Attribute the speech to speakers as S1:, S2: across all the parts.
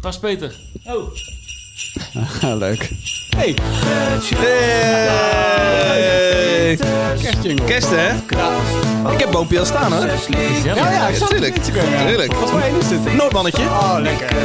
S1: Waar is Peter? Oh.
S2: Leuk.
S3: Hey.
S2: Hey.
S3: Kerstjingle. Kerst, hè? Ik heb boompje al staan, hoor.
S1: Ja,
S3: Ja, ja, ik zag het op
S2: Tuurlijk.
S3: Instagram, ja.
S2: Tuurlijk.
S3: Wat voor een is dit? Noordmannetje.
S2: Oh, lekker.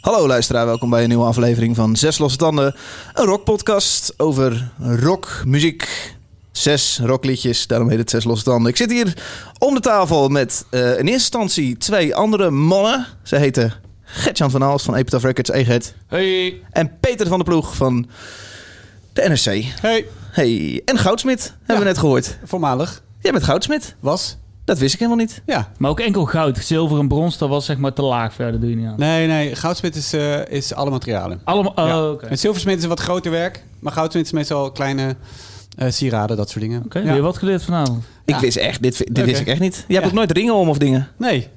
S3: Hallo luisteraar, welkom bij een nieuwe aflevering van Zes Losse Tanden. Een rockpodcast over rock, muziek, zes rockliedjes. Daarom heet het Zes Losse Tanden. Ik zit hier om de tafel met eh, in eerste instantie twee andere mannen. Zij heten Gertjan van Aalst van Epitaph Records, Eget.
S1: Hey.
S3: En Peter van de Ploeg van de NRC.
S2: Hey,
S3: Hey, en Goudsmit, hebben we net gehoord.
S2: voormalig
S3: Jij bent Goudsmit,
S2: was.
S3: dat wist ik helemaal niet.
S2: Ja.
S1: Maar ook enkel goud. Zilver en brons, dat was zeg maar te laag. Verder doe je niet aan.
S2: Nee, nee. Goudsmit is, eh, is alle materialen.
S1: Allemaal... Oh,
S2: Ja.
S1: oké.
S2: En zilversmid is een wat groter werk. Maar goudsmit is meestal kleine eh, sieraden, dat soort dingen.
S1: Oké,
S2: Ja.
S1: weer wat geleerd vanavond.
S3: Ik
S2: Ja.
S3: wist echt, dit, dit
S2: Oké.
S3: wist ik echt niet. Jij hebt
S2: Ja.
S3: ook nooit ringen om of dingen.
S2: Nee.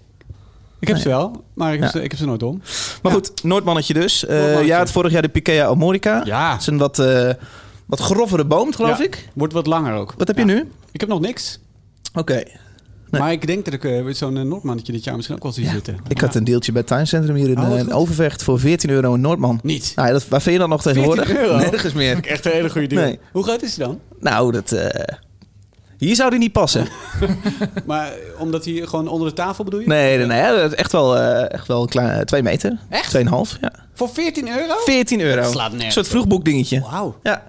S2: Ik heb
S3: Nee.
S2: ze wel, maar ik heb,
S3: Ja.
S2: ze, ik heb ze nooit om. Ja.
S3: Maar goed, Noordmannetje dus. Eh,
S2: Noordmannetje.
S3: Jij had vorig jaar de Pikea Amorica.
S2: Ja.
S3: Dat is een wat, eh, wat grovere boom, geloof
S2: Ja.
S3: ik.
S2: Wordt wat langer ook.
S3: Wat heb je
S2: Ja.
S3: nu?
S2: Ik heb nog niks.
S3: Oké. Nee.
S2: Maar ik denk dat ik eh, zo'n eh, Noordmannetje dit jaar misschien ook wel zie zitten.
S3: Ik had een deeltje bij het tuincentrum hier in,
S2: Oh, wat
S3: eh, in
S2: goed.
S3: Overvecht voor 14 euro een Noordman.
S2: Niet.
S3: Nou, ja, dat, waar vind je dan nog tegenwoordig?
S2: 14 euro?
S3: Nergens meer.
S2: Echt een hele goede deal.
S3: Nee.
S2: Hoe groot is hij dan?
S3: Nou, dat... eh, hier zou die niet passen.
S2: Maar eh, omdat hij gewoon onder de tafel bedoel je?
S3: Nee, nee, nee. Dat is echt wel, eh, echt wel een klein, 2 meter.
S2: Echt?
S3: 2,5. Ja.
S2: Voor 14 euro?
S3: 14 euro.
S2: Dat slaat nergens
S3: Een soort vroegboekdingetje.
S2: Wauw.
S3: Ja,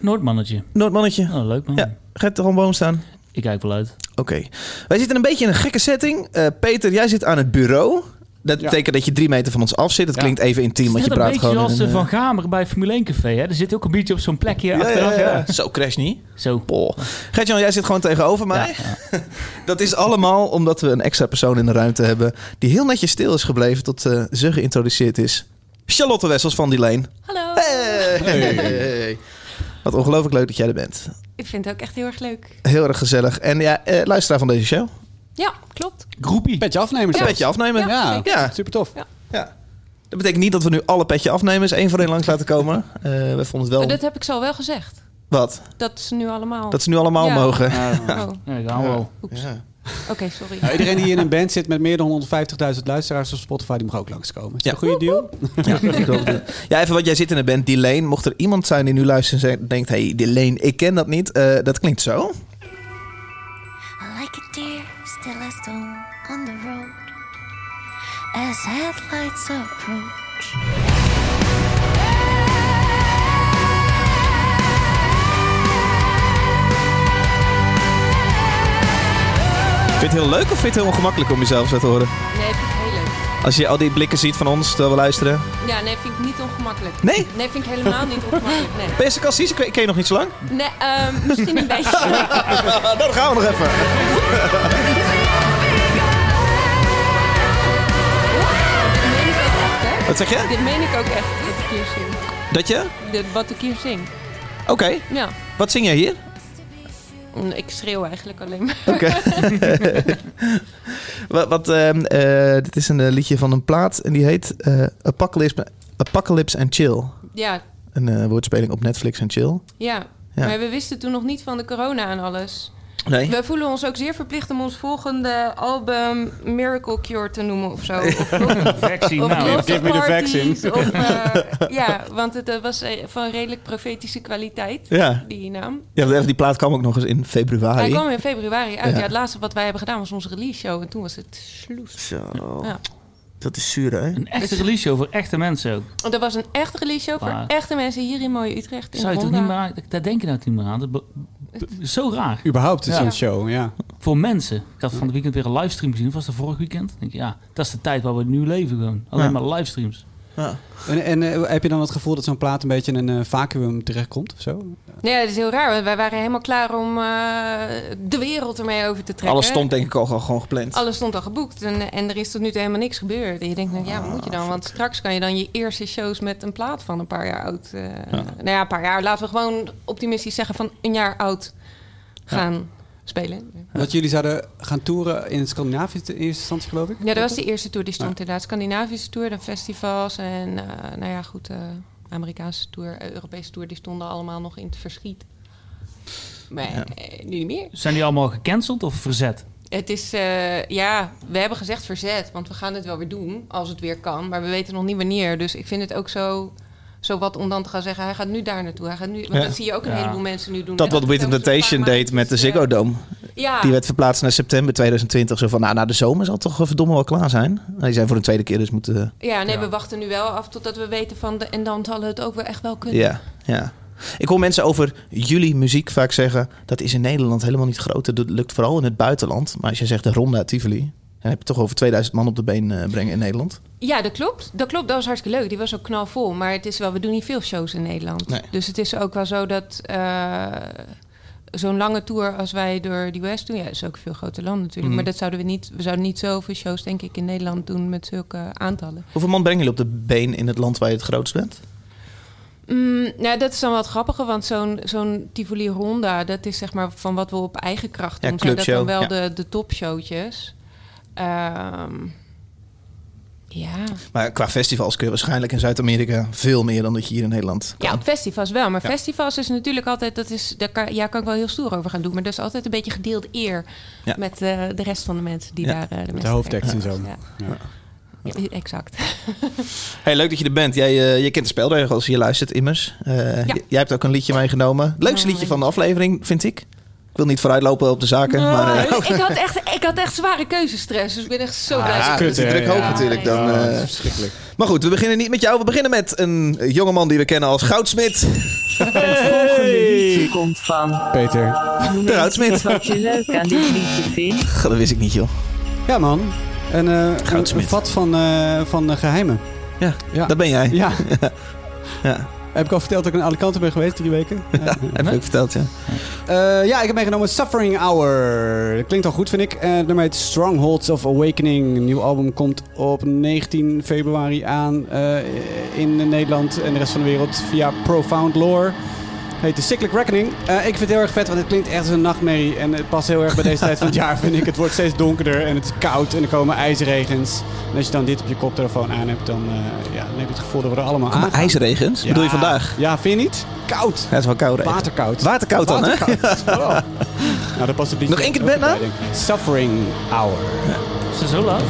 S1: Noordmannetje.
S3: Noordmannetje.
S1: Oh, leuk man.
S3: Ja, gaat er gewoon boom staan.
S1: Ik kijk wel uit.
S3: Oké. Wij zitten een beetje in een gekke setting. Eh, Peter, jij zit aan het bureau. Dat
S2: Ja.
S3: betekent dat je drie meter van ons af zit. Dat
S2: Ja.
S3: klinkt even intiem, want
S1: Net
S3: je
S1: een
S3: praat
S1: beetje
S3: gewoon... in
S1: als
S3: een,
S1: eh, Van
S3: eh,
S1: Gamer bij Formule 1 Café. Hè? Er zit ook een beetje op zo'n plekje
S3: ja, ja,
S1: achteraf.
S3: ja.
S1: ja.
S3: Zo, crash niet.
S1: Zo.
S3: Boah. Gertjan, jij zit gewoon tegenover mij.
S1: Ja, ja.
S3: Dat is allemaal omdat we een extra persoon in de ruimte hebben... die heel netjes stil is gebleven tot eh, ze geïntroduceerd is. Charlotte Wessels van Die Leen.
S4: Hallo.
S3: Hey. Wat ongelooflijk leuk dat jij er bent.
S4: Ik vind het ook echt heel erg leuk.
S3: Heel erg gezellig. En ja, eh, luisteraar van deze show.
S4: Ja, klopt.
S1: Groepie.
S2: Petje afnemen
S3: Een
S2: zelfs.
S3: petje afnemen.
S4: Ja.
S2: Ja,
S4: zeker.
S3: Ja.
S2: super tof.
S4: Ja.
S3: Ja. Dat betekent niet dat we nu alle petje afnemers één voor één langs laten komen. Eh, we vonden het wel...
S4: Maar dat heb ik zo wel gezegd.
S3: Wat?
S4: Dat is nu allemaal.
S3: Dat ze nu allemaal
S4: Ja.
S3: mogen.
S4: Oh,
S1: Ja, gaan we wel.
S4: oeps.
S3: Ja.
S4: Oké, sorry.
S2: Nou, iedereen die in een band zit met meer dan 150.000 luisteraars op Spotify, die mag ook langskomen. Is dat
S3: Ja.
S2: een goede deal?
S3: Ja, ik geloof het. ja, even wat jij zit in de band, die Lane. Mocht er iemand zijn die nu luistert en zegt- denkt... hey, die Lane, ik ken dat niet. Eh, dat klinkt zo.
S5: Like a deer, still as stone on the road. As headlights approach.
S3: Vind je het heel leuk of vind je het heel ongemakkelijk om jezelf zo te horen?
S4: Nee, vind ik heel leuk.
S3: Als je al die blikken ziet van ons terwijl we luisteren.
S4: Ja, nee, vind ik niet ongemakkelijk.
S3: Nee?
S4: Nee, vind ik helemaal niet ongemakkelijk. Nee,
S3: Ben je sarcastisch? Ik ken- ik ken je nog niet zo lang.
S4: nee ehm, misschien een beetje.
S3: Nou, Dan gaan we nog even.
S4: Dit meen ik ook
S3: Wat zeg je?
S4: echt, hè? Dit meen ik ook echt, dat ik hier zing.
S3: Dat je?
S4: Dit, wat ik hier zing.
S3: Oké.
S4: Ja.
S3: Wat zing jij hier?
S4: Ik schreeuw eigenlijk alleen maar.
S3: Oké. wat, wat, ehm, eh, dit is een eh, liedje van een plaat en die heet eh, Apocalypse, Apocalypse and Chill.
S4: Ja,
S3: Een eh, woordspeling op Netflix en chill.
S4: ja.
S3: Ja.
S4: Maar we wisten toen nog niet van de corona en alles.
S3: Nee.
S4: We voelen ons ook zeer verplicht om ons volgende album Miracle Cure te noemen of zo. Of, of,
S1: Vaccine, nou.
S4: losse
S2: give me the
S4: parties,
S2: vaccine.
S4: Of, eh, ja, want het eh, was eh, van redelijk profetische kwaliteit,
S3: Ja.
S4: die naam.
S3: ja, die plaat kwam ook nog eens in februari.
S4: Hij kwam in februari uit.
S3: Ja.
S4: Ja. het laatste wat wij hebben gedaan was onze release show. En toen was het sloes.
S3: Zo.
S4: Ja.
S3: Dat is zuur, hè?
S1: Een echte release show voor echte mensen ook.
S4: Want dat was een echte release show voor
S1: Maar-
S4: echte mensen hier in mooie Utrecht. In
S1: Zou je
S4: de
S1: toch niet meer
S4: Ronda.
S1: aan, daar denk je nou niet meer aan. Dat be- be- zo raar.
S2: Überhaupt is
S1: Ja.
S2: zo'n show, ja.
S1: Voor mensen. Ik had van het weekend weer een livestream gezien. Of was dat vorig weekend? Ik Denk, ja, dat is de tijd waar we nu leven gewoon. Alleen
S3: Ja.
S1: maar livestreams.
S2: En, en eh, heb je dan het gevoel dat zo'n plaat een beetje in een eh, vacuüm terechtkomt of zo?
S4: Nee, dat is heel raar. Want wij waren helemaal klaar om eh, de wereld ermee over te trekken.
S3: Alles stond denk ik al al gewoon gepland.
S4: Alles stond al geboekt en, en er is tot nu toe helemaal niks gebeurd. En je denkt, nou, ja, wat moet je dan? Want straks kan je dan je eerste shows met een plaat van een paar jaar oud. eh, Nou ja, een paar jaar. Laten we gewoon optimistisch zeggen van een jaar oud gaan spelen.
S2: Dat jullie zouden gaan toeren in Scandinavië in eerste instantie, geloof ik?
S4: Ja, dat was de eerste tour die stond inderdaad. Scandinavische tour, dan festivals en eh, nou ja, goed, eh, Amerikaanse tour, eh, Europese tour, die stonden allemaal nog in het verschiet. Maar eh, nu niet meer.
S1: Zijn die allemaal gecanceld of verzet?
S4: Het is, eh, ja, we hebben gezegd verzet, want we gaan het wel weer doen als het weer kan. Maar we weten nog niet wanneer. Dus ik vind het ook zo, zo wat om dan te gaan zeggen, hij gaat nu daar naartoe. Hij gaat nu, want
S3: Ja.
S4: dat zie je ook een
S1: Ja.
S4: heleboel mensen nu doen.
S3: Dat
S4: En
S3: wat With
S4: is ook zo
S3: Temptation
S4: vaak, maar
S3: deed
S4: het
S3: met de
S4: is,
S3: Ziggo
S4: eh,
S3: Dome.
S4: Ja,
S3: Die werd verplaatst naar september 2020. Zo van, nou, na de zomer zal het toch eh, verdomme wel klaar zijn. Nou, die zijn voor een tweede keer dus moeten...
S4: ja nee,
S1: Ja.
S4: we wachten nu wel af totdat we weten van... De, en dan zal het ook weer echt wel kunnen.
S3: Ja, ja. Ik hoor mensen over jullie muziek vaak zeggen... dat is in Nederland helemaal niet groot. Dat lukt vooral in het buitenland. Maar als je zegt de Ronda Tivoli... dan heb je toch over 2000 man op de been eh, brengen in Nederland.
S4: Ja, dat klopt. Dat klopt. Dat was hartstikke leuk. Die was ook knalvol. Maar het is wel, we doen niet veel shows in Nederland.
S3: Nee.
S4: Dus het is ook wel zo dat eh, zo'n lange tour als wij door de US doen, ja, is ook veel groter land natuurlijk.
S3: Mhm.
S4: Maar dat zouden we niet. We zouden niet zoveel shows, denk ik, in Nederland doen met zulke aantallen.
S3: Hoeveel man brengen jullie op de been in het land waar je het grootst bent?
S4: Mm, nou, dat is dan wat grappiger, want zo'n zo'n Tivoli Ronda, dat is zeg maar van wat we op eigen kracht
S3: Ja,
S4: doen. Zijn dat dan
S3: clubshow,
S4: wel
S3: ja.
S4: de, de topshowtjes? Ehm, ja.
S3: Maar qua festivals kun je waarschijnlijk in Zuid-Amerika... veel meer dan dat je hier in Nederland kan.
S4: Ja, op festivals wel. Maar
S3: Ja.
S4: festivals is natuurlijk altijd, dat is, daar kan, ja, kan ik wel heel stoer over gaan doen. Maar dat is altijd een beetje gedeeld eer
S3: Ja.
S4: met eh, de rest van de mensen die
S3: Ja.
S4: daar eh, de
S2: Met
S4: mensen
S2: de hoofdact en zo.
S4: Ja.
S2: Ja.
S4: Ja, exact.
S3: Hey, leuk dat je er bent. Jij, eh, je kent de spelregels, je luistert immers. Eh,
S4: Ja.
S3: j- Jij hebt ook een liedje meegenomen. Leukste
S4: Oh,
S3: liedje van de aflevering, vind ik. Ik wil niet vooruitlopen op de zaken, maar... eh,
S4: Oh, ik, ik had echt, ik had echt zware keuzestress, dus ik ben echt zo
S3: Ah,
S4: blij. dat ik-
S3: dat is die druk hoog natuurlijk dan.
S2: Ja,
S3: eh.
S2: dat is verschrikkelijk.
S3: maar goed, we beginnen niet met jou. We beginnen met een jongeman die we kennen als Goudsmit.
S6: liedje komt van.
S2: Peter.
S3: De Goudsmit.
S6: Wat je leuk aan dit liedje vindt.
S3: Dat wist ik niet, joh.
S2: Ja, man. En, eh, een,
S3: Goudsmit.
S2: een vat van, eh, van eh, geheimen.
S3: Ja,
S2: Ja.
S3: dat ben jij.
S2: Ja.
S3: Ja.
S2: Heb ik al verteld dat ik in Alicante ben geweest, drie weken? Ja.
S3: Heb je ook verteld, ja.
S2: Eh, ja, ik heb meegenomen Suffering Hour. Dat klinkt al goed, vind ik. Eh het nummer heet Strongholds of Awakening. Een nieuw album komt op 19 februari aan eh, in Nederland en de rest van de wereld via Profound Lore. Heet de Cyclic Reckoning. Eh, ik vind het heel erg vet, want het klinkt echt als een nachtmerrie. En het past heel erg bij deze tijd van het jaar, vind ik. Het wordt steeds donkerder en het is koud en er komen ijsregens. En als je dan dit op je koptelefoon aan hebt, dan, eh, ja, dan heb je het gevoel dat we er allemaal aan
S3: Maar ijsregens,
S2: Ja.
S3: bedoel je vandaag?
S2: Ja, vind je niet? Koud.
S3: Ja, het is wel koud, regen.
S2: Waterkoud.
S3: Waterkoud dan, hè?
S2: Waterkoud. Oh. Nou, dat past het liedje
S3: Nog één keer
S2: ook
S3: het bed
S2: bij, denk ik. Suffering Hour.
S1: Is dat zo laat?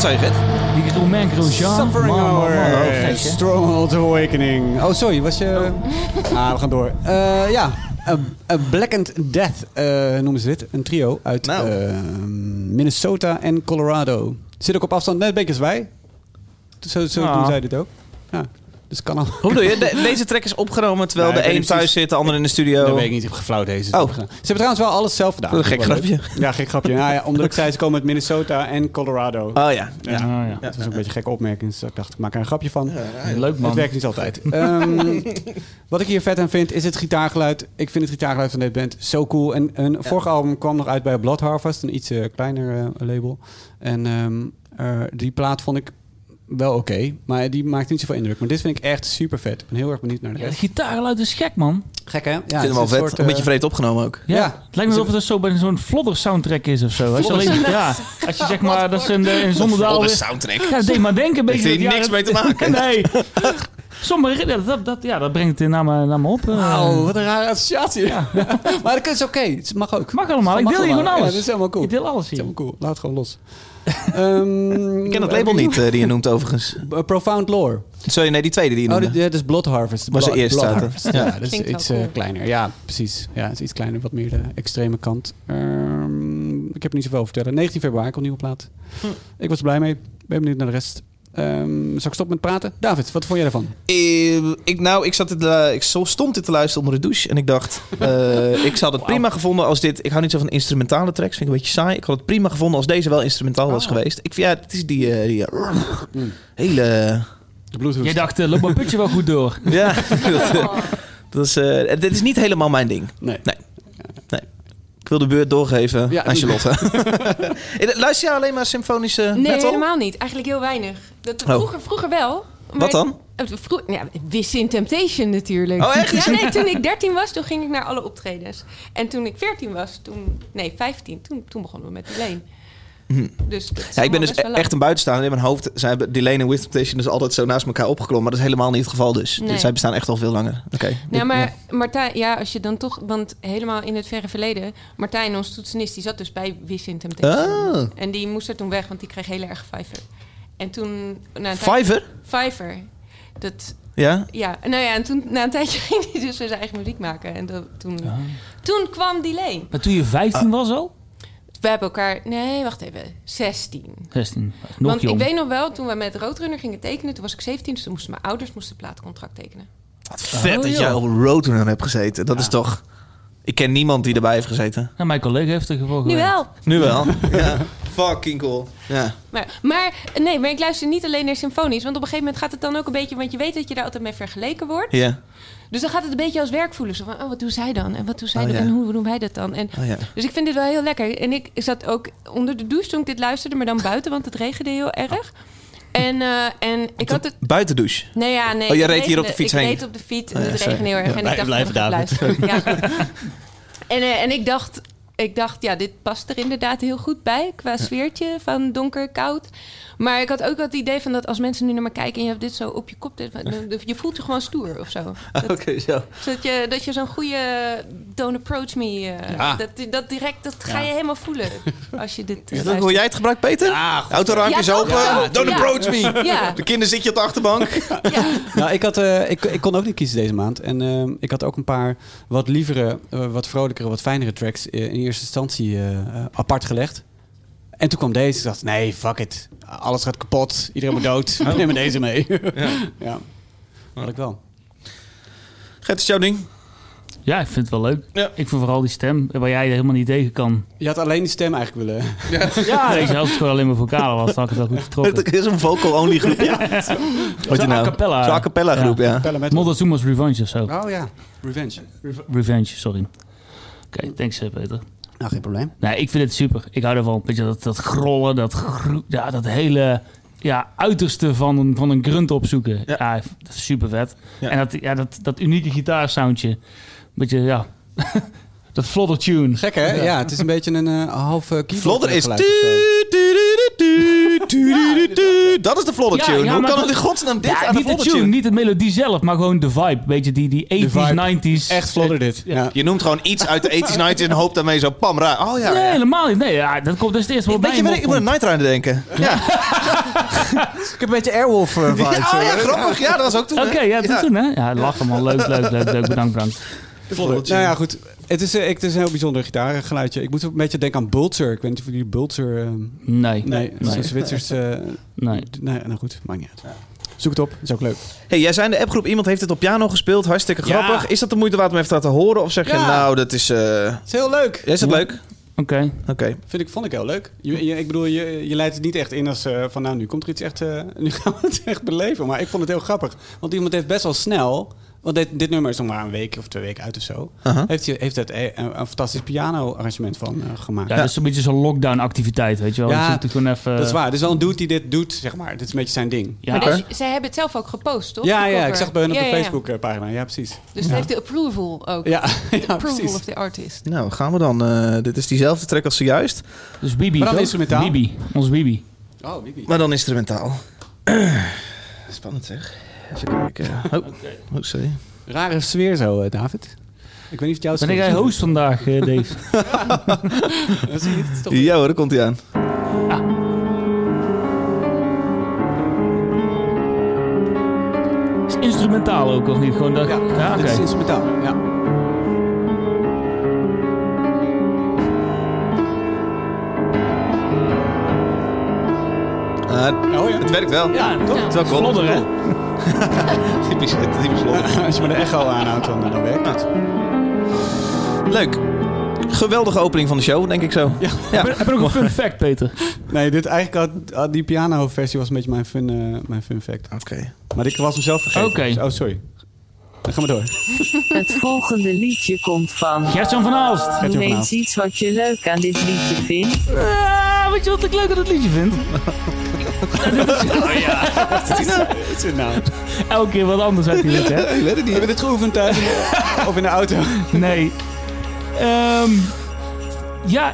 S3: zei je, Gert?
S1: Die Romain Grosjean.
S2: Suffering
S1: Man, man, man,
S2: Hour,
S1: wat
S2: Oh,
S1: gek, hè?
S2: Stronghold Awakening. Oh, sorry, was je... Ah, we gaan door. Eh, ja, A, A Blackened Death eh, noemen ze dit. Een trio uit
S3: Nou.
S2: eh, Minnesota en Colorado. Zit ook op afstand, net een beetje als wij. Zo, zo
S1: Ah.
S2: doen zij dit ook. Ja, dus kan al.
S3: Hoe bedoel je? De- deze track is opgenomen terwijl
S2: Nee, ik
S3: de
S2: weet
S3: een
S2: niet
S3: thuis
S2: precies.
S3: zit, de ander in de studio.
S2: Dat weet ik niet, ik heb geflauwd deze.
S3: Oh.
S2: Ze hebben trouwens wel alles zelf gedaan.
S3: Wat een gek
S2: Wel leuk.
S3: grapje.
S2: Ja, gek grapje. Nou ja, omdat ik zei, ze komen uit Minnesota en Colorado.
S3: Oh ja.
S1: Ja,
S3: ja.
S1: Ah, ja.
S2: Dat was ook een beetje een gekke opmerking, dus ik dacht, ik maak er een grapje van.
S1: Leuk man.
S2: Het werkt niet altijd. Ehm, wat ik hier vet aan vind, is het gitaargeluid. Ik vind het gitaargeluid van dit band zo cool. En hun vorige album kwam nog uit bij Blood Harvest, een iets eh, kleiner eh, label. En ehm, eh, die plaat vond ik wel oké, maar die maakt niet zoveel indruk. Maar dit vind ik echt super vet. Ik ben heel erg benieuwd naar de
S1: Ja, het
S2: rest.
S1: gitaargeluid is gek man.
S2: Gek hè? Ja, ik
S3: Ik vind hem wel vet. een
S2: eh,
S3: eh, beetje vreemd opgenomen ook.
S1: Ja.
S2: Ja.
S1: Het lijkt me alsof het zo bij zo'n vlodder soundtrack is of zo. Als je, alleen, ja, als je zeg maar dat ze in, de- in Zonderdaal
S3: de
S1: weer-
S3: soundtrack.
S1: Ja, dat deed maar denken een beetje.
S3: Heeft hier
S1: dat- ja,
S3: niks
S1: dat-
S3: mee te maken.
S1: nee. Sommige, ja, dat, dat, ja, dat brengt het in naar me, naar me op. eh.
S2: Wauw, wat een rare associatie. maar dat is oké. Het mag ook.
S1: Mag allemaal. Oh, Ik
S2: Mag
S1: deel hier gewoon
S2: allemaal.
S1: alles.
S2: Ja, dat is helemaal cool.
S1: Ik deel alles
S2: Dat is
S1: hier.
S2: helemaal cool. Laat het gewoon los. Ehm,
S3: Ik ken dat label niet, eh, die je noemt overigens.
S2: A Profound Lore.
S3: Sorry, nee, die tweede die je
S2: Oh,
S3: noemde.
S2: dit, dit is Blood Harvest.
S3: Waar ze
S2: Blood-
S3: eerst
S2: Blood
S3: zaten.
S2: Harvest. Ja,
S3: Ja.
S2: dat is
S4: Klinkt wel
S2: iets eh,
S4: cool.
S2: kleiner. Ja, precies. Ja, het is iets kleiner, wat meer de extreme kant. Ehm, ik heb er niet zoveel over te vertellen. 19 februari komt een nieuwe plaat.
S4: Hm.
S2: Ik was er blij mee. Ben benieuwd naar de rest. Ehm zal ik stoppen met praten? David, wat vond jij daarvan?
S3: Eh, ik, nou, ik, zat dit, eh, ik zo- stond dit te luisteren onder de douche en ik dacht, eh, ik zou het prima gevonden als dit... Ik hou niet zo van instrumentale tracks, vind ik een beetje saai. Ik had het prima gevonden als deze wel instrumentaal
S2: Ah.
S3: was geweest. Ik vind, ja, het is die, eh, die eh,
S2: Mm.
S3: hele...
S2: De Bluetooth.
S1: Jij dacht, eh, loop mijn putje wel goed door.
S3: Ja, dat,
S4: Oh.
S3: eh, dat is, eh, dit is niet helemaal mijn ding.
S2: Nee.
S3: Ik wil de beurt doorgeven
S2: Ja,
S3: aan
S2: doe.
S3: Charlotte. Eh, Luister jij alleen maar symfonische
S4: Nee,
S3: metal?
S4: helemaal niet. Eigenlijk heel weinig. Dat,
S3: Oh.
S4: vroeger, vroeger wel. maar-
S3: Wat dan?
S4: Eh, Vro ja, Within Temptation natuurlijk.
S3: Oh, echt?
S4: Ja, nee, toen ik 13 was, toen ging ik naar alle optredens. En toen ik 14 was, toen... Nee, 15. Toen, toen begonnen we met die leen. Dus dat is
S3: Mhm. Ja, ik ben
S4: allemaal
S3: dus
S4: best wel lang.
S3: echt een buitenstaander. In mijn hoofd zijn Delane en With Temptation dus altijd zo naast elkaar opgeklommen. Maar dat is helemaal niet het geval dus.
S4: Nee.
S3: Zij bestaan echt al veel langer. Oké.
S4: Ja, maar Martijn, ja, als je dan toch, want helemaal in het verre verleden, Martijn, ons toetsenist, die zat dus bij Within Temptation.
S3: Ah.
S4: En die moest er toen weg, want die kreeg heel erg Fiverr. En toen... Na een tijd-
S3: Fiverr?
S4: Fiverr. Dat,
S3: Ja.
S4: Ja, nou ja, en toen na een tijdje ging hij dus weer zijn eigen muziek maken. En dat, toen, toen kwam die leen.
S1: Maar toen je
S2: Ah.
S1: 15 was al?
S4: We hebben elkaar, nee, wacht even, 16.
S1: 16. Nog
S4: Want
S1: jong.
S4: ik weet nog wel, toen we met Roadrunner gingen tekenen, toen was ik 17, dus toen moesten mijn ouders moesten een plaatcontract tekenen.
S3: Wat vet
S1: Oh,
S3: dat
S1: joh.
S3: jij op Roadrunner hebt gezeten. Dat is toch... Ik ken niemand die erbij heeft gezeten.
S1: Nou, mijn collega heeft er gewoon
S4: Nu wel.
S3: Nu wel. ja. Fucking cool. Ja.
S4: Maar, maar nee, maar ik luister niet alleen naar symfonies, want op een gegeven moment gaat het dan ook een beetje, want je weet dat je daar altijd mee vergeleken wordt.
S3: Ja.
S4: Dus dan gaat het een beetje als werk voelen. Zo van, oh, wat doen zij dan? En wat doen zij
S3: Oh,
S4: dan?
S3: ja.
S4: En hoe doen wij dat dan? En,
S3: Oh, ja.
S4: Dus ik vind dit wel heel lekker. En ik zat ook onder de douche toen ik dit luisterde, maar dan buiten, want het regende heel erg. En, eh, en ik had het.
S3: Buiten douche.
S4: Nee, ja, nee.
S3: Oh, je
S4: het
S3: reed hier op de
S4: regende.
S3: fiets
S4: ik
S3: heen.
S4: reed op de fiets en
S3: Oh, ja,
S4: het
S3: sorry.
S4: regende heel erg. En ik dacht,
S2: blijf
S4: ik ga luisteren. Ja. En, eh, en ik dacht, ik dacht, ja, dit past er inderdaad heel goed bij qua sfeertje van donker, koud. Maar ik had ook wel het idee van dat als mensen nu naar me kijken en je hebt dit zo op je kop, dit- je voelt je gewoon stoer of zo. Dat-
S3: Oké, zo.
S4: zodat je, dat je zo'n goede don't approach me, eh,
S3: Ja.
S4: dat, dat direct, dat ga je helemaal voelen als je dit eh,
S3: Is dat hoe
S4: luistert.
S3: jij het gebruikt, Peter? Ja, Autoraampjes
S4: Ja,
S3: open.
S4: ja.
S3: Don't
S4: Ja.
S3: approach me.
S4: Ja.
S3: De kinderen zit je op de achterbank.
S4: Ja.
S2: nou, ik, had, eh, ik, ik kon ook niet kiezen deze maand. En ehm, ik had ook een paar wat lievere, eh, wat vrolijkere, wat fijnere tracks eh, in eerste instantie eh, eh, apart gelegd. En toen kwam deze. Ik dacht, nee, fuck it. Alles gaat kapot. Iedereen moet dood. Ik neem maar deze mee. Oh. ja. Had ik wel.
S3: Gert, is jouw ding?
S1: Ja, ik vind het wel leuk.
S3: Ja.
S1: Ik vind vooral die stem, waar jij er helemaal niet tegen kan.
S2: Je had alleen die stem eigenlijk willen.
S1: Ja, weet je, als het gewoon alleen maar vocalen was, dan had ik het wel goed vertrokken.
S3: Het is een vocal-only groep, ja. Wat je
S1: Zo'n
S3: nou?
S1: a cappella.
S3: Zo'n a cappella groep, ja.
S2: Pelle eh, met-
S1: Montezuma's Revenge of zo.
S2: Oh ja, Revenge.
S1: Revenge, sorry. Oké, thanks eh, Peter.
S2: Nou, geen probleem.
S1: Nee, ik vind het super. Ik hou ervan. Weet je, dat, dat grollen, dat, gro- ja, dat hele ja, uiterste van een, van een grunt opzoeken. Ja, dat is super vet.
S3: Ja.
S1: En dat, ja, dat, dat unieke gitaarsoundje. Beetje, ja, dat vlodder tune.
S2: Gek hè? Ja, het is een beetje een eh half eh keyboard
S3: Vlodder is...
S2: geluid of zo.
S3: tu, tu, tu, tu, tu,
S7: Tu-du-du-du. Dat is de vlodder
S1: Ja,
S7: tune.
S1: ja,
S7: Hoe
S1: maar
S7: kan
S1: dat-
S7: het in godsnaam dit
S1: Ja,
S7: aan de
S1: niet de
S7: vlodder
S1: tune,
S7: tune?
S1: niet de melodie zelf, maar gewoon de vibe. Weet je, die, die 80s,
S2: vibe.
S1: 90s.
S2: Echt vlodder dit. Ja.
S7: Je noemt gewoon iets uit de 80s, 90s en hoopt daarmee zo pam, raar. Oh ja.
S1: Nee,
S7: ja.
S1: helemaal niet. Nee, ja, dat komt dus het eerste wat bij
S7: Weet je,
S1: me
S7: wat ik ik moet aan
S1: opkomt.
S7: Night Rider denken. Ja.
S2: Ik heb een beetje Airwolf eh,
S7: Ja,
S2: vibes.
S7: oh ja, grappig. Ja, dat was ook toen.
S1: Oké,
S7: hè?
S1: ja, dat toen hè. Ja, lachen man. Leuk, leuk, leuk, leuk. Bedankt, bedankt.
S7: De vlodder tune.
S2: Nou ja, goed. Het is, eh, ik- het is een heel bijzonder gitaargeluidje. Ik moet een beetje denken aan Bulzer. Ik weet niet of jullie Bulzer... eh,
S1: Nee.
S2: nee, dat is een
S1: nee.
S2: Zwitsers... eh,
S1: nee.
S2: d- nee, nou goed, maakt niet uit. Zoek het op, is ook leuk.
S7: Hey, jij zei in de appgroep, iemand heeft het op piano gespeeld. Hartstikke
S1: Ja.
S7: grappig. Is dat de moeite waard om even te laten horen? Of zeg je,
S2: Ja.
S7: nou, dat is... eh,
S2: Het is heel leuk.
S7: Is dat leuk?
S1: Oké.
S7: Oké.
S2: Vind ik, vond ik heel leuk. Je, je- ik bedoel, je, je leidt het niet echt in als eh, van nou, nu komt er iets echt... eh, nu gaan we het echt beleven. Maar ik vond het heel grappig. Want iemand heeft best wel snel... Want dit, dit nummer is nog maar een week of twee weken uit of zo.
S7: Aha.
S2: Heeft, je- heeft het eh, een, een fantastisch piano-arrangement van eh, gemaakt.
S1: Ja, dat is een beetje zo'n lockdown-activiteit, weet je wel.
S2: Ja,
S1: Ja, dus gewoon even...
S2: Dat is waar. Het is wel een dude die dit doet, zeg maar. Dit is een beetje zijn ding.
S1: Ja,
S4: En ze- zij hebben het zelf ook gepost, toch?
S2: Ja,
S4: De
S2: ja,
S4: cover.
S2: ik zag bij hun op
S4: Ja,
S2: de
S4: ja, ja.
S2: Facebook-pagina. Ja, precies.
S4: Dus
S2: Ja.
S4: het heeft de approval ook.
S2: Ja, ja
S4: approval
S2: precies.
S4: of the artist.
S7: Nou, gaan we dan. Eh, dit is diezelfde track als zojuist.
S1: dus Bibi,
S2: Maar dan
S1: toch?
S2: instrumentaal.
S1: Bibi, ons Bibi.
S2: Oh, Bibi.
S7: Maar dan instrumentaal. Spannend zeg. Even kijken. Oh, oh sorry.
S2: Rare sfeer zo, eh, David. Ik weet niet of het jou
S1: Ben jij host vandaag, eh, Dave?
S2: Dat zie je, het is toch-
S7: Ja hoor, daar komt hij aan.
S1: Is het instrumentaal ook, of niet? Gewoon dat...
S2: Ja,
S1: Ja, oké.
S2: dit is instrumentaal. Ja.
S7: Ah,
S2: Oh, ja.
S7: het werkt wel.
S1: Ja,
S2: toch?
S7: Het is wel cool.
S1: Vlodder, hè?
S7: Typisch, typisch vlodder.
S2: Als je maar de echo aanhoudt, dan, dan werkt het.
S7: Leuk. Geweldige opening van de show, denk ik zo. Ja.
S1: Heb je- Heb je nog een fun fact, Peter?
S2: Nee, dit eigenlijk had, had die piano-versie was een beetje mijn fun, eh, mijn fun fact.
S7: Oké.
S2: Maar ik was hem zelf vergeten.
S1: Oké.
S2: Dus- oh, sorry. Dan gaan we door.
S6: Het volgende liedje komt van.
S1: Gertjan van Aalst.
S2: Gert-Jan van
S6: Noem
S2: Aalst.
S6: eens iets wat je leuk aan dit liedje vindt.
S1: Ah, weet je wat ik leuk aan het liedje vind?
S2: Oh, Wat is het nou?
S1: Elke keer wat anders uit die lied, hè?
S7: Ik weet het niet.
S2: Hebben we dit geoefend thuis? of in de auto?
S1: Nee. Ehm, ja,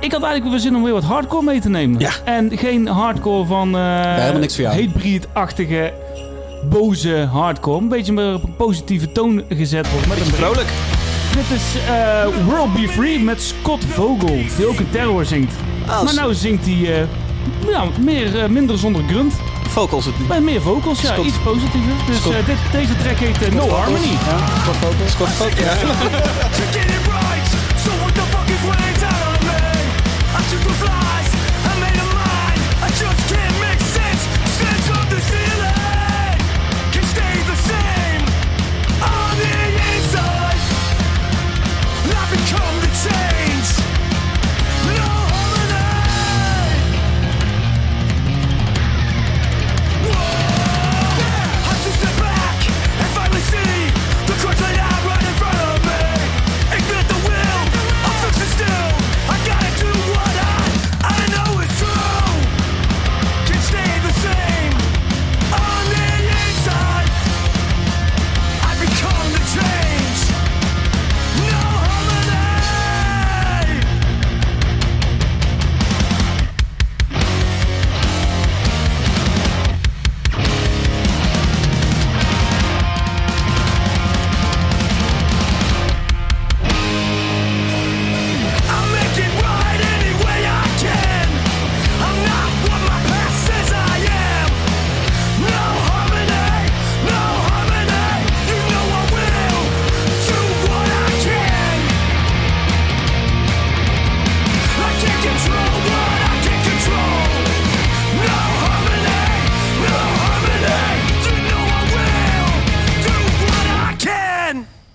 S1: ik had eigenlijk weer zin om weer wat hardcore mee te nemen.
S7: Ja.
S1: En geen hardcore van... eh
S2: helemaal niks voor jou.
S1: Hatebreed-achtige, boze hardcore. Een beetje meer op een positieve toon gezet wordt. Met een break.
S7: Vrolijk.
S1: Dit is eh, World Be Free met Scott Vogel, die ook een terror zingt.
S7: Ah,
S1: maar nou zingt hij eh, nou, meer, eh, minder zonder grunt.
S7: Vocals het nu.
S1: Bij Eh, meer vocals, ja,
S7: Scott-
S1: iets positiever. Dus
S7: Scott-
S1: eh, dit, deze track heet eh, No Harmony.
S7: Scott Vogel. Ja.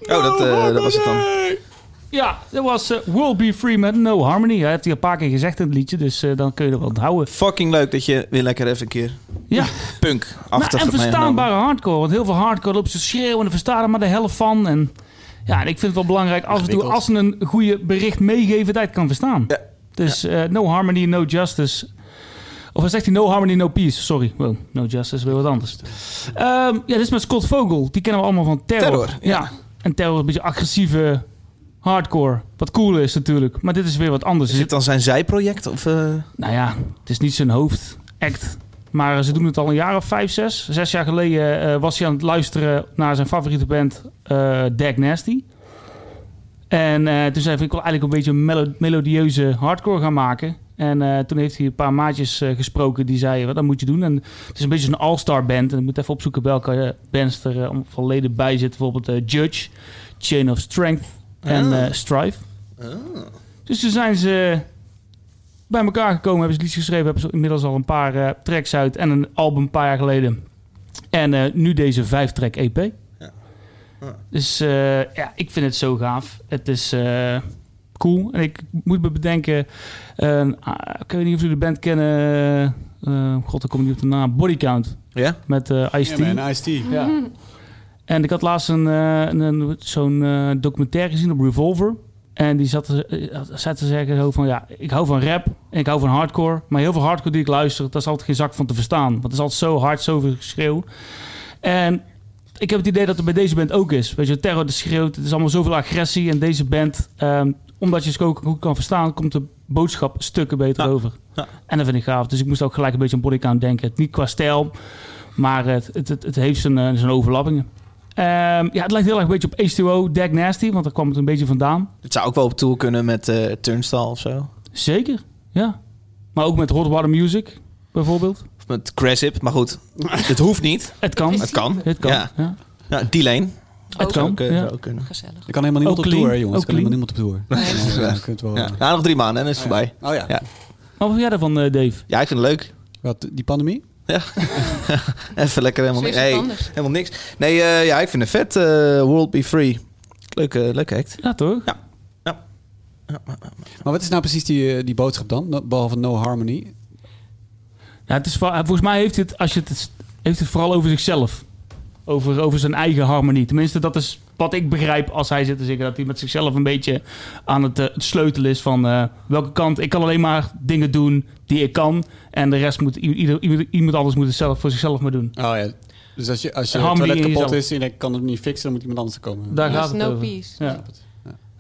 S7: Oh, dat, eh, dat was het dan.
S1: Ja, dat was eh, World Be Free met No Harmony. Hij heeft hij een paar keer gezegd in het liedje, dus eh, dan kun je er wel onthouden.
S7: Fucking leuk dat je weer lekker even een keer
S1: Ja,
S7: punk
S1: nou,
S7: achter
S1: en verstaanbare hardcore. Want heel veel hardcore loopt ze schreeuwen en er verstaan er maar de helft van. En ja, en ik vind het wel belangrijk af en toe als ze een goede bericht meegeven, dat je het kan verstaan.
S7: Ja.
S1: Dus eh, No Harmony, No Justice. Of wat zegt hij No Harmony, No Peace? Sorry, wow, No Justice is weer wat anders. Ehm, ja, dit is met Scott Vogel. Die kennen we allemaal van Terror.
S7: Terror,
S1: ja. En Terror is een beetje agressieve hardcore. Wat cool is natuurlijk. Maar dit is weer wat anders. Er
S7: Is
S1: zit
S7: dit dan zijn zijproject? Of, eh?
S1: nou ja, het is niet zijn hoofd. act. Maar eh, ze doen het al een jaar of vijf, zes. Zes jaar geleden eh, was hij aan het luisteren naar zijn favoriete band, eh Dag Nasty. En eh, toen zei hij, ik wil eigenlijk een beetje een melo- melodieuze hardcore gaan maken. En eh, toen heeft hij een paar maatjes eh, gesproken die zeiden, wat dat moet je doen. En het is een beetje een all-star band. En ik moet even opzoeken welke eh, bands er eh, om- van leden bij zitten. Bijvoorbeeld eh, Judge, Chain of Strength en
S7: Ah.
S1: eh, Strive. Dus toen zijn ze bij elkaar gekomen, hebben ze liedjes geschreven, hebben ze inmiddels al een paar eh, tracks uit en een album een paar jaar geleden. En eh, nu deze vijf-track E EP.
S7: Ja.
S1: Dus eh, ja, ik vind het zo gaaf. Het is eh, cool. En ik moet me bedenken, eh, ah, ik weet niet of jullie de band kennen. eh, God, daar kom ik niet op de naam. Bodycount
S7: Ja?
S1: met eh Ice-T.
S2: Ja, man, Ice-T.
S1: Ja. En ik had laatst een, eh, een, een- zo'n eh, documentaire gezien op Revolver. En die zat, te- eh, zat te zeggen zo van, ja, ik hou van rap en ik hou van hardcore. Maar heel veel hardcore die ik luister, daar is altijd geen zak van te verstaan. Want het is altijd zo hard, zoveel geschreeuw. En ik heb het idee dat het bij deze band ook is. Weet je, terror die schreeuwt, het is allemaal zoveel agressie. En deze band, ehm, omdat je ze ook goed kan verstaan, komt de boodschap stukken beter
S7: Ja.
S1: over.
S7: Ja.
S1: En dat vind ik gaaf. Dus ik moest ook gelijk een beetje aan bodycount denken. Niet qua stijl, maar het, het, het, het heeft zijn, eh, zijn overlappingen. Ehm, ja, het lijkt heel erg een beetje op H2O, Dag Nasty, want daar kwam het een beetje vandaan.
S7: Het zou ook wel op tour kunnen met eh Turnstile of zo.
S1: Zeker, ja. Maar ook met Hot Water Music, bijvoorbeeld.
S7: Of met Crasip, maar goed. het hoeft niet.
S1: Het kan.
S7: Het kan.
S1: Het kan,
S7: Ja.
S1: ja.
S7: Ja, die lane.
S1: Het
S4: Ook
S1: kan,
S7: Ook, eh,
S1: ja.
S7: zou ook kunnen.
S4: Gezellig.
S2: Er kan helemaal niemand
S1: Ook Oh,
S2: op
S1: clean,
S2: tour, hè, jongens. Er
S1: ook
S2: kan helemaal niemand op tour.
S4: Nee.
S2: Ja,
S7: Ja.
S2: je kunt wel,
S7: Ja. Nou, nog drie maanden en dan is het voorbij.
S2: Oh ja.
S7: Ja.
S1: Maar wat vind jij daarvan, eh, Dave?
S7: Ja, ik vind het leuk.
S2: Wat, die pandemie?
S7: Even lekker helemaal
S4: Zo
S7: niks.
S4: is het
S7: Hey,
S4: anders.
S7: helemaal niks. Nee, eh, ja, ik vind het vet. eh, World Be Free. Leuk, eh, leuk act.
S1: Ja, toch?
S2: Maar wat is nou precies die, eh, die boodschap dan? No- Behalve No Harmony.
S1: Ja, Nou, het is, va- volgens mij heeft het, als je het, heeft het vooral over zichzelf. Over, over zijn eigen harmonie. Tenminste, dat is wat ik begrijp als hij zit te zeggen. Dat hij met zichzelf een beetje aan het, eh, het sleutelen is van eh, welke kant. Ik kan alleen maar dingen doen die ik kan. En de rest moet i- ieder, iemand, iemand anders moet het zelf voor zichzelf maar doen.
S2: Oh ja. Dus als je, als je
S1: Een harmony
S2: toilet
S1: in
S2: kapot
S1: jezelf.
S2: is en ik kan het niet fixen, dan moet iemand anders komen.
S1: Daar
S4: Ja,
S1: gaat het
S4: no
S1: over.
S4: peace.
S1: Ja.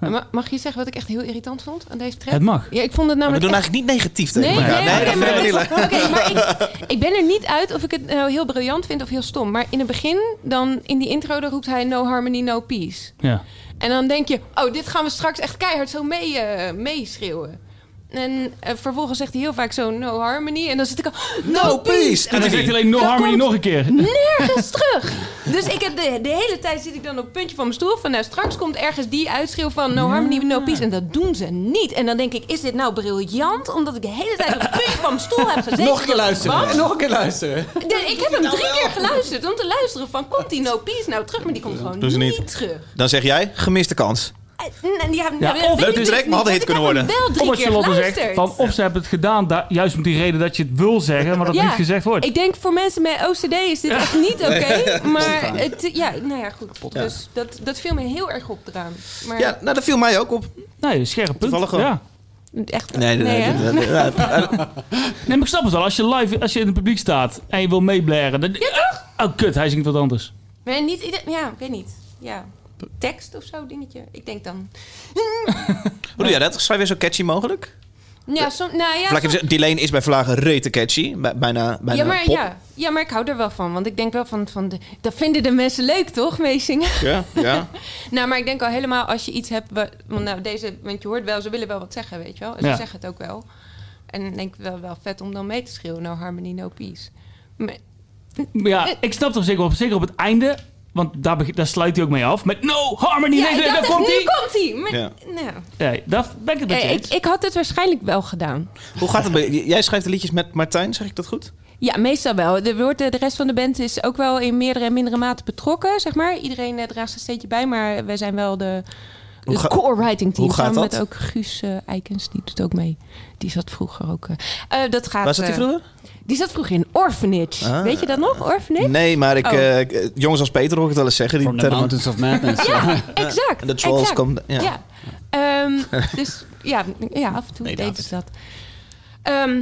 S4: Ma- Mag je zeggen wat ik echt heel irritant vond aan deze track?
S1: Het mag.
S4: Ja, ik vond het
S7: we
S4: namelijk
S7: doen
S4: echt-
S7: eigenlijk niet negatief tegen
S4: Nee, nee,
S7: elkaar.
S4: nee,
S7: dat
S4: maar,
S7: vinden we niet leuk.
S4: Oké, maar ik, ik ben er niet uit of ik het nou heel briljant vind of heel stom. Maar in het begin, dan in die intro, dan roept hij no harmony, no peace.
S1: Ja.
S4: En dan denk je, oh, dit gaan we straks echt keihard zo mee, eh, meeschreeuwen. En eh, vervolgens zegt hij heel vaak zo no harmony. En dan zit ik al, no peace!
S1: En dan zegt hij alleen No
S4: Dat
S1: Harmony
S4: komt-
S1: nog een keer.
S4: nergens terug. Dus ik heb de, de hele tijd zit ik dan op het puntje van mijn stoel. Van nou, straks komt ergens die uitschreeuw van no harmony, no peace. En dat doen ze niet. En dan denk ik, is dit nou briljant? Omdat ik de hele tijd op het puntje van mijn stoel heb gezeten.
S2: Nog een keer luisteren.
S4: Wat?
S2: Nog een keer luisteren.
S4: De- ik heb hem drie keer geluisterd om te luisteren van komt die no peace nou terug? Maar die komt gewoon
S7: Doen ze
S4: niet.
S7: niet.
S4: terug.
S7: Dan zeg jij, gemiste kans.
S4: Eh, n- Ja,
S1: Ja,
S4: nou,
S1: of-
S4: weet ik
S7: Leuke
S4: dus
S7: track, maar had een
S4: niet,
S7: hit
S4: want
S7: kunnen
S4: ik heb hem Wel drie
S1: Of wat
S4: keer
S1: Charlotte
S4: geluisterd.
S1: zegt, van of ze hebben het gedaan, daar- juist om die reden dat je het wil zeggen, maar dat
S4: Ja.
S1: niet gezegd wordt.
S4: Ik denk voor mensen met OCD is dit echt niet oké. Maar het, ja, nou ja, goed. Dus dat, dat viel me heel erg op eraan. Maar
S7: Ja, nou, dat viel mij ook op.
S1: Nee, scherp punt.
S7: Toevallig wel.
S1: Ja.
S4: echt.
S7: Nee, nee,
S4: hè?
S7: nee. nee, nee, nee, nee.
S1: Nee, maar ik snap het wel. Als je live, als je in het publiek staat en je wil meeblaren, dan... Ah, Oh, kut, hij zingt wat anders.
S4: Maar niet ieder, ja, ik weet niet. Ja, tekst of zo dingetje. Ik denk dan.
S7: Hoe doe jij dat? Schrijf je zo catchy mogelijk?
S4: Ja, som, nou ja.
S7: Eh, Vlak even
S4: som-
S7: zeggen, die lane is bij Vlagen rete catchy. Bij- Bijna, bijna
S4: ja, maar,
S7: pop.
S4: ja, ja, maar ik hou er wel van. Want ik denk wel van. van de, dat vinden de mensen leuk, toch? Meezingen.
S7: ja. ja.
S4: Nou, maar ik denk al helemaal als je iets hebt. wa- Want, nou, deze, want je hoort wel, ze willen wel wat zeggen, weet je wel. En
S1: Ja.
S4: ze zeggen het ook wel. En dan denk ik wel, wel vet om dan mee te schreeuwen. No harmony, no peace. Maar-
S1: Maar
S4: Eh.
S1: Ja, ik snap het op zich wel. Zeker op het einde, want daar, beg- daar sluit hij ook mee af. Met no, harmony,
S4: ja,
S1: nee, nee,
S4: ik
S1: daar
S4: dacht
S1: komt
S4: echt,
S1: hij.
S4: nu komt hij.
S7: Ja.
S4: Maar- nou.
S1: Nee, daar ben ik het met je
S4: Eh, ik,
S1: eens.
S4: ik had het waarschijnlijk wel gedaan.
S7: Hoe gaat het? bij- j- Jij schrijft de liedjes met Martijn, zeg ik dat goed?
S4: Ja, meestal wel. De, wordt, de rest van de band is ook wel in meerdere en mindere mate betrokken, zeg maar. Iedereen eh, draagt zijn steentje bij, maar wij zijn wel de,
S7: Hoe
S4: het
S7: ga-
S4: core writing team.
S7: hoe gaat
S4: samen
S7: dat?
S4: met ook Guus eh, Eikens, die doet ook mee. Die zat vroeger ook... eh, eh, dat gaat,
S7: Waar zat die
S4: eh,
S7: vroeger?
S4: die zat vroeger in Orphanage.
S7: Ah.
S4: Weet je dat nog, Orphanage?
S7: Nee, maar ik,
S4: Oh.
S7: eh, ik- eh, jongens als Peter hoor ik het wel eens zeggen. Die
S2: From the
S7: termen.
S2: Mountains of Madness. ja.
S4: Exact.
S7: En de trolls
S4: exact.
S7: komen- ja.
S4: Ja. Ehm, dus ja, ja, af en toe
S7: Nee,
S4: deden
S7: David.
S4: ze dat. Ehm,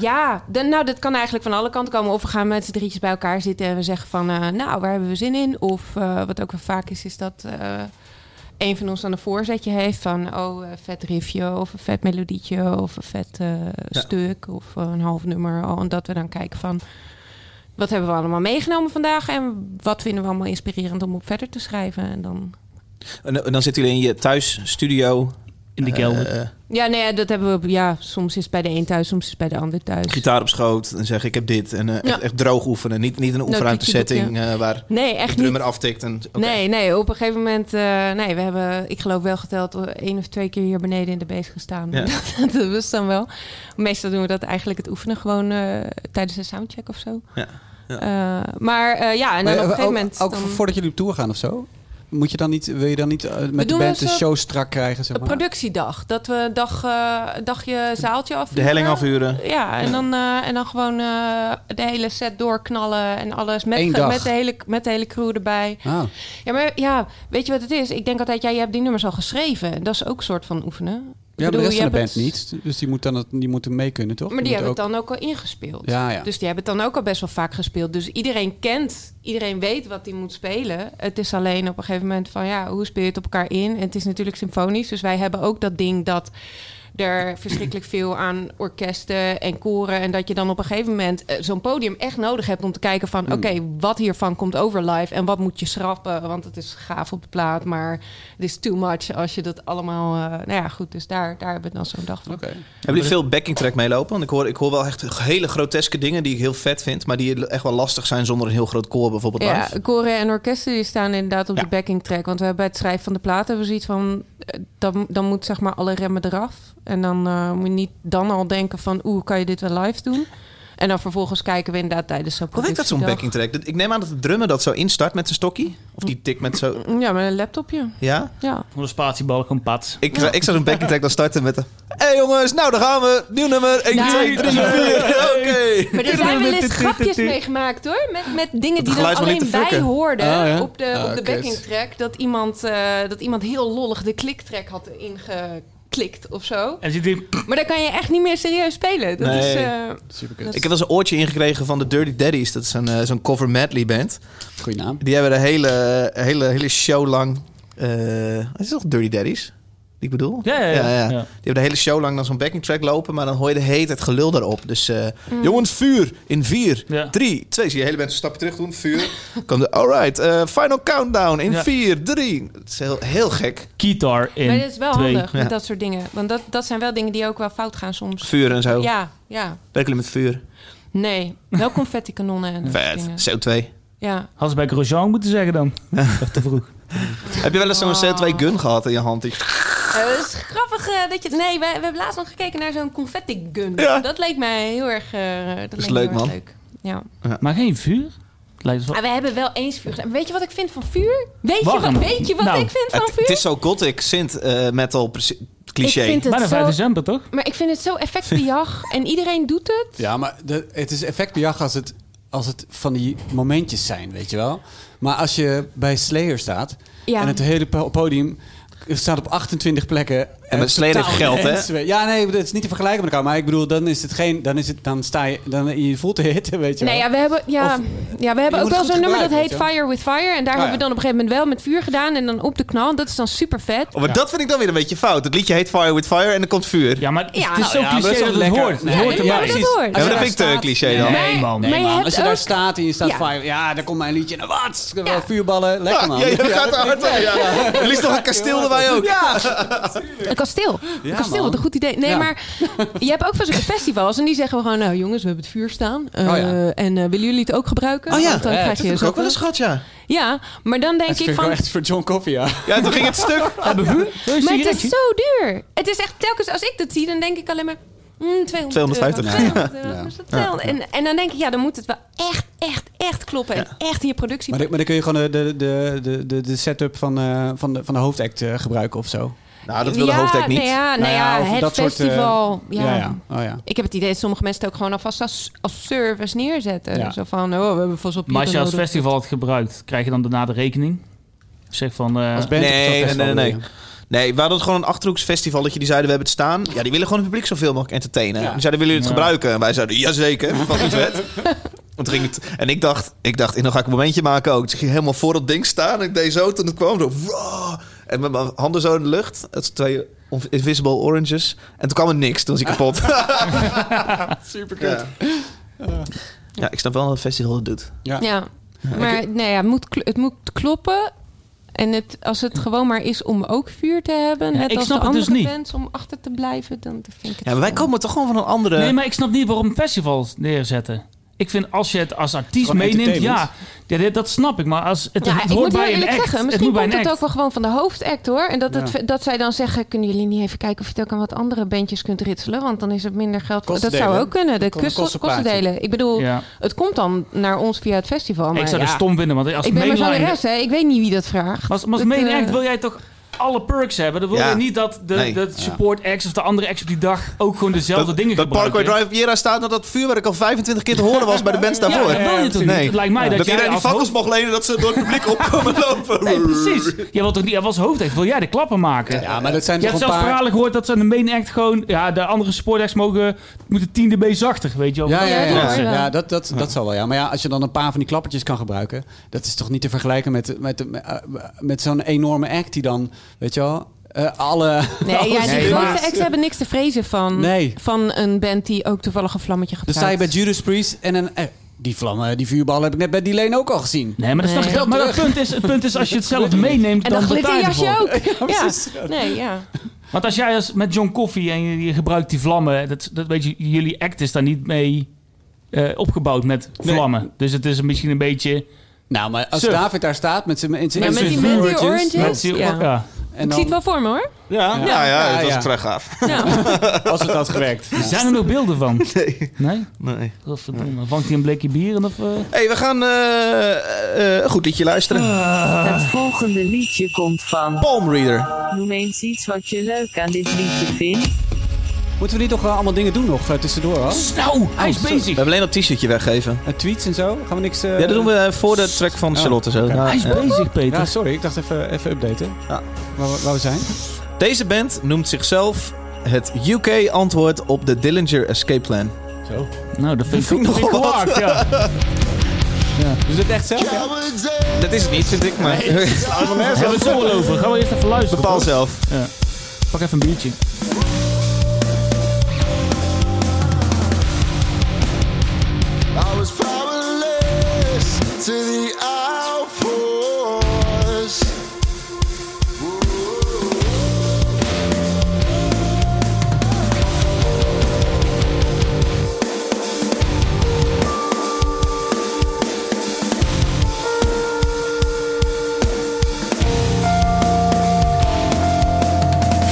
S4: ja, de- nou, dat kan eigenlijk van alle kanten komen. Of we gaan met z'n drietjes bij elkaar zitten en we zeggen van... eh, nou, waar hebben we zin in? Of eh, wat ook wel vaak is, is dat... eh, een van ons dan een voorzetje heeft van oh, een vet riffje of een vet melodietje of een vet eh, stuk of een half nummer. Oh, en dat we dan kijken van wat hebben we allemaal meegenomen vandaag en wat vinden we allemaal inspirerend om op verder te schrijven. En dan
S3: En, en dan zitten jullie in je thuisstudio.
S1: in de kelder.
S3: eh,
S4: ja, nee, ja, dat hebben we. Ja, soms is het bij de een thuis, soms is het bij de ander thuis.
S3: gitaar op schoot en zeggen ik heb dit. En eh, echt,
S4: Ja.
S3: echt droog oefenen. Niet, niet in een oefenruimte setting
S4: kiekeboekje.
S3: eh, waar
S4: nee,
S3: de
S4: echt niet.
S3: drummer aftikt. En, oké.
S4: Nee, nee, op een gegeven moment... eh, nee, we hebben, ik geloof wel geteld, eh, één of twee keer hier beneden in de beest gestaan.
S3: Ja.
S4: dat was dan wel. Meestal doen we dat eigenlijk, het oefenen, gewoon eh, tijdens een soundcheck of zo.
S3: Ja, ja.
S4: Eh, maar eh, ja, en dan
S2: Maar,
S4: op een
S2: eh, ook,
S4: gegeven moment...
S2: ook
S4: dan-
S2: voordat jullie op tour gaan of zo? Moet je dan niet, wil je dan niet eh, met de
S4: doen
S2: band de
S4: wel zo-
S2: show strak krijgen? Zeg
S4: Een
S2: maar?
S4: productiedag. Dat we een dag, eh, een dagje zaaltje af.
S3: De helling afhuren.
S4: Ja, en dan, eh, en dan gewoon eh, de hele set doorknallen en alles. Met,
S2: Eén dag.
S4: met, de hele, met de hele crew erbij.
S2: Ah,
S4: Ja, maar ja, weet je wat het is? Ik denk altijd, ja, je hebt die nummers al geschreven. Dat is ook een soort van oefenen. Ik
S2: ja, maar de
S4: bedoel,
S2: rest
S4: je
S2: van de band
S4: hebt het-
S2: niet. Dus die, moet dan, het- die moeten mee kunnen, toch?
S4: Maar die hebben
S2: moeten
S4: het dan ook al ingespeeld.
S2: Ja, ja.
S4: Dus die hebben het dan ook al best wel vaak gespeeld. Dus iedereen kent, iedereen weet wat die moet spelen. Het is alleen op een gegeven moment van, ja, hoe speel je het op elkaar in? En het is natuurlijk symfonisch, dus wij hebben ook dat ding dat er verschrikkelijk veel aan orkesten en koren... en dat je dan op een gegeven moment eh, zo'n podium echt nodig hebt... om te kijken van,
S2: Hmm.
S4: oké, wat hiervan komt over live... en wat moet je schrappen, want het is gaaf op de plaat... maar het is too much als je dat allemaal... eh, nou ja, goed, dus daar, daar hebben we dan zo'n dag van.
S2: Oké.
S3: Hebben jullie veel backing track meelopen? Want ik hoor, ik hoor wel echt hele groteske dingen die ik heel vet vind. Maar die echt wel lastig zijn zonder een heel groot koor bijvoorbeeld.
S4: Ja,
S3: live.
S4: koren en orkesten die staan inderdaad op
S3: Ja.
S4: de backing track. Want we hebben bij het schrijven van de platen hebben we zoiets van... eh, Dan, dan moet zeg maar alle remmen eraf. En dan eh, moet je niet dan al denken van... Oeh, kan je dit wel live doen? En dan vervolgens kijken we inderdaad tijdens zo'n
S3: Hoe werkt dat zo'n
S4: productiedag.
S3: backing track? Dat- Ik neem aan dat de drummer dat zo instart met zijn stokje. Of die tik met zo...
S4: Ja, met een laptopje.
S3: Ja?
S4: Ja.
S1: Voor de spatiebalk een pad.
S3: Ik, ik zou zo'n backing track dan starten met... Hé hey jongens, nou daar gaan we. Nieuw nummer. 1,
S4: Ja.
S3: 2, 3, 4. Oké.
S4: Maar er zijn wel eens grapjes mee gemaakt hoor. Met, met dingen
S3: het
S4: die dan
S3: geluid maar niet
S4: alleen
S3: te
S4: wij
S3: fucken.
S4: hoorden
S2: Ah, ja?
S4: op de,
S2: Ah,
S4: op de
S2: kut.
S4: backing track. Dat iemand, eh, dat iemand heel lollig de kliktrack had ingeklikt of zo.
S1: En zit hier
S4: Maar dan kan je echt niet meer serieus spelen. Dat
S3: Nee.
S4: is... eh,
S2: Superkut.
S3: Ik heb wel eens een oortje ingekregen van de Dirty Daddies. Dat is een, eh, zo'n cover medley band.
S2: Goeie naam.
S3: Die hebben de hele, hele, hele show lang... eh, het is toch Dirty Daddies? Die ik bedoel?
S1: Ja, ja, ja. Ja.
S3: Die hebben de hele show lang dan zo'n backing track lopen. Maar dan hoor je de hele tijd gelul daarop. Dus eh,
S4: Mm.
S3: jongens, vuur in vier,
S1: Ja.
S3: drie, twee. Zie je de hele mensen stappen terug doen. Vuur. Komt de, alright, eh, final countdown in
S1: Ja.
S3: vier, drie. Het is heel, heel gek.
S1: guitar in.
S4: Maar dat is wel
S1: twee.
S4: handig met
S3: Ja.
S4: dat soort dingen. Want dat, dat zijn wel dingen die ook wel fout gaan soms.
S3: Vuur en zo.
S4: Ja, ja.
S3: Werken jullie met vuur?
S4: Nee. Wel confetti kanonnen en dat soort
S3: Vet.
S4: dingen.
S3: CO2.
S4: Ja.
S1: Hadden ze bij Grosjean moeten zeggen dan. Of te vroeg.
S3: Heb je wel eens zo'n
S4: Oh.
S3: CO2 gun gehad in je hand? Die-
S4: Eh, Het is grappig eh, dat je... Nee, we, we hebben laatst nog gekeken naar zo'n confetti gun.
S3: Ja.
S4: Dat leek mij heel erg... eh, dat
S3: is
S4: leek mij
S3: leuk,
S4: heel erg
S3: man.
S4: Leuk. Ja.
S1: Maar geen vuur? Lijkt het
S4: Ah,
S1: wel...
S4: we hebben wel eens vuur gedaan. Weet je wat ik vind van vuur? Weet je
S1: Warm.
S4: wat, weet je wat
S1: Nou,
S4: ik vind van
S3: Het, het
S4: vuur?
S3: is zo gothic synth eh, metal preci- cliché.
S4: Ik vind het
S1: Bijna 5
S4: zo...
S1: december toch?
S4: Maar ik vind het zo effectbejag. en iedereen doet het.
S2: Ja, maar de, het is effectbejag als het, als het van die momentjes zijn, weet je wel. Maar als je bij Slayer staat
S4: Ja.
S2: en het hele po- podium staat op 28 plekken. En
S3: met Slayer
S2: totaal
S3: heeft geld, hè?
S2: mensen- Ja, nee, dat is niet te vergelijken met elkaar. Maar ik bedoel, dan is het geen, dan is het, dan sta je, dan je voelt de hitte, weet je
S4: Nee,
S2: wel.
S4: ja, we hebben, ja,
S2: Of-
S4: ja, we hebben
S2: Je
S4: ook
S2: moet
S4: wel
S2: het
S4: zo'n
S2: goed
S4: nummer dat heet
S2: gebruiken, weet
S4: Fire with Fire. En daar
S2: Ah,
S4: hebben we
S2: ja.
S4: dan op een gegeven moment wel met vuur gedaan. En dan op de knal. Dat is dan super vet.
S3: Oh, maar dat vind ik dan weer een beetje fout. Het liedje heet Fire with Fire en er komt vuur.
S1: Ja, maar het
S4: Ja,
S1: is
S4: nou
S1: zo
S2: ja, maar dat
S1: cliché
S2: is
S1: dat
S2: wel
S1: het
S2: lekker.
S1: hoort.
S2: Nee,
S1: Het hoort
S4: ja,
S1: erbij.
S4: dat hoort.
S2: Als
S3: Ja,
S2: je
S3: maar dat
S2: daar
S3: vind ik te
S2: staat-
S3: cliché dan.
S1: Nee, man.
S2: Nee,
S4: Maar je
S2: man,
S4: hebt
S2: als je daar
S4: ook-
S2: staat en je staat
S4: Ja.
S2: fire, ja, dan komt mijn liedje en wat? Ja. Vuurballen, lekker man.
S3: Ja, je gaat er hard aan, ja. Er ligt nog een kasteel erbij ook.
S4: Een kasteel. een kasteel,
S2: man.
S4: wat een goed idee. Nee,
S2: Ja.
S4: maar je hebt ook wel zo'n festivals. En die zeggen we gewoon, nou jongens, we hebben het vuur staan. Eh,
S2: Oh, ja.
S4: En eh, willen jullie het ook gebruiken?
S3: Oh ja,
S4: Want dan
S2: eh,
S4: krijg
S2: dat
S3: Dat
S4: je
S3: heb ik ook wel
S4: zo'n-
S3: eens gehad, ja.
S4: Ja, maar dan denk
S2: Dat
S4: ik
S2: vind ik wel
S4: van...
S2: echt voor John Coffee, ja.
S3: Ja, toen ging het stuk.
S1: Hebben vuur? Wil je een
S4: Maar het is
S1: sigaretje?
S4: zo duur. Het is echt telkens als ik dat zie, dan denk ik alleen maar. mm, 200
S3: 250.
S4: euro,
S3: Ja.
S4: 200 euro, dus dat is het wel. En, en dan denk ik, ja, dan moet het wel echt, echt, echt kloppen. En echt in je productie.
S2: Maar dan, maar dan kun je gewoon de, de, de, de, de, de setup van, eh, van, de, van de hoofdact eh, gebruiken of zo.
S3: Nou, dat wilde
S4: ja,
S3: hoofdek niet.
S4: Nou ja, nou
S2: Nou ja,
S4: ja,
S2: of
S4: het
S2: dat soort, eh,
S4: festival. ja.
S2: Ja, ja. Oh, ja.
S4: Ik heb het idee dat sommige mensen het ook gewoon alvast als, als service neerzetten.
S2: Ja.
S4: Zo van, oh, we hebben vast op
S1: Maar als je als
S4: nodig.
S1: festival het gebruikt, krijg je dan daarna de rekening? Zeg van... eh,
S2: Als band op
S3: nee,
S2: zo'n
S3: nee,
S2: festival
S3: nee,
S2: bedoel je.
S3: nee. Nee, we hadden het gewoon een achterhoeksfestival dat je die zeiden we hebben het staan. Ja, die willen gewoon het publiek zoveel mogelijk entertainen.
S2: Ja.
S3: Die zeiden willen jullie
S1: Ja.
S3: het gebruiken? En wij zeiden jazeker, fucking vet. Want toen ging het, en ik dacht, ik dacht, en dan ga ik een momentje maken ook. Dus ik ging helemaal voor dat ding staan. En ik deed zo toen het kwam. Zo, wow. En met mijn handen zo in de lucht. Dat is twee invisible oranges. En toen kwam er niks. Toen was ik kapot.
S2: Super
S3: ja. ja, ik snap wel dat het festival dat doet.
S2: Ja.
S4: Ja, maar nee, ja, het, moet, kl- het moet kloppen. En het, als het gewoon maar is om ook vuur te hebben,
S1: Ja,
S4: net
S1: ik
S4: als
S1: snap
S4: de
S1: het dus
S4: andere
S1: niet.
S4: bands om achter te blijven, dan vind ik het...
S3: Ja, maar wij
S4: gewoon-
S3: komen toch gewoon van een andere...
S1: Nee, maar ik snap niet waarom festivals neerzetten. Ik vind als je het als artiest
S2: Gewoon
S1: meeneemt, ja,
S2: entertainment.
S1: ja, dit- dat snap ik. Maar als het,
S4: Ja,
S1: het
S4: ik
S1: hoort
S4: moet heel
S1: bij een
S4: eerlijk
S1: act,
S4: zeggen,
S1: het
S4: misschien
S1: moet bij
S4: komt
S1: een
S4: het
S1: act.
S4: ook wel gewoon van de hoofdact hoor. En dat,
S2: Ja.
S4: het, dat zij dan zeggen, kunnen jullie niet even kijken of je het ook aan wat andere bandjes kunt ritselen? Want dan is het minder geld. voor- Dat
S2: Kosten
S4: zou
S2: delen.
S4: ook kunnen, de
S2: Kon-
S4: kus-
S2: kosten
S4: kosten,
S2: plaatje.
S4: delen. Ik bedoel,
S1: Ja.
S4: het komt dan naar ons via het festival. Maar
S1: Ik zou
S4: ja,
S1: het stom vinden, want als
S4: ik ben maar
S1: main line-
S4: zangeres, hè. Ik weet niet wie dat vraagt.
S1: Maar Als, maar als
S4: Dat,
S1: main
S4: eh,
S1: act wil jij toch alle perks hebben? Dan wil
S3: Ja.
S1: je niet dat de,
S3: Nee.
S1: dat support acts of de andere acts op die dag ook gewoon dezelfde dingen
S3: dat
S1: gebruiken.
S3: Parkway Drive Viera staat nadat dat vuurwerk al 25 keer te horen was bij de bands
S1: Ja,
S3: daarvoor.
S1: dat wil je toch niet?
S3: Nee.
S1: Het lijkt mij dat,
S3: Dat
S1: jij
S3: iedereen die
S1: als
S3: fakkels
S1: hoofd...
S3: mocht lenen dat ze door het publiek opkomen lopen.
S1: Nee, precies. Jij wilt toch niet, als hoofdact wil jij de klappen maken.
S2: Ja, maar dat zijn
S1: Je
S2: toch
S1: hebt
S2: een
S1: zelfs
S2: paar...
S1: verhalen gehoord dat ze aan de main act gewoon... Ja, de andere support acts mogen, moeten 10 dB zachter, weet je wel.
S2: Ja, ja, ja, ja.
S4: Ja.
S2: Ja, dat, dat, dat zal wel, ja. Maar ja, als je dan een paar van die klappertjes kan gebruiken... dat is toch niet te vergelijken met, met, met, eh, met zo'n enorme act die dan, weet je wel... eh, alle...
S4: Nee, ja, die
S2: alles-
S4: grote
S2: maar-
S4: acts hebben niks te vrezen van,
S2: Nee.
S4: van een band die ook toevallig een vlammetje
S1: Dus
S2: Dan
S4: gebruikt.
S2: sta je bij Judas Priest en een... eh, die vlammen, die vuurbal heb ik net bij die Lane ook al gezien.
S1: Nee, maar, dat is toch-
S4: Nee.
S1: dat- maar dat punt is, het punt is als je het zelf meeneemt,
S4: en dan
S1: dan betaal je
S4: glitterjasje
S1: ervoor.
S4: ook.
S2: Ja,
S4: Ja,
S2: precies.
S4: Nee, ja.
S1: Want als jij als met John Coffee en je, je gebruikt die vlammen, dat, dat weet je, jullie act is daar niet mee eh, opgebouwd met
S2: Nee.
S1: vlammen. Dus het is een- misschien een beetje...
S2: Nou, maar als
S1: Surf.
S2: David daar staat met zijn met zijn-
S4: Ja, met
S2: zijn
S4: die- met die
S2: vuurtjes,
S4: oranges.
S1: met-
S2: nou,
S4: ja.
S1: ja.
S2: en
S4: Ik
S2: dan-
S4: zie het wel voor me hoor.
S3: Ja, ja,
S2: Ja, ja,
S3: dat
S2: ja.
S3: was vrij gaaf.
S4: Ja.
S2: Als het had gewerkt.
S1: Zijn er nog beelden van?
S3: Nee.
S1: Nee?
S3: nee.
S1: Godverdomme. Vangt hij een blikje bier en of... eh?
S3: hey, we gaan eh, eh, een goed liedje luisteren.
S1: Ah.
S3: Ah.
S6: Het volgende liedje komt van.
S3: Palm Reader.
S6: Noem eens iets wat je leuk aan dit liedje vindt.
S2: Moeten we niet toch eh, allemaal dingen doen nog eh, tussendoor? Hoor?
S1: Snel! Hij is
S2: Oh, zo.
S3: We
S1: bezig!
S3: hebben alleen dat t-shirtje weggeven.
S2: Eh, tweets en zo? Gaan we niks... eh,
S3: Ja, dat doen we eh, voor de track van
S2: Oh,
S3: Charlotte zo.
S2: oké.
S3: Nou,
S1: Hij is
S3: eh,
S1: bezig,
S2: Ja,
S1: Peter.
S2: sorry. Ik dacht even, even updaten.
S3: Ja.
S2: Waar, we- waar we zijn.
S3: deze band noemt zichzelf het UK-antwoord op de Dillinger Escape Plan.
S2: Zo.
S1: Nou, dat vind ik ook
S3: vind ik
S1: vind ik
S3: nogal
S1: wel
S3: wat.
S1: hard, ja.
S2: Dus het echt zelf? Ja?
S3: Dat is het niet, vind ik, maar
S1: Hebben we het zo wel over? Gaan we eerst even luisteren.
S3: bepaal
S1: toch?
S3: zelf.
S1: Pak even een biertje.
S8: I was powerless to the outpours.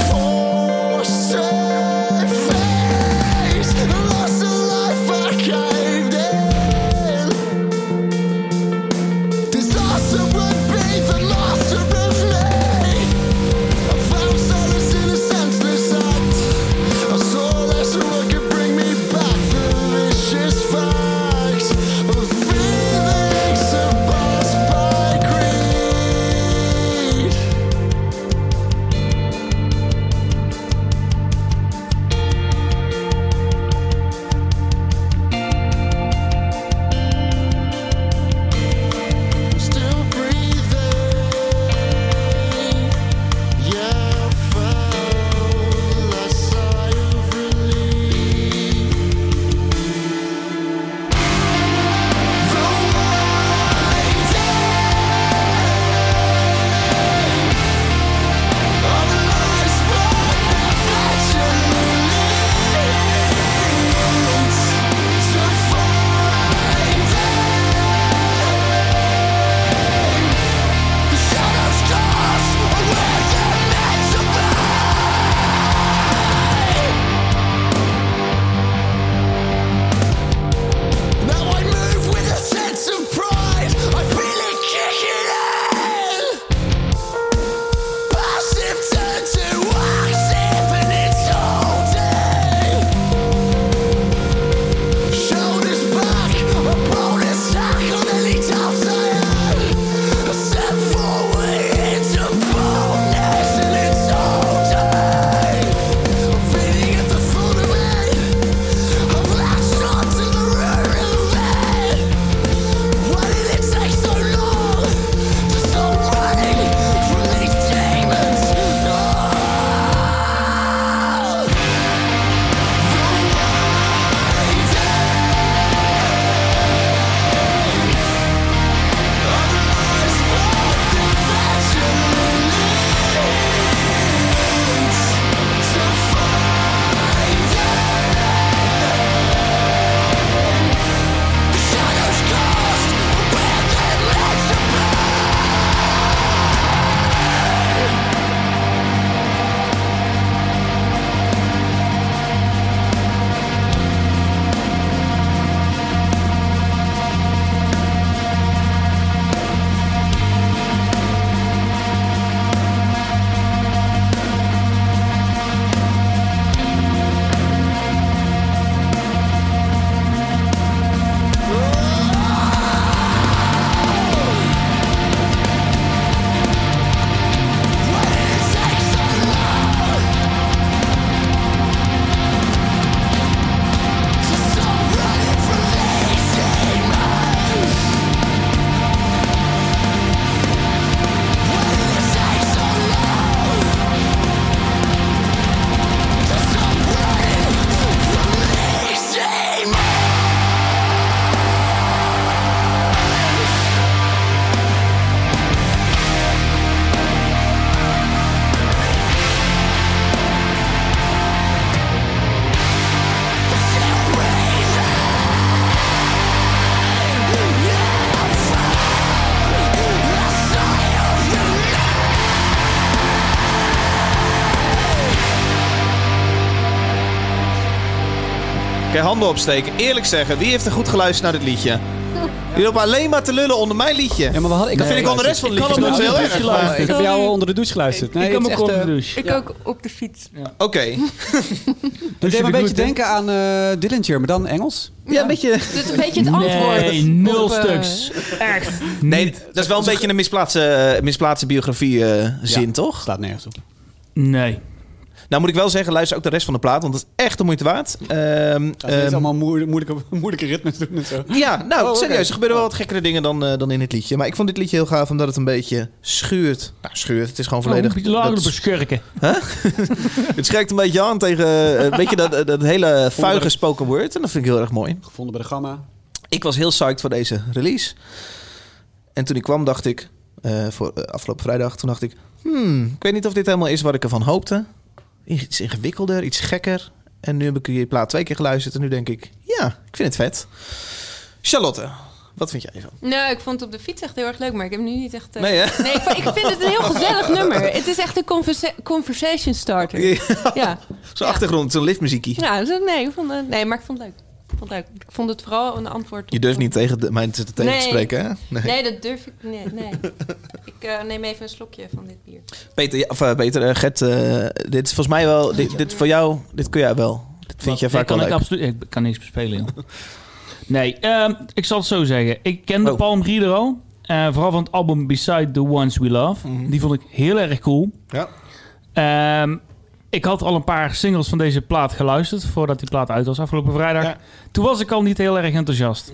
S8: Fall
S3: Oké, handen opsteken. Eerlijk zeggen, wie heeft er goed geluisterd naar dit liedje? Jullie lopen alleen maar te lullen onder mijn liedje.
S2: Ja, maar we hadden, ik
S3: dat
S2: had-
S3: vind ik al de rest van de liedjes
S1: kan
S3: nog
S1: hem
S3: heel
S1: ook
S3: erg.
S1: niet
S3: maar-
S1: geluisterd.
S2: ik heb
S4: Sorry.
S2: jou onder de douche geluisterd. Nee,
S1: ik kan
S2: het
S1: me
S2: is echt,
S1: komen
S2: eh,
S1: de douche.
S4: Ik
S1: Ja.
S4: ook op de fiets.
S3: Oké.
S2: Het deed me een
S1: Douche
S2: beetje
S1: de
S2: denken aan eh Dillinger, maar dan Engels.
S3: Ja, een beetje...
S4: Dus een beetje het antwoord.
S1: Nee, nul
S4: op, eh,
S1: stuks. Echt.
S3: Nee,
S1: niet.
S3: dat is wel een beetje een misplaatse, eh, misplaatse biografie-zin,
S2: Ja.
S3: toch?
S2: Slaat nergens op.
S1: Nee.
S3: Nou moet ik wel zeggen, luister ook de rest van de plaat, want dat is echt de moeite waard. Ehm,
S2: Gaat steeds
S3: ehm,
S2: allemaal moe- moeilijke, moeilijke ritmes doen en zo.
S3: ja, nou,
S2: Oh, oké.
S3: serieus, er gebeuren wel wat gekkere dingen dan, eh, dan in het liedje. Maar ik vond dit liedje heel gaaf, omdat het een beetje schuurt. Nou, schuurt, het is
S2: Oh,
S3: gewoon volledig...
S1: Volledig. Lager
S3: dat-
S1: beschurken.
S3: het schrijkt een beetje aan tegen, eh, weet je, dat, dat hele vuige spoken word. En dat vind ik heel erg mooi.
S2: Gevonden bij de gamma.
S3: Ik was heel psyched voor deze release. En toen ik kwam, dacht ik, eh, voor, eh, afgelopen vrijdag, toen dacht ik, hmm, ik weet niet of dit helemaal is wat ik ervan hoopte. Iets ingewikkelder, iets gekker. En nu heb ik je plaat twee keer geluisterd en nu denk ik, ja, ik vind het vet. Charlotte, wat vind jij ervan?
S4: Nou, ik vond het op de fiets echt heel erg leuk, maar ik heb nu niet echt... eh,
S3: Nee, hè?
S4: Nee, ik, vond- ik vind het een heel gezellig nummer. Het is echt een conversa- conversation starter. Ja.
S3: Zo'n achtergrond, zo'n liftmuziekie.
S4: Nou, dus, nee, ik vond, het- nee, maar ik vond het leuk. Ik vond het leuk. Ik vond het vooral een antwoord op...
S3: Je durft niet tegen de, mij te, tegen te
S4: Nee.
S3: spreken, hè? Nee.
S4: Nee, dat durf ik Nee, nee. ik eh, neem even een slokje van dit bier.
S3: Peter, ja, of, eh, Peter eh, Gert, eh, dit is volgens mij wel, dit, dit voor jou, dit kun jij wel. Dit vind jij
S1: Nee,
S3: vaak
S1: kan
S3: wel
S1: ik
S3: leuk.
S1: absoluut. Ik kan niks bespelen, joh. Nee, ehm, ik zal het zo zeggen. Ik kende
S3: Oh.
S1: Palm Reader al. eh, vooral van het album Beside the Ones We Love. Die vond ik heel erg cool.
S3: Mhm. Ja.
S1: Ehm, ik had al een paar singles van deze plaat geluisterd. voordat die plaat uit was afgelopen vrijdag.
S3: Ja.
S1: Toen was ik al niet heel erg enthousiast.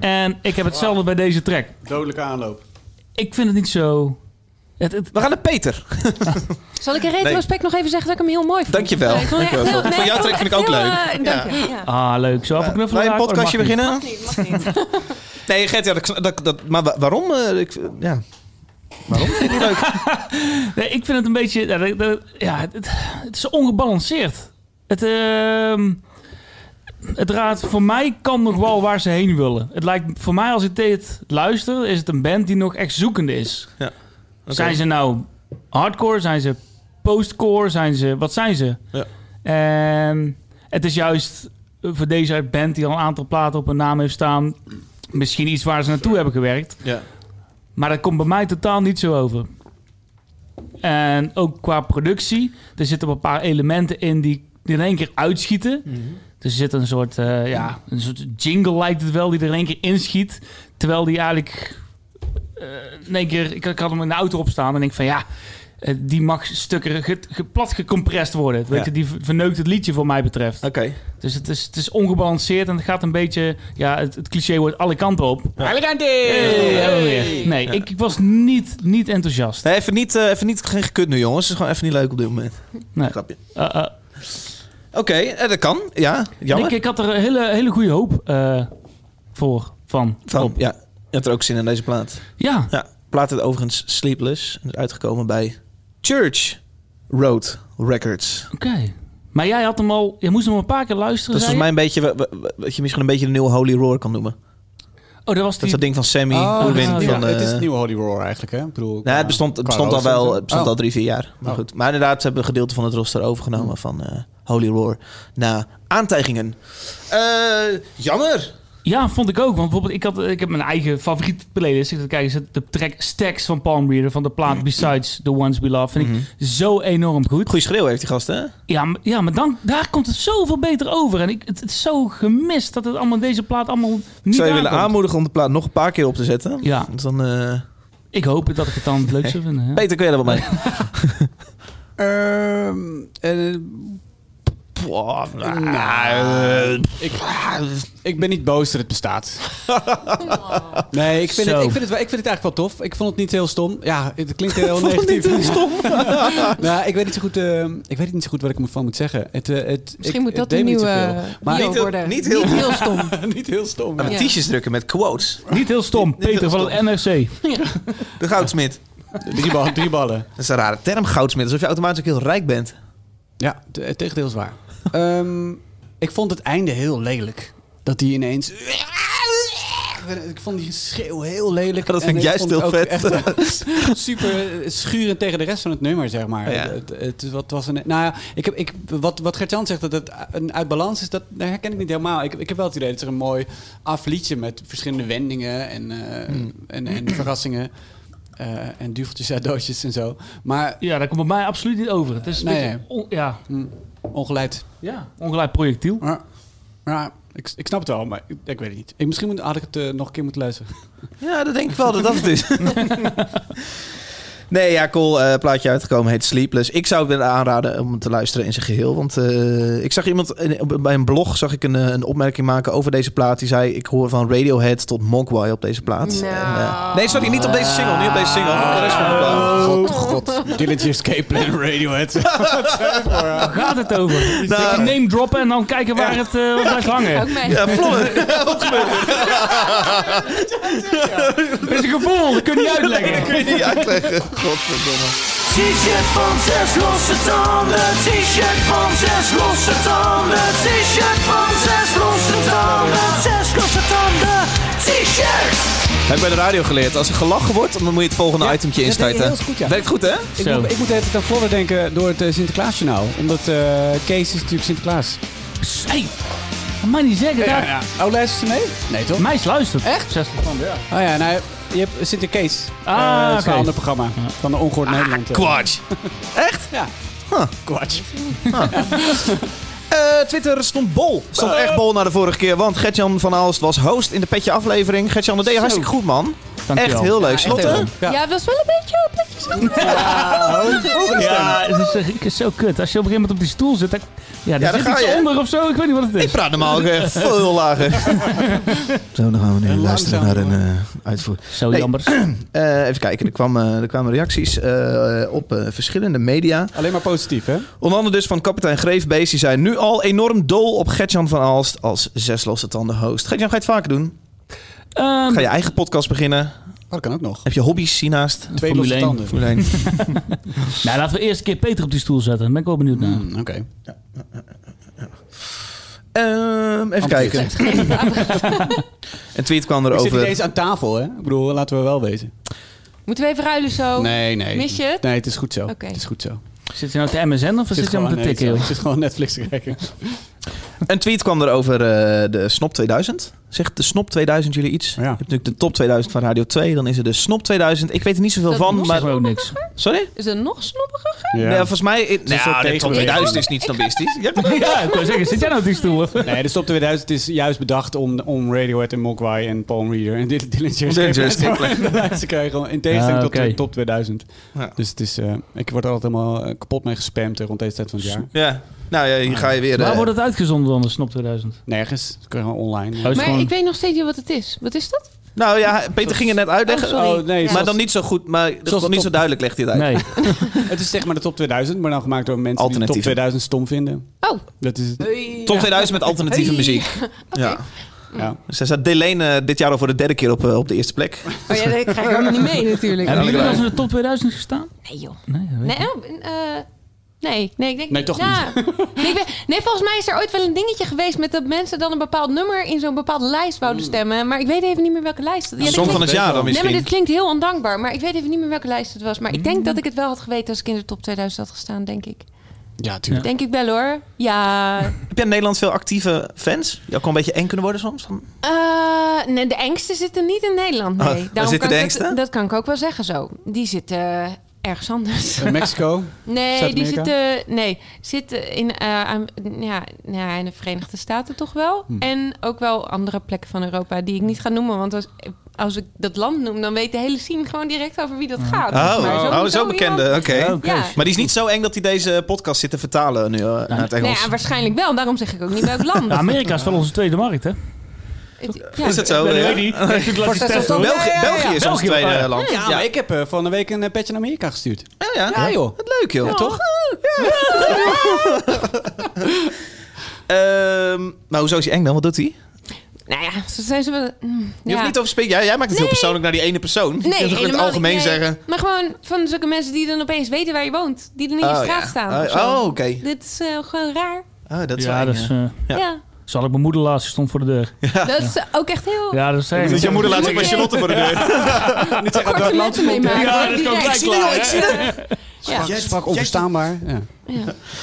S1: En ik heb hetzelfde bij deze track.
S2: Dodelijke aanloop.
S1: Ik vind het niet zo. Het, het,
S3: We gaan naar Peter.
S4: Zal ik in retrospect nog even zeggen dat ik hem heel mooi vond?
S3: Dankjewel.
S4: Nee, ik vond het echt
S3: Dankjewel.
S4: heel- nee,
S3: Van jouw
S4: vond
S3: trek vind ik
S4: het
S3: ook
S4: heel,
S3: leuk.
S4: eh, dank je, ja.
S1: ah, leuk. Zo, even knuffelen.
S3: Eh, Wij een
S1: raken? Oh, dat
S3: podcastje
S1: mag niet.
S3: beginnen?
S4: Niet, mag niet.
S3: Nee, Gert, ja, dat, dat, dat, maar wa- waarom? eh, ik, ja. Waarom vind je het leuk?
S1: Nee, ik vind het een beetje. ja, dat- dat- Ja, het, het- het is ongebalanceerd. Het, ehm, het raadt voor mij kan nog wel waar ze heen willen. Het lijkt voor mij, als ik dit luister, is het een band die nog echt zoekende is.
S3: Ja, oké.
S1: Zijn ze nou hardcore? Zijn ze postcore? Zijn ze, wat zijn ze?
S3: Ja.
S1: En het is juist voor deze band die al een aantal platen op hun naam heeft staan, misschien iets waar ze naartoe hebben gewerkt.
S3: Ja.
S1: Maar dat komt bij mij totaal niet zo over. En ook qua productie. Er zitten een paar elementen in die, die in één keer uitschieten. Dus er zit een soort, eh, ja, een soort jingle lijkt het wel, die er in één keer inschiet. Terwijl die eigenlijk eh, in één keer... Ik, ik had hem in de auto opstaan en denk van ja, eh, die mag stukken ge, ge- plat gecompressed worden. Weet
S3: Ja.
S1: je, die ver- verneukt het liedje voor mij betreft.
S3: Oké.
S1: Dus het is, het is ongebalanceerd en het gaat een beetje... Ja, het, het cliché wordt alle kanten op. Alle kanten! Nee, ik, ik was niet, niet enthousiast.
S3: Nee, even niet, eh, even niet geen gekut nu, jongens. Het is gewoon even niet leuk op dit moment.
S1: Nee.
S3: Grapje.
S1: Eh, eh,
S3: Oké, eh, dat kan. Ja, jammer.
S1: ik, ik had er een hele, hele goede hoop eh, voor. Van.
S3: Van,
S1: op.
S3: ja, je had er ook zin in deze plaat.
S1: Ja.
S3: Ja, plaat het overigens Sleepless. En is uitgekomen bij Church Road Records.
S1: Oké. Maar jij had hem al, je moest hem al een paar keer luisteren.
S3: Dat
S1: zei
S3: is volgens mij een beetje wa- wa- wa- wat je misschien een beetje de nieuwe Holy Roar kan noemen.
S1: je? Oh, dat was
S3: Dat is
S1: die.
S3: dat ding van Sammy
S2: Oh,
S3: Oerwin
S1: dat is-
S3: van
S2: ja, het is
S3: eh,
S2: het nieuwe Holy Roar eigenlijk, hè? Ik bedoel,
S3: Nou, het bestond, het bestond al wel het bestond al drie, vier jaar. Maar,
S2: Oh.
S3: goed. maar inderdaad, ze hebben een gedeelte van het roster overgenomen van eh, Holy Roar. Na aantijgingen. Eh, jammer.
S1: Ja, vond ik ook. Want bijvoorbeeld, ik, had, ik heb mijn eigen favoriet playlist. Ik zat te kijken, zit de track Stacks van Palm Reader van de
S3: Mm.
S1: plaat Besides the Ones We Love. Vind
S3: Mm-hmm.
S1: ik zo enorm goed.
S3: Goeie schreeuw heeft die gast, hè?
S1: Ja, maar- ja, maar dan, daar komt het zoveel beter over. En ik, het, het is zo gemist dat het allemaal deze plaat allemaal niet
S3: Zou je
S1: aankomt.
S3: willen aanmoedigen om de plaat nog een paar keer op te zetten?
S1: Ja.
S3: Want dan, eh,
S1: Ik hoop het dat ik het dan het leuk zou vinden. ja.
S3: Peter, kun jij dat wel mee?
S2: Ehm, eh, ik, nou, eh,
S3: Ah,
S2: ik ben niet boos dat het bestaat. Nee, ik vind,
S1: Zo.
S2: het, ik, vind het, wel- ik vind het eigenlijk wel tof. Ik vond het niet heel stom. Ja, het klinkt heel negatief. stom. nou, ik weet niet zo goed, eh, ik weet niet zo goed wat ik ervan moet zeggen. Het, eh, het,
S4: Misschien
S2: ik-
S4: moet dat
S2: het
S4: de
S2: deed me niet
S4: nieuwe eh,
S2: zoveel.
S4: bio
S2: Maar
S3: Niet heel-
S4: worden.
S3: niet heel-
S4: stom.
S2: niet heel stom.
S3: Aan
S4: Ja.
S3: t-shirts drukken met quotes.
S1: Niet heel stom.
S3: heel
S1: Peter van het NRC.
S3: De goudsmit.
S2: Drie, ballen, drie ballen.
S3: Dat is een rare term, goudsmit. Alsof je automatisch ook heel rijk bent.
S2: Ja, t- het tegendeel is waar. Ehm, ik vond het einde heel lelijk. Dat hij ineens... ik, ben- ik vond die schreeuw heel lelijk.
S3: Dat
S2: En
S3: vind ik juist
S2: vond het
S3: heel
S2: ook
S3: vet.
S2: echt, eh, super schurend tegen de rest van het nummer, zeg maar.
S3: Ja.
S2: Het, het, wat was een, nou ja, ik heb, ik, wat, wat Gert-Jan zegt, dat het een uit balans is, dat daar herken ik niet helemaal. Ik, ik heb wel het idee dat er een mooi afliedje met verschillende wendingen en, eh,
S3: Hmm.
S2: en, en verrassingen eh, en duveltjes uit doosjes en zo. Maar
S1: Ja, dat komt bij mij absoluut niet over. Het is een
S2: Nee,
S1: beetje on- ja,
S2: ongeleid.
S1: ja, ongelijk projectiel.
S2: Maar, maar ik, ik snap het wel, maar ik, ik weet het niet. Ik, misschien moet, had ik het eh, nog een keer moeten luisteren.
S3: Ja, dat denk ik wel dat dat het is. nee, ja, cool. eh, plaatje uitgekomen heet Sleepless. Ik zou het willen aanraden om het te luisteren in zijn geheel. Want eh, ik zag iemand in- op- bij een blog zag ik een, eh, een opmerking maken over deze plaat. Die zei: Ik hoor van Radiohead tot Mogwai op deze plaat.
S4: Nou.
S3: En, eh, nee, sorry, niet op deze single. Niet op deze single. op de rest van de plaat.
S1: Oh.
S2: God, god. Dillinger Escape Plan Radiohead.
S1: Waar gaat het over?
S3: Nou.
S1: Ik neem droppen en dan kijken waar het eh, wat blijft hangen.
S4: Ook mij.
S3: Ja, Flodder.
S1: Het is een gevoel, dat kun je niet uitleggen.
S3: Ik weet niet uitleggen. Godverdomme.
S9: T-shirt van zes losse tanden. T-shirt van zes losse tanden. T-shirt van zes losse tanden. Zes losse tanden. T-shirt.
S3: Heb ik bij de radio geleerd. Als er gelachen wordt, dan moet je het volgende itemtje
S2: dat deed je
S3: instarten.
S2: heel goed, ja.
S3: Werkt goed, hè?
S2: Ik,
S1: Zo.
S2: moet, ik moet even aan Flodder denken door het eh, Sinterklaasjournaal. Omdat eh, Kees is natuurlijk Sinterklaas.
S1: Hey, dat mag je niet zeggen. daar-
S2: Oh, luistert ze mee? Nee, toch?
S1: Meis luistert.
S2: Echt?
S1: 60 man, ja.
S2: Oh ja, nou, je hebt Sinterkees.
S1: Ah,
S2: Eh, dat is
S1: oké. Ah,
S2: een ander programma van de Ongehoord Nederland. eh.
S3: Quatsch.
S2: Ja. Kwatsch.
S3: Eh, Twitter stond bol. Stond
S2: Eh.
S3: echt bol na de vorige keer. Want Gertjan van Aalst was host in de petje aflevering. Gertjan, dat deed je hartstikke goed, man.
S1: Dankjewel.
S3: Echt heel leuk. Slotte?
S2: leuk. Ja.
S4: Ja, het was wel een beetje op dat je zo-
S1: Ja, het is, eh, het is zo kut. Als je op een gegeven moment op die stoel zit, dan, ja,
S3: dan
S1: daar zit
S3: ga
S1: iets
S3: je.
S1: onder of zo. Ik weet niet wat het
S3: Ik
S1: is.
S3: praat normaal ook echt veel lager. Zo, dan gaan we nu
S2: Langzaam,
S3: luisteren naar een eh, uitvoer.
S1: Zo
S3: Nee.
S1: jammer.
S3: Eh, even kijken, er, kwam, eh, er kwamen reacties eh, op eh, verschillende media.
S2: Alleen maar positief, hè?
S3: Onder andere dus van kapitein Greefbeest. Die zijn nu al enorm dol op Gertjan van Aalst als zes losse tanden host. Gertjan, ga je het vaker doen?
S1: Ehm,
S3: Ga je eigen podcast beginnen?
S2: Oh, dat kan ook nog.
S3: Heb je hobby's hiernaast? Ehm,
S2: Twee
S1: Formule
S2: losse
S1: één.
S2: tanden.
S3: Formule één.
S1: nou, laten we eerst een keer Peter op die stoel zetten. Daar ben ik wel benieuwd naar.
S2: Mm, Oké.
S3: Ehm, even
S2: Antwoord.
S3: kijken. Een tweet kwam
S2: Ik zit niet
S3: erover.
S2: eens aan tafel, hè? Ik bedoel, laten we wel wezen.
S4: Moeten we even ruilen zo?
S2: Nee, nee.
S4: Oh, Mis je het?
S2: Nee, het is goed zo.
S4: Oké.
S2: Het is goed zo.
S1: Zit je nou te MSN of zit je aan
S2: gewoon,
S1: te
S2: nee,
S1: tikken?
S2: het is-
S1: joh?
S2: het is gewoon Netflix te kijken.
S3: Een tweet kwam erover eh de Snop 2000. Zegt de Snop 2000 jullie iets?
S2: Ja.
S3: Je hebt natuurlijk de top 2000 van Radio 2. Dan is er de Snop 2000. Ik weet er niet zoveel
S4: Dat
S3: van,
S4: moest
S1: Zeg
S3: maar...
S1: maar ook niks.
S3: Sorry?
S4: Is het nog snobbiger?
S2: Ja.
S3: Nee, volgens mij... Nou,
S2: een soort
S3: de top
S2: tegenbeweging.
S3: 2000 is niet snobistisch. Ja,
S1: Ja, ik wou zeggen, zit jij nou op die stoel? of?
S2: Nee, de Stop 2000 is juist bedacht om, om Radiohead en Mogwai en Palm Reader en Dylan
S3: Dillinger Escape Plan.
S2: Plan te krijgen. In tegenstelling
S1: Ah,
S2: tot
S1: oké.
S2: de Top 2000.
S3: Ja.
S2: Dus het is, eh, ik word er altijd helemaal eh, kapot mee gespamd eh, rond deze tijd van het jaar.
S3: Ja. Nou ja, hier ga je weer...
S1: Waar
S3: eh,
S1: wordt het uitgezonden dan, de Snop 2000? Oh,
S2: Nergens. Het kan gewoon online.
S1: het is
S4: Maar
S1: gewoon-
S4: ik weet nog steeds niet wat het is. Wat is dat?
S3: Nou ja, Peter ging het net uitleggen.
S4: Oh, sorry.
S2: Oh, nee,
S4: Ja.
S3: Maar dan niet zo goed. Maar
S2: de
S3: nog niet
S2: top-
S3: zo duidelijk legt hij het uit.
S1: Nee.
S2: Het is zeg maar de Top 2000, maar dan gemaakt door mensen die de Top
S3: Alternatieven.
S2: 2000 stom vinden.
S4: Oh,
S2: Dat is het.
S3: Top 2000 met alternatieve
S4: Hey.
S3: muziek. Ja.
S2: Ja.
S3: Zij staat Delane eh, dit jaar al voor de derde keer op, eh, op de eerste plek.
S4: maar ja, dat krijg ik helemaal niet mee natuurlijk.
S1: Hebben jullie wel eens
S3: leuk.
S1: in de top 2000 gestaan?
S4: Nee joh.
S1: Nee, dat weet
S4: Nee,
S1: ik niet.
S4: oh, eh, nee, nee, ik denk
S2: Nee, toch
S4: Ja. nee, ik weet- nee, volgens mij is er ooit wel een dingetje geweest met dat mensen dan een bepaald nummer in zo'n bepaalde lijst wouden stemmen. Maar ik weet even niet meer welke lijst. dat- Ja, dit
S3: Song van
S4: klinkt-
S3: het jaar dan
S4: Nee, maar
S3: misschien.
S4: dit klinkt heel ondankbaar. Maar ik weet even niet meer welke lijst het was. Maar ik denk dat ik het wel had geweten als ik in de top 2000 had gestaan, denk ik.
S2: Ja, tuurlijk.
S4: Denk ik wel hoor. Ja.
S3: Heb jij in Nederland veel actieve fans? Die ook wel een beetje eng kunnen worden soms? Van-
S4: Eh, nee, de engsten zitten niet in Nederland.
S3: Oh,
S4: Nee.
S3: waar zitten
S4: kan
S3: de
S4: ik
S3: engsten?
S4: Dat, dat kan ik ook wel zeggen zo. Die zitten eh, ergens anders.
S2: Eh, Mexico.
S4: Nee, die
S2: Zuid-Amerika?
S4: zitten, nee, zitten in, eh, Am- ja, ja, in de Verenigde Staten toch wel.
S3: Hm.
S4: En ook wel andere plekken van Europa die ik niet ga noemen. Want als, als ik dat land noem, dan weet de hele scene gewoon direct over wie dat gaat.
S3: Oh,
S4: zeg maar.
S3: oh, zo,
S4: iemand-
S3: bekende. Oh, Oké.
S4: Ja.
S3: Maar die is niet zo eng dat hij deze podcast zit te vertalen nu eh, naar het
S4: Nou
S3: Engels.
S4: ja, waarschijnlijk wel. Daarom zeg ik ook niet welk land.
S1: Ja, Nou, Amerika is wel onze tweede markt, hè?
S4: Het- ja.
S3: Is dat zo? Oh, Ja. België, België is ons
S1: België,
S3: tweede
S1: oh ja.
S3: land.
S2: Ja, maar ik heb eh, van de week een eh, petje naar Amerika gestuurd.
S3: Ja, ja.
S2: Ja, joh.
S3: Wat leuk, joh.
S2: Ja, toch?
S3: Ehm, maar hoezo is hij eng dan? Wat doet hij?
S4: Nou ja, zo zijn ze wel... mm,
S3: Je hoeft
S4: ja.
S3: niet over spreken. Jij, jij maakt het heel
S4: Nee.
S3: persoonlijk naar die ene persoon. Dus je
S4: Nee,
S3: kunt toch in het
S4: helemaal niet.
S3: algemeen
S4: Nee.
S3: zeggen.
S4: Maar gewoon van zulke mensen die dan opeens weten waar je woont. Die dan in je
S3: Oh,
S4: straat
S3: ja.
S4: staan. of
S3: Oh,
S4: zo.
S3: oké.
S4: Dit is eh, gewoon raar.
S3: Ah, dat is
S1: Ja,
S3: wel
S1: dat
S3: eng,
S1: is
S3: hè.
S1: eh,
S3: Ja.
S4: ja.
S1: Zal ik mijn moeder laatst stond voor de deur.
S4: Dat is ook echt heel...
S1: Ja, dat zei
S3: Dat je moeder laat zich bij
S4: Ja.
S3: Charlotte voor de deur.
S2: Niet zeggen
S4: Korte metten meemaken.
S1: Ja, dat is gewoon
S4: Direct.
S1: gelijk klaar, hè?
S4: Ja.
S2: Jij sprak onverstaanbaar. Ja.
S4: Ja.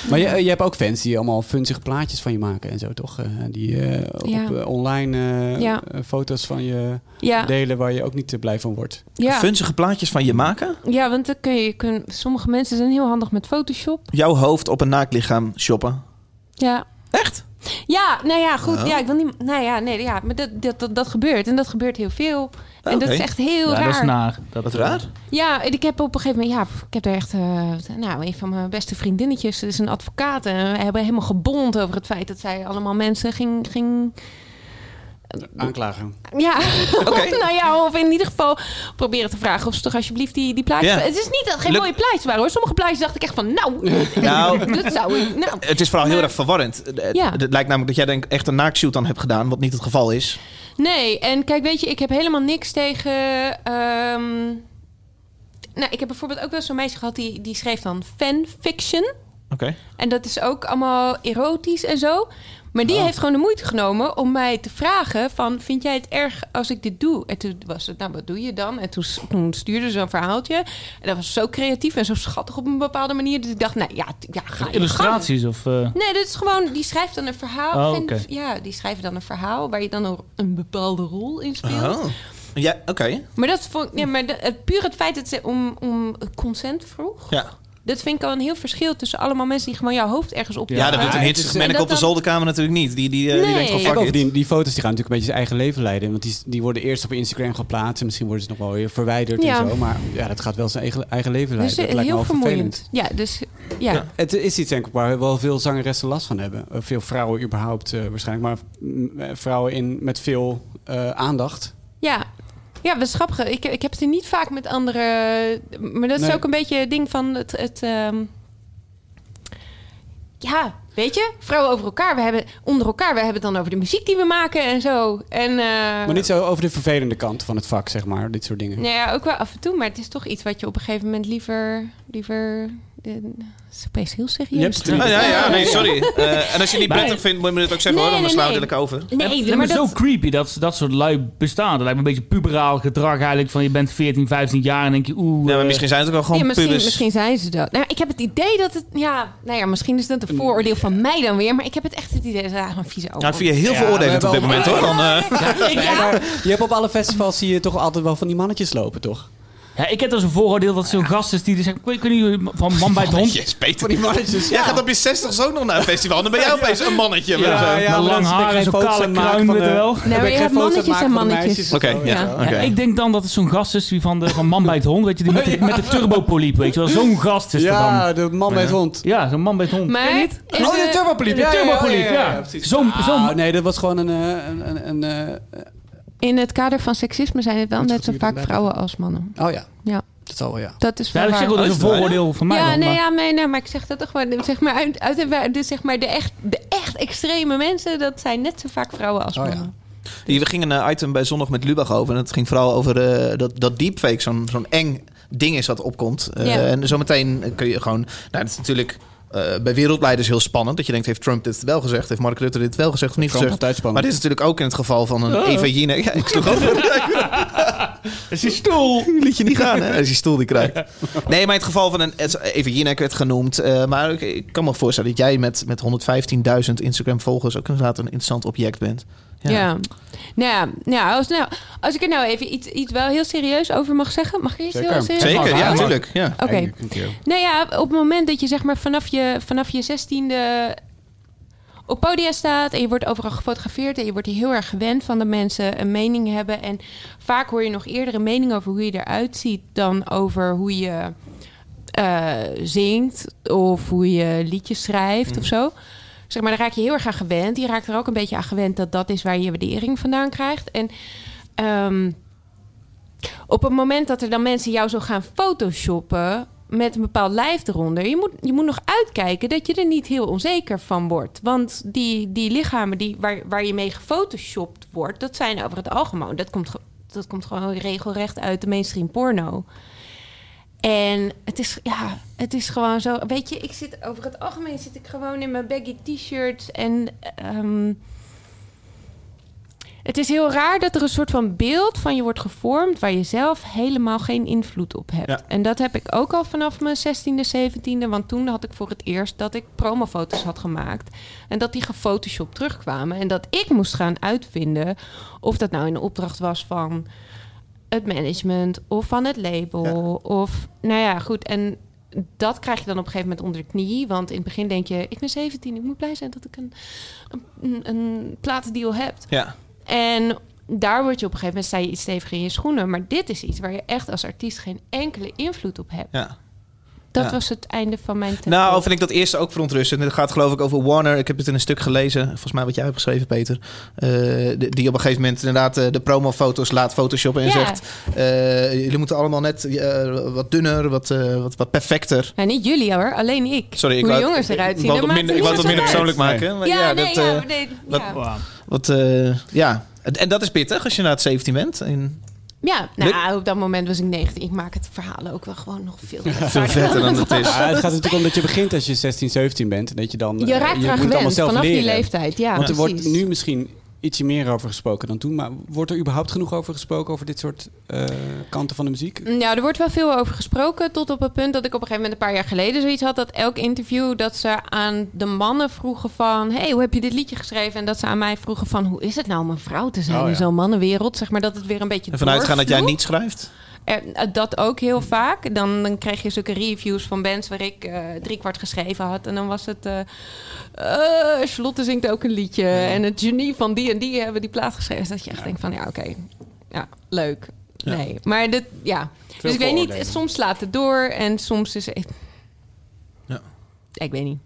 S2: Maar je, je hebt ook fans die allemaal funzige plaatjes van je maken en zo, toch? Eh, Die eh,
S4: Ja.
S2: op eh, online eh,
S4: Ja.
S2: eh, foto's van je
S4: Ja.
S2: delen waar je ook niet te blij van wordt.
S4: Ja.
S3: Funzige plaatjes van je maken.
S4: ja, want dan kun je, kun, sommige mensen zijn heel handig met Photoshop.
S3: Jouw hoofd op een naaktlichaam shoppen.
S4: Ja.
S3: Echt?
S4: Ja, nou ja, goed. Ja, ik wil niet. Nou ja, nee, ja, maar dat, dat, dat, dat gebeurt. En dat gebeurt heel veel. En dat
S3: Ah, Oké.
S4: is echt heel
S1: Ja,
S4: raar.
S1: dat is naar. Dat,
S3: Wat raar.
S4: Ja, en ik heb op een gegeven moment, ja, pff, ik heb daar echt, eh, nou, een van mijn beste vriendinnetjes is een advocaat. En we hebben helemaal gebond over het feit dat zij allemaal mensen ging, ging
S2: Aanklagen.
S4: ja, nou ja, of in ieder geval proberen te vragen of ze toch alsjeblieft die, die plaatjes...
S3: Ja.
S4: Het is niet dat het geen
S3: Luk-
S4: mooie plaatjes waren hoor. Sommige plaatjes dacht ik echt van, nou,
S3: Nou,
S4: dat zou ik, nou.
S3: het is vooral heel
S4: Maar-
S3: erg verwarrend. Het
S4: Ja.
S3: het lijkt namelijk dat jij denk ik echt een naaktshoot aan hebt gedaan, wat niet het geval is.
S4: Nee, en kijk, weet je, ik heb helemaal niks tegen. ehm, Nou, ik heb bijvoorbeeld ook wel zo'n meisje gehad die, die schreef dan fanfiction.
S3: Oké.
S4: En dat is ook allemaal erotisch en zo. Maar
S1: Oh.
S4: die heeft gewoon de moeite genomen om mij te vragen van... vind jij het erg als ik dit doe? En toen was het, nou, wat doe je dan? En toen, s- toen stuurde ze een verhaaltje. En dat was zo creatief en zo schattig op een bepaalde manier. Dus ik dacht, nou ja, t- ja ga je gang.
S1: Illustraties of... eh,
S4: Nee, dit is gewoon, die schrijft dan een verhaal.
S1: Oh,
S4: Fan-
S1: oké.
S4: Ja, die schrijven dan een verhaal waar je dan een, een bepaalde rol in speelt.
S3: Oh. Ja, oké.
S4: Maar dat vond ja, maar de- het, puur het feit dat ze om, om consent vroeg.
S3: Ja.
S4: Dat vind ik al een heel verschil tussen allemaal mensen die gewoon jouw hoofd ergens op.
S1: Ja,
S3: Ja, dat
S4: plakken.
S3: doet een
S2: het
S3: hitsig
S2: is-
S3: manneke
S4: dat
S3: op de
S4: dan-
S3: zolderkamer natuurlijk niet. Die, die, eh, die
S4: Nee.
S3: denkt
S4: En
S2: En
S3: van fuck it.
S2: bovendien, die foto's die gaan natuurlijk een beetje zijn eigen leven leiden. Want die, die worden eerst op Instagram geplaatst. En misschien worden ze nog wel weer verwijderd
S4: Ja.
S2: en zo. Maar ja, dat gaat wel zijn eigen, eigen leven
S4: Dus
S2: leiden.
S4: eh,
S2: dat lijkt me wel
S4: heel
S2: vervelend.
S4: vermoeiend. Ja, dus ja.
S3: Ja.
S2: Het is iets denk ik waar wel veel zangeressen last van hebben. Eh, Veel vrouwen überhaupt eh, waarschijnlijk. Maar mm, eh, vrouwen in, met veel eh, aandacht.
S4: Ja, ja dat is grappig. Ik, ik heb het er niet vaak met andere. Maar dat is
S2: Nee.
S4: ook een beetje het ding van het. het ehm, Ja, weet je, vrouwen over elkaar. We hebben onder elkaar. We hebben het dan over de muziek die we maken en zo. En, eh,
S2: Maar niet zo over de vervelende kant van het vak, zeg maar. Dit soort dingen.
S4: Nou ja, ook wel af en toe. Maar het is toch iets wat je op een gegeven moment liever. liever de, is opeens heel serieus.
S2: Je hebt
S3: Oh,
S2: natuurlijk-
S3: ja, ja, nee, sorry. Eh, en als je het niet prettig vindt, moet je me dat ook zeggen
S4: Nee,
S3: hoor. Anders
S4: nee,
S3: slaan we
S4: nee.
S3: het over.
S1: Nee,
S4: maar
S1: maar
S4: dat-
S1: zo creepy dat dat soort lui bestaan. Dat lijkt me een beetje puberaal gedrag eigenlijk. Van je bent 14, 15 jaar en denk je oeh.
S3: Ja, maar
S1: eh,
S3: misschien zijn het ook wel gewoon
S4: Ja, misschien,
S3: pubers.
S4: misschien zijn ze dat. Nou, ik heb het idee dat het. Ja, nou ja, misschien is dat een vooroordeel van mij dan weer. Maar ik heb het echt het idee dat ze eigenlijk een vieze ogen.
S3: Nou, ik vind je heel
S2: Ja,
S3: veel
S2: we
S3: oordelend
S2: hebben
S3: op dit moment hoor. Dan, eh,
S2: Nee, maar je hebt op alle festivals zie je toch altijd wel van die mannetjes lopen, toch?
S1: ja, ik heb dan zo'n vooroordeel dat zo'n gast is die dus zegt... Ik weet ik weet niet, van man bij het hond.
S3: Jezus, Peter.
S2: Van die mannetjes.
S3: Jij gaat op je 60 zo nog naar een festival. Dan ben jij opeens een mannetje.
S2: Ja,
S3: Of zo.
S2: ja,
S1: Met
S2: maar
S1: lang
S2: dat is- ik
S1: haar en
S2: geen
S1: zo'n
S2: foto's aan
S1: kale
S2: het maken
S1: kruin,
S2: van
S1: weet
S2: de-
S1: je wel.
S2: Ik ben
S4: maar je
S2: geen
S4: hebt
S2: foto's aan het
S4: mannetjes
S2: maken
S4: en
S2: van de
S4: mannetjes.
S2: meisjes of
S3: Oké,
S2: zo,
S3: ja,
S2: weet je wel.
S3: oké.
S1: Ja, ik denk dan dat het zo'n gast is die van, de, van man bij het hond. Weet je, die met, de, met de turbopoliep, weet je wel. Zo'n gast is dat dan.
S2: Ja, de man met hond.
S1: Ja, zo'n man bij het hond.
S4: Maar is
S2: Oh, de
S4: het-
S2: turbopoliep.
S1: De
S2: Ja,
S1: turbopoliep, ja.
S2: precies.
S1: Zo'n... zo'n-
S2: Ah, nee, dat was gewoon een... eh, een, een, een, eh,
S4: in het kader van seksisme zijn het wel net zo vaak vrouwen als mannen.
S2: oh ja,
S4: Ja,
S2: dat zal wel, ja.
S4: dat is wel
S1: ja, dat
S4: waar.
S1: zeg wel, dat is een
S3: Oh, is het waar,
S1: vooroordeel van mij
S4: ja,
S1: dan,
S4: nee,
S1: maar-
S4: ja, nee, nee, maar ik zeg dat toch gewoon. Zeg maar, uit, uit, de- dus zeg maar de, echt, de echt extreme mensen, dat zijn net zo vaak vrouwen als
S2: Oh, ja.
S4: mannen.
S3: Die- We gingen een item bij Zondag met Lubach over. En het ging vooral over eh, dat, dat deepfake. Zo'n zo'n eng ding is dat opkomt. Eh,
S4: Ja.
S3: En zometeen kun je gewoon... Nou, dat is natuurlijk... eh, bij wereldleiders heel spannend. Dat je denkt, heeft Trump dit wel gezegd? Heeft Mark Rutte dit wel gezegd of niet
S2: Trump
S3: gezegd?
S2: altijd spannend.
S3: Maar dit is natuurlijk ook in het geval van een Eva Jinek. Ja, ik sloeg over.
S1: is die stoel.
S3: Liet je niet gaan, hè? Als je stoel die krijgt. Nee, maar in het geval van een... Even Jinek werd genoemd. eh, maar ik, ik kan me voorstellen dat jij met, met 115.000 Instagram-volgers... ook inderdaad een interessant object bent.
S4: Ja. Nou, ja, nou, als, nou, als ik er nou even iets, iets wel heel serieus over mag zeggen, mag ik er iets
S2: Zeker.
S4: heel serieus
S3: Zeker,
S4: over
S3: ja,
S4: zeggen?
S3: natuurlijk. Ja.
S4: Oké. Nou ja, op het moment dat je zeg maar vanaf je, vanaf je zestiende op podia staat en je wordt overal gefotografeerd en je wordt heel erg gewend van de mensen een mening hebben. En vaak hoor je nog eerder een mening over hoe je eruit ziet dan over hoe je eh, zingt of hoe je liedjes schrijft of zo. Zeg maar, daar raak je heel erg aan gewend. Je raakt er ook een beetje aan gewend dat dat is waar je je waardering vandaan krijgt. En ehm, op het moment dat er dan mensen jou zo gaan photoshoppen met een bepaald lijf eronder, je moet, je moet nog uitkijken dat je er niet heel onzeker van wordt. Want die, die lichamen die, waar, waar je mee gefotoshopt wordt, dat zijn over het algemeen. Dat komt, ge- dat komt gewoon regelrecht uit de mainstream porno. En het is, ja, het is gewoon zo. Weet je, ik zit over het algemeen zit ik gewoon in mijn baggy t-shirts en ehm, Het is heel raar dat er een soort van beeld van je wordt gevormd waar je zelf helemaal geen invloed op hebt.
S3: Ja.
S4: En dat heb ik ook al vanaf mijn 16e, 17e, want toen had ik voor het eerst dat ik promofoto's had gemaakt en dat die gefotoshopt terugkwamen en dat ik moest gaan uitvinden of dat nou een opdracht was van het management of van het label of nou ja, goed en dat krijg je dan op een gegeven moment onder de knie. Want in het begin denk je, ik ben 17, ik moet blij zijn dat ik een, een, een platendeal heb.
S3: Ja.
S4: En daar word je op een gegeven moment sta je iets steviger in je schoenen. Maar dit is iets waar je echt als artiest geen enkele invloed op hebt.
S3: ja.
S4: Dat
S3: Ja.
S4: was het einde van mijn tijd.
S3: Nou, vind ik dat eerste ook verontrustend. Het gaat geloof ik over Warner. Ik heb het in een stuk gelezen. Volgens mij wat jij hebt geschreven, Peter. Eh, die- die op een gegeven moment inderdaad eh, de promofoto's laat photoshoppen. En
S4: Ja.
S3: zegt, eh, jullie moeten allemaal net eh, wat dunner, wat, eh, wat, wat perfecter.
S4: Nou, niet jullie hoor, alleen ik.
S3: Sorry, ik
S4: Hoe
S3: wou-
S4: jongens
S3: ik
S4: eruit zien.
S3: wou het
S4: dat maakt
S3: minder- ik wou het
S4: niet
S3: wat minder
S4: zoveel
S3: persoonlijk maken.
S4: uit.
S3: Maar
S4: Ja,
S3: ja,
S4: nee,
S3: dat,
S4: ja,
S3: eh,
S4: nee,
S3: dat-
S4: ja.
S1: Wow.
S3: Wat, eh, ja. En- En dat is pittig als je na het 17 bent. En
S4: Ja, nou, op dat moment was ik 19. Ik maak het verhaal ook wel gewoon nog veel.
S3: veel vetter dan het is.
S2: Ja, het gaat natuurlijk om dat je begint als je 16, 17 bent. En dat je dan.
S4: Je
S2: eh,
S4: raakt
S2: moet
S4: eraan
S2: het allemaal
S4: gewend
S2: zelf
S4: vanaf die
S2: leren.
S4: leeftijd. Ja,
S2: Want er wordt
S4: precies.
S2: nu misschien ietsje meer over gesproken dan toen. Maar wordt er überhaupt genoeg over gesproken over dit soort eh, kanten van de muziek? Nou,
S4: Ja, er wordt wel veel over gesproken. Tot op het punt dat ik op een gegeven moment een paar jaar geleden zoiets had. Dat elk interview dat ze aan de mannen vroegen van... hey, hoe heb je dit liedje geschreven? En dat ze aan mij vroegen van... Hoe is het nou om een vrouw te zijn
S2: Oh, ja.
S4: in zo'n mannenwereld? Zeg maar dat het weer een beetje
S3: En vanuitgaan dat jij
S4: doorsloeg.
S3: niet schrijft.
S4: Eh, dat ook heel vaak. Dan, dan kreeg je zulke reviews van bands waar ik eh driekwart geschreven had. En dan was het... eh eh, Charlotte zingt ook een liedje. En het genie van die en die hebben die plaat geschreven. Dus Dat je echt denkt van... Ja, oké. Ja, leuk. Nee. Maar dit, ja. Dus ik weet niet.
S2: vooroordelen.
S4: Soms slaat het door. En soms is het...
S3: Ja.
S4: Ik weet niet.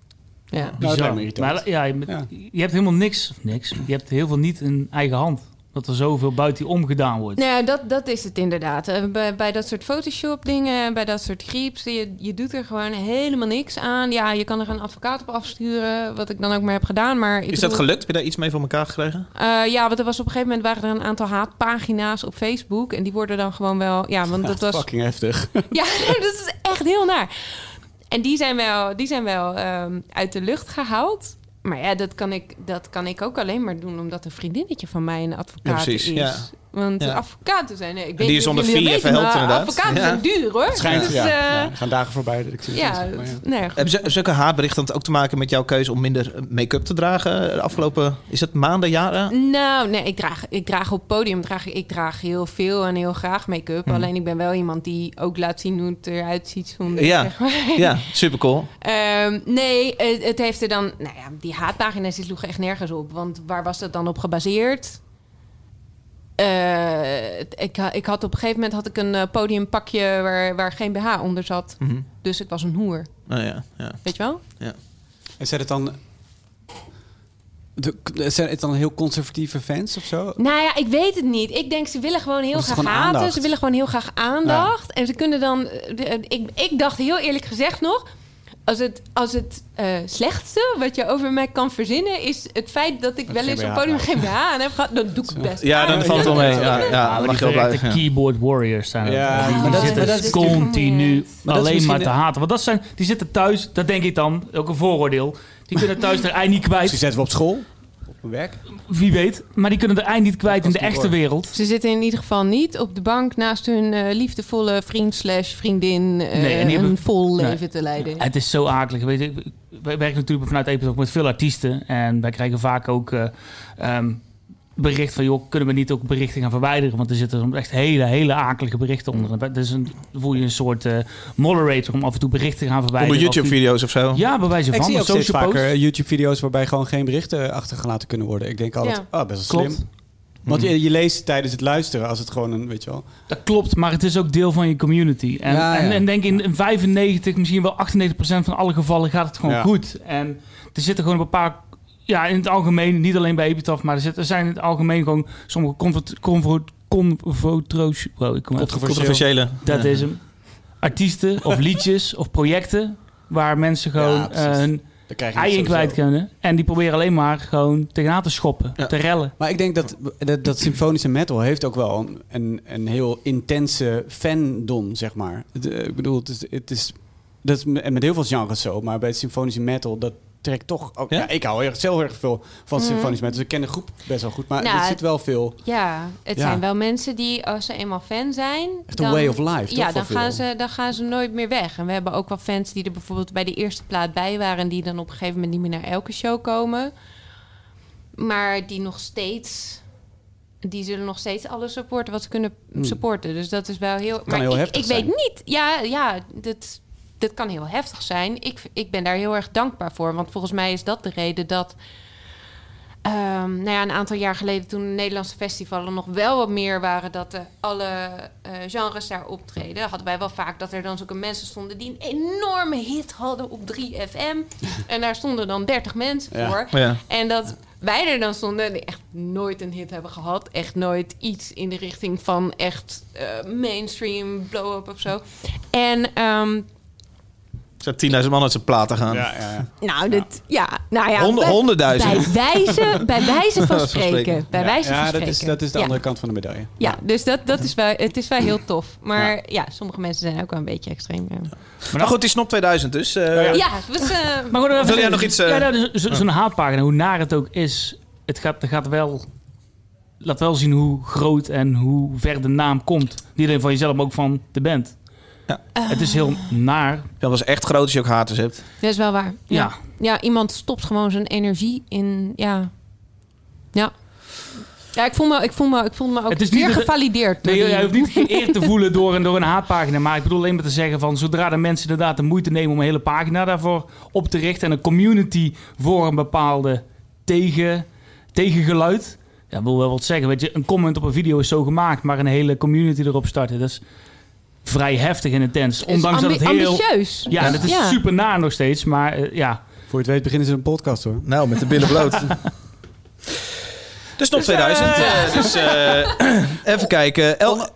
S4: Ja.
S2: Nou,
S1: Bizar.
S2: dat lijkt me irritant.
S1: Maar ja, je, bent-
S2: Ja.
S1: je hebt helemaal niks, of niks. Je hebt heel veel niet in eigen hand. Dat er zoveel buiten je omgedaan wordt.
S4: Nou, ja, dat, dat is het inderdaad. Eh, Bij, bij dat soort Photoshop dingen, bij dat soort grips, je, je doet er gewoon helemaal niks aan. Ja, je kan er een advocaat op afsturen, wat ik dan ook maar heb gedaan. Maar ik
S3: Is dat
S4: bedoel-
S3: gelukt? Heb je daar iets mee voor elkaar gekregen?
S4: Eh, ja, want er was op een gegeven moment waren er een aantal haatpagina's op Facebook. En die worden dan gewoon wel. Ja, want dat was.
S2: Fucking
S1: Dus,
S2: heftig.
S4: Ja, dat is echt heel naar. En die zijn wel, die zijn wel ehm, uit de lucht gehaald. Maar ja, dat kan, ik, dat kan ik ook alleen maar doen omdat een vriendinnetje van mij een advocaat
S3: Ja, precies,
S4: is.
S3: ja.
S4: Want
S3: Ja.
S4: advocaten zijn... Ik weet
S3: die
S4: niet
S3: is
S4: of
S3: onder
S4: jullie dat
S3: vier
S4: weten,
S3: verhelpt
S4: maar
S3: inderdaad.
S4: Advocaten
S3: Ja.
S4: zijn duur hoor.
S2: Het schijnt,
S4: Dus,
S2: ja.
S4: eh,
S2: Ja, er gaan dagen voorbij dat ik zoiets
S4: ja,
S2: heb, maar ja.
S4: nee, goed.
S3: Hebben ze- zulke haatberichten ook te maken met jouw keuze om minder make-up te dragen? De afgelopen, is dat maanden, jaren?
S4: Nou, nee, ik draag, ik draag op podium draag, ik draag heel veel en heel graag make-up.
S3: Mhm.
S4: Alleen ik ben wel iemand die ook laat zien hoe het eruit ziet zonder.
S3: Ja.
S4: zeg maar.
S3: Ja, supercool.
S4: Ehm, nee, het, het heeft er dan. Nou ja, die haatpagina's die sloegen echt nergens op. Want waar was dat dan op gebaseerd? Eh, ik, ha- ik had op een gegeven moment had ik een eh, podiumpakje waar, waar geen BH onder zat.
S3: Mhm.
S4: Dus ik was een hoer.
S3: Nou ja, ja.
S4: Weet je wel?
S2: En zijn het dan. De, zijn het dan heel conservatieve fans of zo?
S4: Nou ja, ik weet het niet. Ik denk, ze willen gewoon heel
S2: Of is het
S4: graag
S2: gewoon
S4: haten.
S2: aandacht?
S4: Ze willen gewoon heel graag aandacht. En ze kunnen dan... eh, de- eh, Ik, ik dacht heel eerlijk gezegd nog... Als het, als het eh, slechtste wat je over mij kan verzinnen... is het feit dat ik
S2: Dat
S4: wel
S2: je
S4: eens
S2: geen
S4: op
S2: BH
S4: podium
S2: draagt.
S4: geen BH aan heb gehad... dan doe ik het best.
S3: Ja, dan valt het wel mee. Ja, ja, dan
S1: maar
S3: mag
S1: die
S3: je wel
S1: verrekte
S3: blijven. ja.
S1: keyboard warriors zijn dat.
S2: Ja,
S1: die
S2: maar
S1: die
S2: dat-
S1: zitten
S2: maar dat is
S4: natuurlijk
S1: continu
S4: vermoeiend.
S2: Maar dat is
S1: alleen maar te
S2: misschien-
S1: haten. Want dat zijn, die zitten thuis, dat denk ik dan, ook een vooroordeel. Die kunnen thuis er ei niet
S2: Misschien
S1: kwijt,
S2: zetten we op school? Op mijn werk?
S1: wie weet. Maar die kunnen er ei niet kwijt in de
S2: Dat was
S1: echte
S2: niet
S1: wereld.
S4: Ze zitten in ieder geval niet op de bank... naast hun eh, liefdevolle vriend slash vriendin... eh,
S1: Nee, en die
S4: een
S1: hebben-
S4: vol
S1: Nee.
S4: leven te leiden.
S1: Het is zo akelig. Weet je, ik- wij werken natuurlijk vanuit Epis ook met veel artiesten. En wij krijgen vaak ook eh, ehm, bericht van... joh, kunnen we niet ook berichten gaan verwijderen? Want er zitten soms echt hele, hele akelige berichten onder. En dat is een, dan voel je een soort eh, moderator om af en toe berichten te gaan verwijderen.
S3: Onder
S1: Of die-
S3: YouTube-video's of zo.
S1: Ja, bij wijze van.
S2: Ik zie
S1: of
S2: ook steeds
S1: social posts.
S2: vaker eh, YouTube-video's waarbij gewoon geen berichten achtergelaten kunnen worden. Ik denk altijd,
S4: Ja.
S2: oh, best wel slim.
S1: Klopt. Mm.
S2: Want je, je leest tijdens het luisteren als het gewoon een, weet je wel.
S1: Dat klopt, maar het is ook deel van je community. En,
S2: Ja, ja.
S1: en, en denk in in 95, misschien wel 98% van alle gevallen gaat het gewoon
S2: Ja.
S1: goed. En er zitten gewoon een paar... Ja, in het algemeen, niet alleen bij Epitaph, maar er, zit, er zijn in het algemeen gewoon sommige comfort... comfort convotro's... Wow, ik kom uit.
S3: Controversiële.
S1: Dat
S3: Ja.
S1: is hem. Artiesten of liedjes of projecten waar mensen gewoon
S2: Ja, precies.
S1: eh, hun
S2: Dan krijg je
S1: ei
S2: het
S1: in
S2: sowieso.
S1: kwijt kunnen. En die proberen alleen maar gewoon tegenaan te schoppen,
S3: Ja.
S1: te rellen.
S2: Maar ik denk dat, dat, dat symfonische metal heeft ook wel een, een, een heel intense fandom, zeg maar. Het, eh, ik bedoel, het is, het is, dat is me- en met heel veel genres zo, maar bij het symfonische metal, dat, trek toch... ook-
S3: Ja?
S2: ja? ik hou erg, zelf erg veel van symfonisch met. Dus ik ken de groep best wel goed. Maar
S4: Mhm. Nou,
S2: er zit wel veel...
S4: Ja, het
S2: Ja.
S4: zijn wel mensen die als ze eenmaal fan zijn...
S2: Echt een way of life,
S4: Ja,
S2: toch,
S4: dan
S2: voor
S4: gaan,
S2: veel?
S4: ze, dan gaan ze nooit meer weg. En we hebben ook wel fans die er bijvoorbeeld bij de eerste plaat bij waren... en die dan op een gegeven moment niet meer naar elke show komen. Maar die nog steeds... Die zullen nog steeds alles supporten wat ze kunnen supporten. Dus dat is wel heel... maar
S2: Hmm. heel
S4: ik,
S2: heftig
S4: ik
S2: zijn.
S4: weet niet. Ja, ja dat, dat kan heel heftig zijn. Ik, ik ben daar heel erg dankbaar voor. Want volgens mij is dat de reden dat... Ehm, nou ja, een aantal jaar geleden toen de Nederlandse festivalen nog wel wat meer waren... dat eh, alle eh, genres daar optreden... hadden wij wel vaak dat er dan zulke mensen stonden... die een enorme hit hadden op 3FM. en daar stonden dan 30 mensen
S2: Ja.
S4: voor.
S3: Ja.
S4: En dat wij er dan stonden die echt nooit een hit hebben gehad. Echt nooit iets in de richting van echt eh, mainstream blow-up of zo. En ehm,
S3: Zou 10.000 man uit zijn platen gaan.
S2: Ja, ja, ja.
S4: nou, dit, ja. nou ja,
S3: Honderd-
S4: bij-
S3: honderdduizend.
S4: Bij wijze, bij wijze van
S3: Van spreken.
S4: spreken. Bij
S2: Ja,
S4: wijze
S2: ja,
S4: van
S2: dat,
S4: spreken.
S2: is, dat is de
S4: Ja.
S2: andere kant van de medaille.
S4: Ja, dus dat, dat is wel, het is wel heel tof. Maar ja, sommige mensen zijn ook wel een beetje extreem. Ja,
S3: Maar goed, die Snop 2000 dus. eh,
S4: ja het was, eh,
S1: Maar goed, even-
S3: Wil jij nog iets, eh?
S1: Ja, nou, dus zo- zo'n haatpagina, hoe naar het ook is, het gaat, het gaat wel... Laat wel zien hoe groot en hoe ver de naam komt. Niet alleen van jezelf, maar ook van de band.
S3: Ja.
S1: Het is heel naar.
S3: Dat was echt groot als je ook haters hebt.
S4: dat is wel waar.
S1: Ja.
S4: ja. Ja, iemand stopt gewoon zijn energie in. Ja. Ja. Ja, ik voel me, ik voel me, ik voel me ook
S1: Het is niet
S4: weer
S1: een ge-
S4: gevalideerd. door
S1: Nee, je
S4: die-
S1: hoeft niet geëerd te voelen door een, door een haatpagina. Maar ik bedoel alleen maar te zeggen van... zodra de mensen inderdaad de moeite nemen om een hele pagina daarvoor op te richten... en een community voor een bepaalde tegen, tegengeluid... Ja, wil wel wat zeggen. Weet je, een comment op een video is zo gemaakt... maar een hele community erop starten, dat is vrij heftig en intens.
S4: Het is
S1: Ondanks dat het
S4: ambi-
S1: heel...
S4: Ambitieus.
S1: Ja, en dat is super naar nog steeds, maar eh, ja.
S2: Voor je het weet beginnen ze een podcast hoor.
S3: Nou, met de billen bloot. De Snop 2000. eh, dus eh, even kijken. El-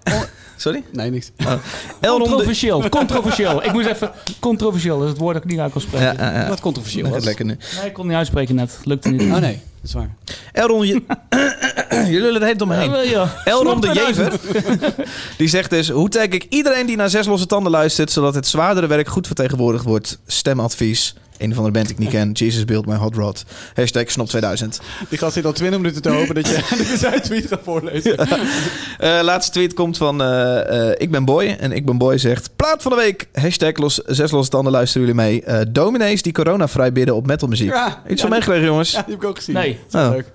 S3: Sorry?
S2: Nee, niks.
S3: Elron de...
S1: Controversieel, controversieel. Ik moest even... Controversieel, dat is het woord dat ik niet uit kon
S3: Ja,
S1: spreken.
S3: eh, eh,
S2: Wat controversieel
S3: dat gaat
S2: was.
S3: lekker nu.
S1: Nee, ik kon niet uitspreken net. Lukte niet.
S2: Oh nee, dat is waar.
S3: Elron, je... je lullen het heet om me heen.
S1: Ja, wel, ja.
S3: Elron de
S1: Snap eruit.
S3: Jever, die zegt dus... Hoe tag ik iedereen die naar Zes Losse Tanden luistert... zodat het zwaardere werk goed vertegenwoordigd wordt? Stemadvies. Een van de band die ik niet ken. Jesus Build My Hot Rod. Hashtag Snop 2000.
S2: Die gast zit al 20 minuten te hopen dat je zijn tweet gaat voorlezen.
S3: Eh, laatste tweet komt van eh, eh, Ik ben Boy. En Ik ben Boy zegt... Plaat van de week. Hashtag los, Zes Losse Tanden luisteren jullie mee. Eh, dominees die corona-vrij bidden op metalmuziek.
S2: Ja,
S3: Iets van
S2: ja,
S3: meegekregen, jongens.
S2: Ja, die heb ik ook gezien.
S1: Nee.
S2: Dat is wel
S3: Oh.
S2: leuk.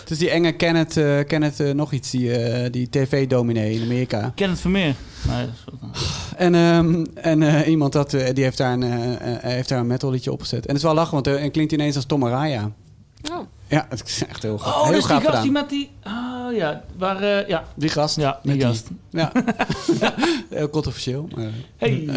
S2: Het is die enge Kenneth, eh, Kenneth eh, nog iets, die, eh, die tv-dominee in Amerika.
S1: Ik ken het Vermeer. Nee, dat is ook-
S2: En, ehm, en eh, iemand dat, eh, die heeft daar, een, eh, eh, heeft daar een metal liedje opgezet. En het is wel lachen, want eh, het klinkt ineens als Tom Araya.
S4: Oh.
S2: Ja, het is echt heel, gaaf.
S1: Oh,
S2: heel
S1: dus die
S2: gaaf
S1: gast
S2: gedaan.
S1: die met die... Oh ja, waar... eh, ja,
S2: Die gast.
S1: ja die
S2: Met die-
S1: gast.
S2: Ja. heel controversieel. Maar...
S1: Hey.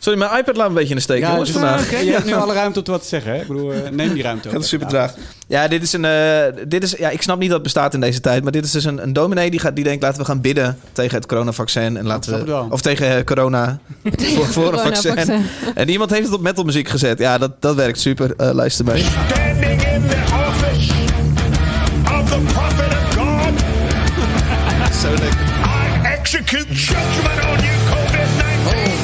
S3: Sorry, mijn iPad laat me een beetje in de steek,
S2: Ja,
S3: jongens,
S2: dus-
S3: vandaag.
S2: Je hebt nu alle ruimte om wat te zeggen. Hè? Ik bedoel, eh, neem die ruimte ook.
S3: Dat is
S2: even.
S3: super
S2: Ja.
S3: traag. Ja, dit is een. eh, dit is, ja, ik snap niet dat het bestaat in deze tijd. Maar dit is dus een, een dominee die, gaat, die denkt: laten we gaan bidden tegen het coronavaccin. En laten
S2: snap
S3: we,
S2: ik wel.
S3: of tegen eh, corona. voor, voor een vaccin.
S4: Coronavaccin.
S3: En iemand heeft het op metalmuziek gezet. Ja, dat, dat werkt super. Eh, luister mee.
S9: standing in the office of the prophet of God.
S3: Zo lekker.
S9: I execute judgment on you, COVID 19.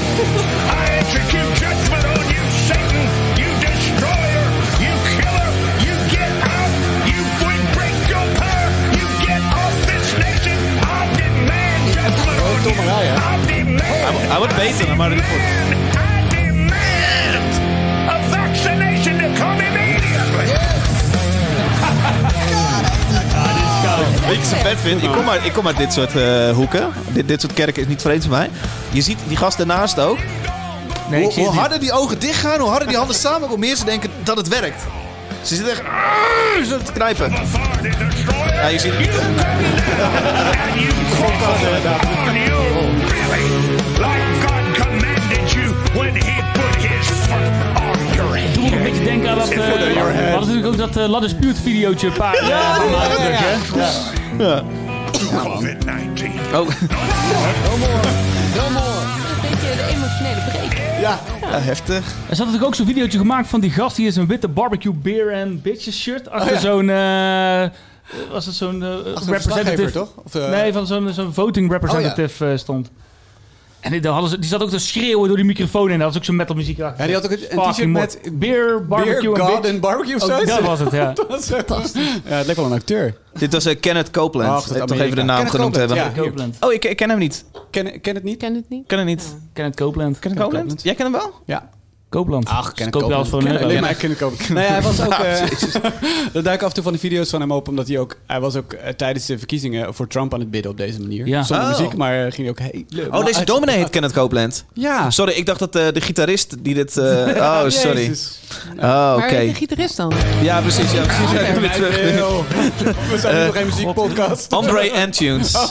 S9: I execute judgment on you, Satan. You destroyer. You killer. You get out. You would break your power. You get off this nation. I demand judgment on you. I demand.
S3: Hij wordt beter dan Martin Ford.
S9: I demand a vaccination to come immediately.
S3: Weet je wat ik zo vet vind? Ik kom uit, ik kom uit dit soort eh, hoeken. Dit, dit soort kerken is niet vreemd voor mij. Je ziet die gast daarnaast ook.
S1: Nee, ik
S3: hoe,
S1: zie
S3: hoe
S1: het niet.
S3: harder die ogen dichtgaan, hoe harder die handen samen, hoe meer ze denken dat het werkt. Ze zitten echt "Arrgh", zo te knijpen.
S9: Authority destroyer.
S3: Ja, je ziet het.
S9: and you crawl upon you really like God commanded you when he put his foot on your
S1: Ik moet een
S9: head.
S1: beetje denken aan dat... eh, we hadden natuurlijk ook dat eh Ladders Buurt videootje een paar... Ja,
S9: COVID-19.
S3: Oh,
S4: Een beetje de emotionele break.
S3: ja, heftig.
S1: Er zat natuurlijk ook zo'n videootje gemaakt van die gast... die is een witte barbecue beer en bitches shirt... achter
S2: Oh,
S1: zo'n... eh, was het zo'n eh,
S2: Zo'n verslaggever,
S1: representative?
S2: toch? Of, eh,
S1: Nee, van zo'n zo'n voting representative eh, stond. En die, daar hadden ze, die zat ook te schreeuwen door die microfoon en dat was ook zo'n metal muziek.
S2: Ja, die had ook een- een t-shirt met
S1: beer, barbecue
S2: Beer,
S1: en
S2: God
S1: bitch.
S2: en barbecue of
S1: Oh,
S2: zo?
S1: dat was het, ja.
S2: dat was fantastisch. Ja, het leek wel een acteur.
S3: Dit was eh, Kenneth Copeland.
S2: Ach, dat
S3: Eh, toch
S2: Amerika.
S3: even de naam
S2: Kenneth
S3: genoemd
S2: Copeland,
S3: hebben.
S2: ja.
S1: Copeland.
S3: Oh, ik, ik ken hem niet.
S2: Ken, ken het
S4: Ik
S2: niet?
S4: ken het niet.
S3: Ken hem niet.
S1: Kenneth Copeland.
S3: Kenneth
S2: Copeland?
S3: Copeland? Jij kent hem wel?
S1: Koopland.
S2: Ach, ken ik
S1: Koop je alles voor een euro.
S2: Alleen maar ik ken ik ook. Nee, hij was ook... eh er duiken af en toe van die video's van hem op, omdat hij ook... Hij was ook eh, tijdens de verkiezingen voor Trump aan het bidden op deze manier.
S1: Ja.
S2: Zonder
S3: Oh.
S2: muziek, maar eh, ging hij ook... Hey, leuk,
S3: Oh,
S2: maar
S3: deze
S2: uit-
S3: dominee heet Kenneth Copeland.
S2: Ja.
S3: Sorry, ik dacht dat eh, de gitarist die dit... eh, oh, sorry.
S2: Jezus.
S3: Oh, oké.
S4: Waar is de gitarist dan?
S3: Ja, precies. Ja, precies. Ja, ik ben weer terug.
S2: Eeuw. We zijn nog geen muziekpodcast.
S3: André Antunes.
S2: Oh.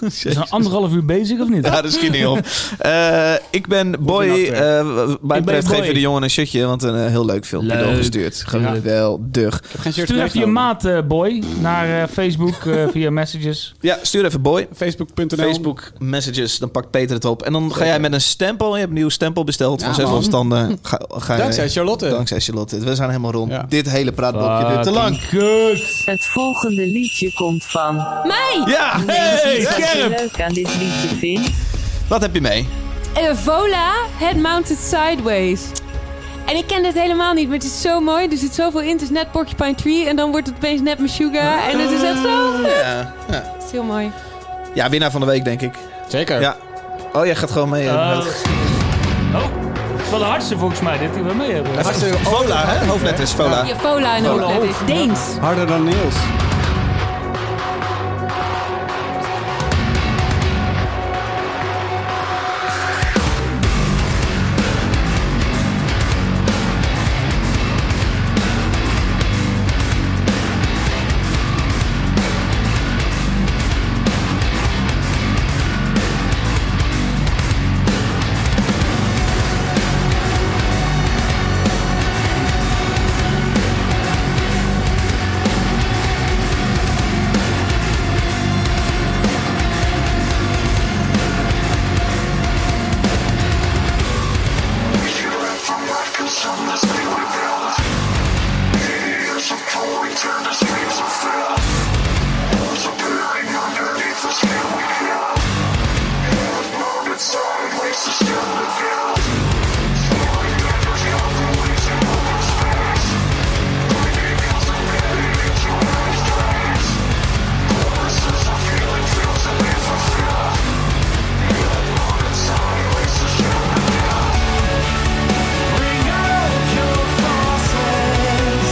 S1: We zijn anderhalf uur bezig of niet?
S3: Ja, dat schiet niet op. Eh, ik ben boy.
S2: een acteur.
S3: eh wat mij
S1: Ik ben
S3: betreft
S1: boy.
S3: geven de jongen een shirtje, want een eh, heel leuk filmpje
S1: Leuk.
S3: doorgestuurd. Geweldig.
S2: Geen shirt
S1: Stuur even je
S2: meegenomen.
S1: maat, eh, boy, naar eh, Facebook eh, via messages.
S3: Ja, stuur even boy.
S2: Facebook.nl.
S3: Facebook messages, dan pakt Peter het op. En dan ga jij met een stempel. Je hebt een nieuw stempel besteld
S2: Ja,
S3: van zes
S2: man.
S3: afstanden. Ga, ga,
S2: Dankzij Charlotte.
S3: Dankzij Charlotte. We zijn helemaal rond.
S2: Ja.
S3: Dit hele praatblokje duurt te lang.
S1: Kut.
S6: Het volgende liedje komt van.
S3: Ja, hey,
S6: Wat je
S3: Kerp!
S6: leuk aan dit liedje vindt.
S3: Wat heb je mee?
S10: Eh, Vola, Head Mounted Sideways. En ik ken dit helemaal niet, maar het is zo mooi. Er zit zoveel in. Het is net Porcupine Tree en dan wordt het opeens net Meshuga. En het is echt zo...
S3: Ah, Ja, ja.
S10: Het is heel mooi.
S3: ja, winnaar van de week, denk ik.
S2: Zeker.
S3: Ja. Oh, jij gaat gewoon mee. eh,
S1: Oh.
S3: met het-
S1: Oh, het is wel de hardste volgens mij, dit die we mee hebben.
S2: Hartstikke
S3: Vola, hè? Hoofdletter is Vola.
S10: Ja, Vola en
S3: Vola.
S10: Hoofdletters. Deens.
S2: Harder dan Niels.
S9: Bring out your crosses.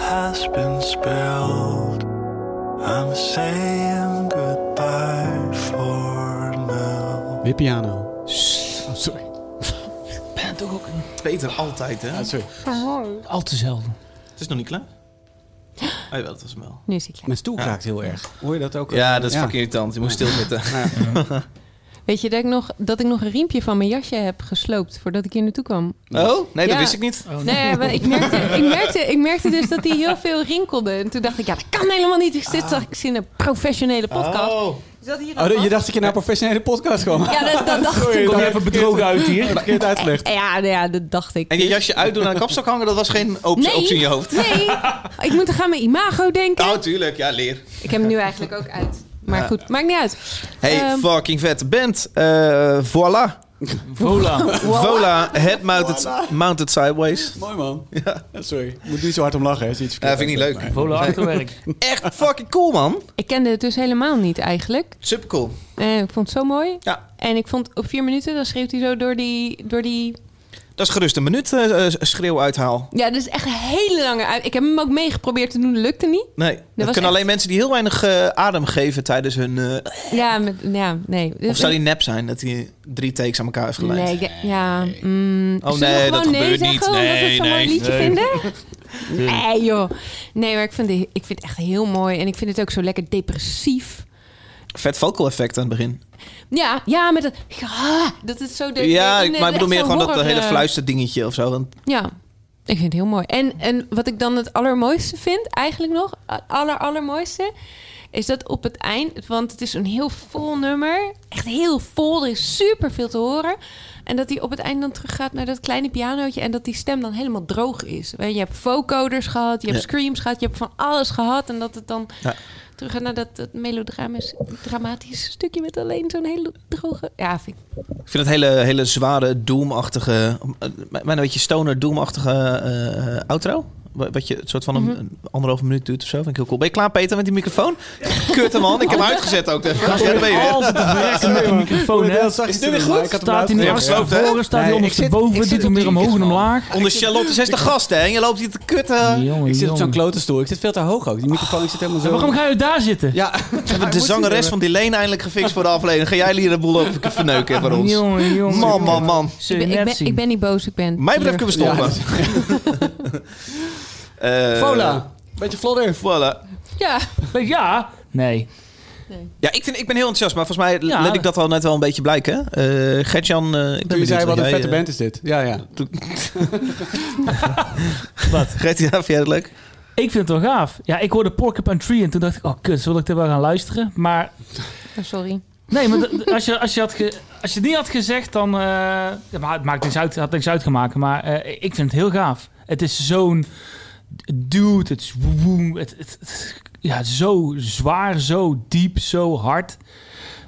S11: has been spilled. I'm saying goodbye for now.
S2: Weer piano. Oh,
S1: sorry.
S3: Ben toch ook Peter altijd, hè?
S2: sorry.
S1: Al te zelden.
S3: Het is nog niet klaar. Ah, jawel, dat was hem wel.
S10: Nu is hij klaar.
S2: Mijn stoel kraakt heel erg. Hoor je dat ook?
S3: Ja, dat is fucking irritant. Je moet stilzitten.
S4: Weet je dat ik, nog, dat ik nog een riempje van mijn jasje heb gesloopt voordat ik hier naartoe kwam?
S3: Oh, nee, dat
S4: Ja.
S3: wist ik niet.
S4: Nee, maar ik merkte, ik, merkte, ik merkte dus dat hij heel veel rinkelde. En toen dacht ik, ja, dat kan helemaal niet. Ik zit ik zie een professionele podcast.
S3: Ah. Oh.
S4: Is dat hier
S2: Oh, je dacht dat je naar een professionele podcast kwam.
S4: Ja, dat, dat dacht ik.
S1: Kom je even bedrogen uit hier?
S2: Verkeerd uitgelegd.
S4: Ja, nou ja, dat dacht ik.
S3: En je jasje uitdoen aan de kapstok hangen, dat was geen optie,
S4: Nee.
S3: optie in je hoofd.
S4: Nee, ik moet er gaan mijn imago denken.
S3: Oh, tuurlijk. Ja, leer.
S4: Ik heb hem nu eigenlijk ook uit. Maar
S3: Ja.
S4: goed, maakt niet uit.
S3: Hey,
S4: Ehm.
S3: fucking vet. Bent, eh, voilà.
S1: Vola.
S3: Vola, head mounted, mounted sideways.
S2: Mooi man. Ja, sorry. Moet niet zo hard om lachen. Hè. Is iets
S3: Ja, vind ik niet leuk.
S1: Vola achterwerk.
S3: Echt fucking cool, man.
S4: Ik kende het dus helemaal niet eigenlijk.
S3: Supercool.
S4: Eh, ik vond het zo mooi.
S3: Ja.
S4: En ik vond op vier minuten, dan schreeuwt hij zo door die... Door die...
S3: Dat is gerust een minuut eh, eh, schreeuw uithaal.
S4: Ja, dat is echt een hele lange uit. Ik heb hem ook meegeprobeerd te doen, dat lukte niet.
S3: Nee, dat,
S4: was
S3: kunnen
S4: echt-
S3: alleen mensen die heel weinig eh, adem geven tijdens hun... eh,
S4: Ja, met, ja nee.
S3: of zou die nep zijn, dat hij drie takes aan elkaar heeft geleid?
S4: Nee, ik- ja. mm,
S3: Oh,
S4: zullen we
S3: nee,
S4: gewoon
S3: dat gebeurt
S4: zeggen,
S3: niet.
S4: Omdat we
S3: Nee,
S4: het zo'n mooi
S3: nee,
S4: liedje
S1: nee.
S4: vinden? Nee, joh. Nee, maar ik vind, het- ik vind het echt heel mooi. En ik vind het ook zo lekker depressief.
S3: Vet vocal effect aan het begin.
S4: Ja, ja, met dat... Ja, dat is zo... De,
S3: ja,
S4: de-
S3: ik-
S4: de-
S3: maar ik bedoel meer
S4: echt zo'n
S3: gewoon dat dat
S4: horror,
S3: hele
S4: eh,
S3: fluisterdingetje of zo. Want
S4: Ja, ik vind het heel mooi. En, en wat ik dan het allermooiste vind, eigenlijk nog, het aller, allermooiste, is dat op het eind, want het is een heel vol nummer, echt heel vol, er is super veel te horen. En dat hij op het eind dan teruggaat naar dat kleine pianootje en dat die stem dan helemaal droog is. Weet Je je hebt vocoders gehad, je hebt
S3: Ja.
S4: screams gehad, je hebt van alles gehad. En dat het dan
S3: Ja.
S4: teruggaat naar dat, dat melodramatisch stukje met alleen zo'n hele droge... Ja, vind ik
S3: ik vind dat hele, hele zware, doemachtige... eh, Mijn een beetje stoner, doemachtige eh, outro. Wa- Wat je een soort van een,
S4: Mhm.
S3: een anderhalve minuut duurt of zo. Vind ik heel cool. Ben je klaar, Peter, met die microfoon? Kut hem, man. Ik heb hem uitgezet ook. Ja, daar ben je weer.
S1: Altijd te verrekken met die microfoon, hè?
S2: Is dit weer goed?
S1: Staat hij nu
S3: Ja,
S1: als naar
S3: gesloopt, hè?
S1: voren, staat hij
S2: Nee, ik zit- ik
S1: ondersteboven,
S2: zit
S1: doet hij
S2: op
S1: meer
S2: die
S1: omhoog en
S2: microfoon.
S1: omlaag.
S3: Onder Charlotte is de gast, hè? En je loopt hier te kutten.
S1: Jongen,
S2: Ah, Ik zit op zo'n
S1: jongen.
S2: klote stoel. Ik zit veel te hoog ook. Die microfoon ik zit helemaal zo...
S1: Waarom ga je daar zitten?
S2: Ja.
S3: Hebben de zangeres van Dileen eindelijk gefixt voor de aflevering? Ga jij hier de boel op verneuken voor ons?
S1: Jongen, jongen.
S3: Man, man, man.
S1: Zul
S4: Ik
S1: je
S4: ben,
S1: net
S4: ik, ben, ik
S1: zien.
S4: ben niet boos, ik ben...
S3: Mij betreft kunnen we stoppen. Eh,
S2: Vola. Beetje vlodder.
S3: Voilà.
S4: Ja.
S1: Ja. Nee.
S3: Ja, ik, vind, ik ben heel enthousiast, maar volgens mij
S1: Ja.
S3: let ik dat al net wel een beetje blijken. Eh Gertjan, eh ik ben
S2: Toen je
S3: benieuwd
S2: zei, wat een
S3: jij,
S2: vette
S3: eh,
S2: band is dit. Ja, ja.
S3: Gertjan, vind jij dat leuk?
S1: Ik vind het wel gaaf. Ja, ik hoorde Porcupine Tree en toen dacht ik, oh kut, zal ik er wel gaan luisteren? Maar
S4: Oh, sorry.
S1: nee, maar d- d- als je, als je, had ge- als je het niet had gezegd, dan... eh, ja, maar het maakt niks uit, had niks uitgemaakt, maar eh, ik vind het heel gaaf. Het is zo'n dude, het is woem, het, het, het- ja, zo zwaar, zo diep, zo hard.